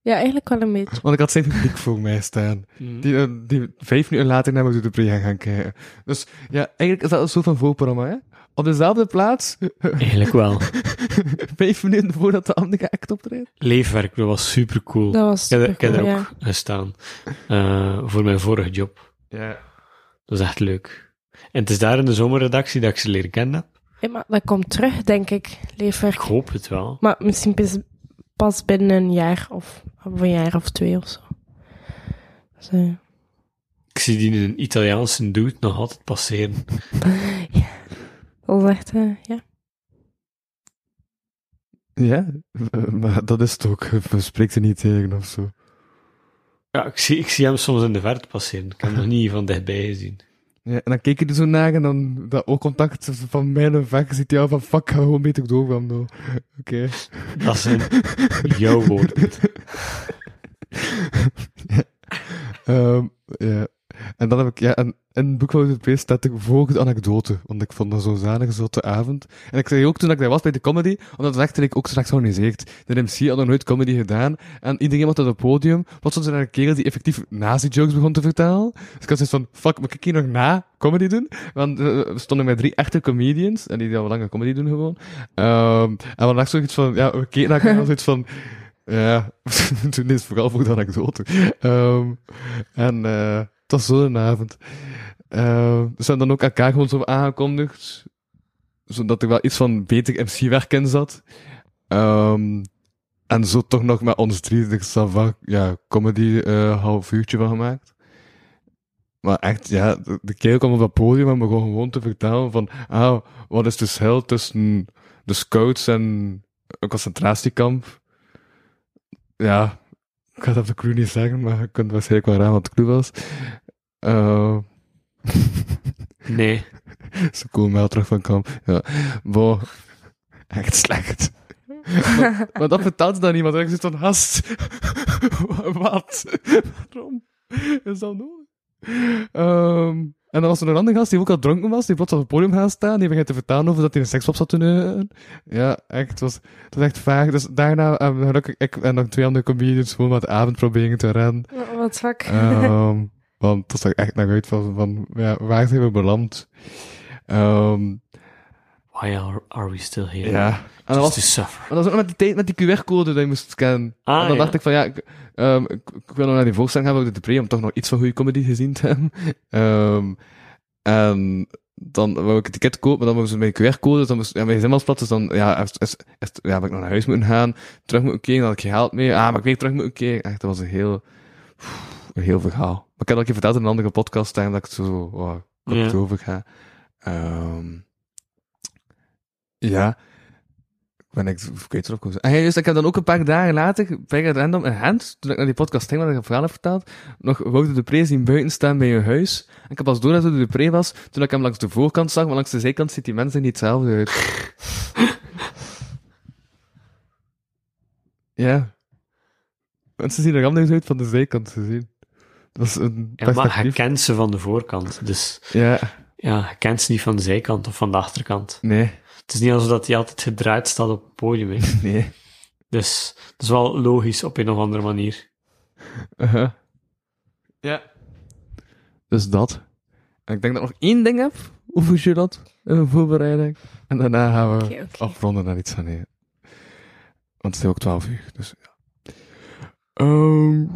S5: ja, eigenlijk wel een beetje.
S2: want ik had zijn publiek voor mij staan.
S1: Hmm.
S2: Die, eh, die vijf minuten later naar Wouter de Pre gaan, gaan kijken. Dus ja, eigenlijk is dat een soort van voorprogramma, hè? Op dezelfde plaats
S1: Eigenlijk wel.
S2: Vijf minuten voordat de andere act optreedt.
S1: Leefwerk, dat was super cool.
S5: Dat was
S1: ik heb, er- ik heb
S5: supercool,
S1: er
S5: ja.
S1: ook gestaan eh, voor mijn vorige job.
S2: Ja.
S1: Dat is echt leuk. En het is daar in de zomerredactie dat ik ze leren kennen heb.
S5: Hey, maar dat komt terug, denk ik,
S1: Ik
S5: leefwerk.
S1: hoop het wel.
S5: Maar misschien pas, pas binnen een jaar of, of een jaar of twee of zo. Dus, eh,
S1: Ik zie die in een Italiaanse dude nog altijd passeren.
S5: dat is echt, eh, ja.
S2: Ja, eh, maar dat is toch ook. We spreken er niet tegen of zo.
S1: Ja, ik zie, ik zie hem soms in de verte passeren. Ik heb hem nog niet van dichtbij gezien.
S2: Ja, en dan kijk je er zo naar en dan dat oogcontact van mij en vaak ziet jou van fuck, ga gewoon beter doorgaan nou. Oké.
S1: Dat zijn jouw woorden.
S2: Ehm, ja. En dan heb ik, ja, en in Boekhouden de Pees staat de volgende anekdote, want ik vond dat zo'n zalige zotte avond. En ik zei ook toen ik daar was bij de comedy, omdat dat echt ik ook straks georganiseerd. De MC had nog nooit comedy gedaan, en iedereen was op het podium, was soms een kerel die effectief nazi-jokes begon te vertalen. Dus ik had zoiets van, fuck, moet ik hier nog na comedy doen? Want eh, we stonden met drie echte comedians, en die al lange comedy doen gewoon. Ehm, en we dachten zoiets van, ja, we keken naar elkaar en zoiets van, ja, toen is het vooral voor de anekdote. Ehm, en eh het was zo'n avond. Ehm, ze hebben dan ook elkaar gewoon zo aangekondigd, zodat er wel iets van beter MC-werk in zat. Ehm, en zo toch nog met ons drie er is dan wel, ja, comedy eh half uurtje van gemaakt. Maar echt, ja, de, de kerel kwam op dat podium en begon gewoon te vertellen van, ah, wat is de verschil tussen de scouts en een concentratiekamp? ja, ik ga het op de crew niet zeggen, maar je kunt waarschijnlijk wel raden wat de crew was. Eh,
S1: Nee.
S2: Ze komen wel terug van kamp. Ja. Bo, echt slecht. maar, maar dat vertelt ze dan niemand. En Ik zit van, hast. Wat? Waarom? Is dat nodig? Ehm, en dan was er een andere gast die ook al dronken was, die plots op het podium gaat staan, die begint te vertalen over dat hij een sekspop zat te neuken. Ja, echt, het was, het was echt vaag. Dus daarna hebben gelukkig ik en nog twee andere comedians gewoon wat avond proberen te redden.
S5: Oh, Wat fuck.
S2: Ehm, want dat zag echt naar uit van, van ja, waar zijn we beland? Ehm,
S1: Why are, are we still here?
S2: ja. En dat
S1: Just to
S2: was,
S1: suffer.
S2: maar dat was ook met die, tijd- met die QR-code dat je moest scannen.
S1: Dus Ah,
S2: en dan
S1: ja.
S2: dacht ik van, ja, ik, ehm, ik, ik wil nog naar die voorstelling gaan, ook de pre, om toch nog iets van goede comedy gezien te hebben. Ehm, en dan wou ik het ticket kopen, maar dan moesten ze mijn QR-code, dan moest, ja, mijn gsm was plat, dus dan, ja, is, is, is- ja, heb ik nog naar huis moeten gaan, terug moeten kijken, dan had ik gehaald mee, ah, maar ik weet terug moeten kijken. Echt, dat was een heel, een heel verhaal. Maar ik heb dat een keer verteld in een andere podcast, daarom dat ik het zo, oh, kort
S1: Ja.
S2: over ga. Ehm, ja. Ben ik, ik weet het ook. En ja, juist, ik heb dan ook een paar dagen later, bij het random, een hand, toen ik naar die podcast ging, waar ik het verhaal heb verteld, nog Wouter de Pre zien buiten staan bij je huis. En ik heb pas door dat het de Pre was, toen ik hem langs de voorkant zag, maar langs de zijkant ziet die mensen niet hetzelfde uit. ja. Mensen zien er anders uit van de zijkant gezien. Dat is een
S1: Ja, maar je
S2: perspectief.
S1: kent ze van de voorkant. Dus
S2: Ja,
S1: ja, je kent ze niet van de zijkant of van de achterkant.
S2: nee,
S1: Het is niet alsof dat hij altijd gedraaid staat op het podium. hè.
S2: nee.
S1: Dus dat is wel logisch op een of andere manier.
S2: Uh-huh. Ja. Dus dat. En ik denk dat ik nog één ding heb over Jurat, een voorbereiding. En daarna gaan we
S5: Oké, oké.
S2: afronden naar iets van nee. Want het is ook 12 uur, dus ja. Ehm,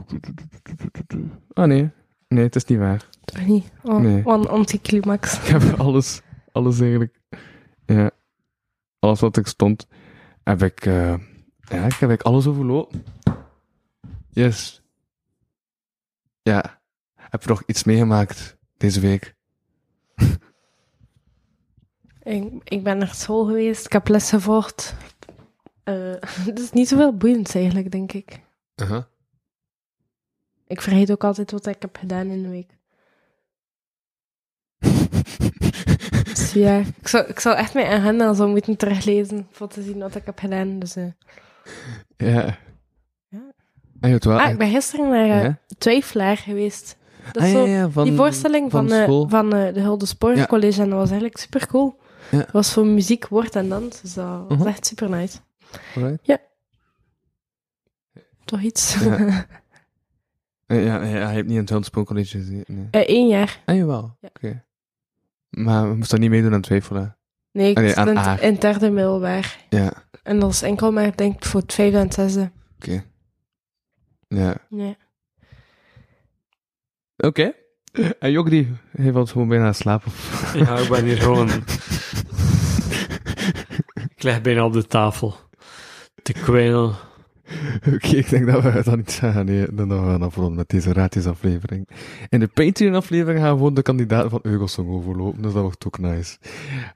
S2: Ah nee. Nee, het is niet waar.
S5: Toch niet? Oh,
S2: Nee.
S5: Wat een anticlimax.
S2: Ik heb alles, alles eigenlijk. Ja. Alles wat ik stond, heb ik. eh, ja, ik heb eigenlijk alles overlopen. Yes. Ja. Heb je nog iets meegemaakt deze week?
S5: Ik, ik ben naar school geweest, ik heb les gevolgd. Eh, het is niet zoveel boeiends eigenlijk, denk ik.
S2: Uh-huh.
S5: Ik vergeet ook altijd wat ik heb gedaan in de week. Dus ja, ik zou, ik zou echt mijn agenda zo moeten teruglezen om te zien wat ik heb gedaan. Dus, eh.
S2: Ja.
S5: Ja.
S2: En je hebt wel.
S5: Ah, ik ben gisteren naar eh,
S2: Ja?
S5: Twijfelaar geweest. Dat is
S2: Ah,
S5: zo,
S2: ja, ja, van-
S5: die voorstelling van,
S2: van
S5: eh,
S2: school.
S5: van eh, de Hulde
S2: Ja.
S5: College en dat was eigenlijk super cool.
S2: Ja.
S5: Het was voor muziek, woord en dans. Dus dat was
S2: Mhm.
S5: echt super nice.
S2: Alright.
S5: Toch iets?
S2: Ja. Eh, Ja, ja, je hebt niet in het Huntspoon College gezien. Nee.
S5: Eén Eh, jaar.
S2: Ah, jawel.
S5: Ja.
S2: Oké. Maar we moesten niet meedoen aan twijfelen.
S5: Nee, ik
S2: Ah, nee,
S5: zit
S2: aan
S5: in, het-
S2: haar.
S5: in het derde middelbaar.
S2: Ja,
S5: En dat is enkel maar, denk ik, voor het vijfde en het zesde.
S2: oké. Ja.
S5: Nee.
S2: Oké. En Jok die heeft ons gewoon bijna aan het slapen.
S1: Ja, ik ben hier gewoon... ik leg bijna op de tafel. Te kwijnen.
S2: Oké, ik denk dat we dat niet zeggen. Nee, dan gaan we afronden met deze raadjesaflevering. In de Patreon-aflevering gaan we gewoon de kandidaten van Eugelsong overlopen, dus dat wordt ook nice.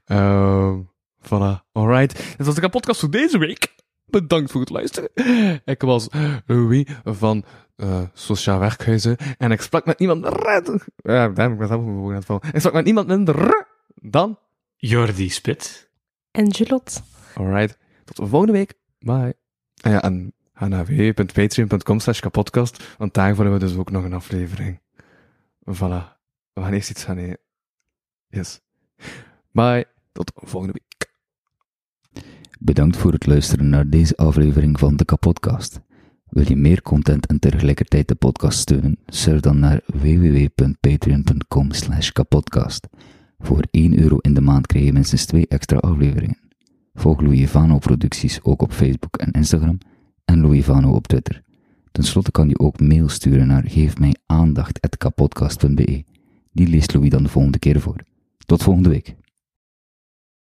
S2: Ehm voilà, alright. Dit was de podcast voor deze week. Bedankt voor het luisteren. Ik was Louis van eh, Sociaal Werkhuizen en ik sprak met niemand... minder- Ja, daar heb ik mezelf op mijn woorden aan het vallen. Ik sprak met niemand minder dan...
S1: Jordi Spit.
S5: En Julot.
S2: Alright. Tot volgende week. Bye. Ah ja, en ga naar www.patreon.com slash kapodcast, want daarvoor hebben we dus ook nog een aflevering. Voilà. We gaan eerst iets gaan eten. Yes. Bye. Tot volgende week.
S6: Bedankt voor het luisteren naar deze aflevering van de Kapodcast. Wil je meer content en tegelijkertijd de podcast steunen? Surf dan naar www.patreon.com slash kapodcast. Voor 1 euro in de maand krijg je minstens 2 extra afleveringen. Volg Louis Vano producties ook op Facebook en Instagram en Louis Vano op Twitter. Ten slotte kan je ook mail sturen naar geefmijaandacht.kapodcast.be. Die leest Louis dan de volgende keer voor. Tot volgende week.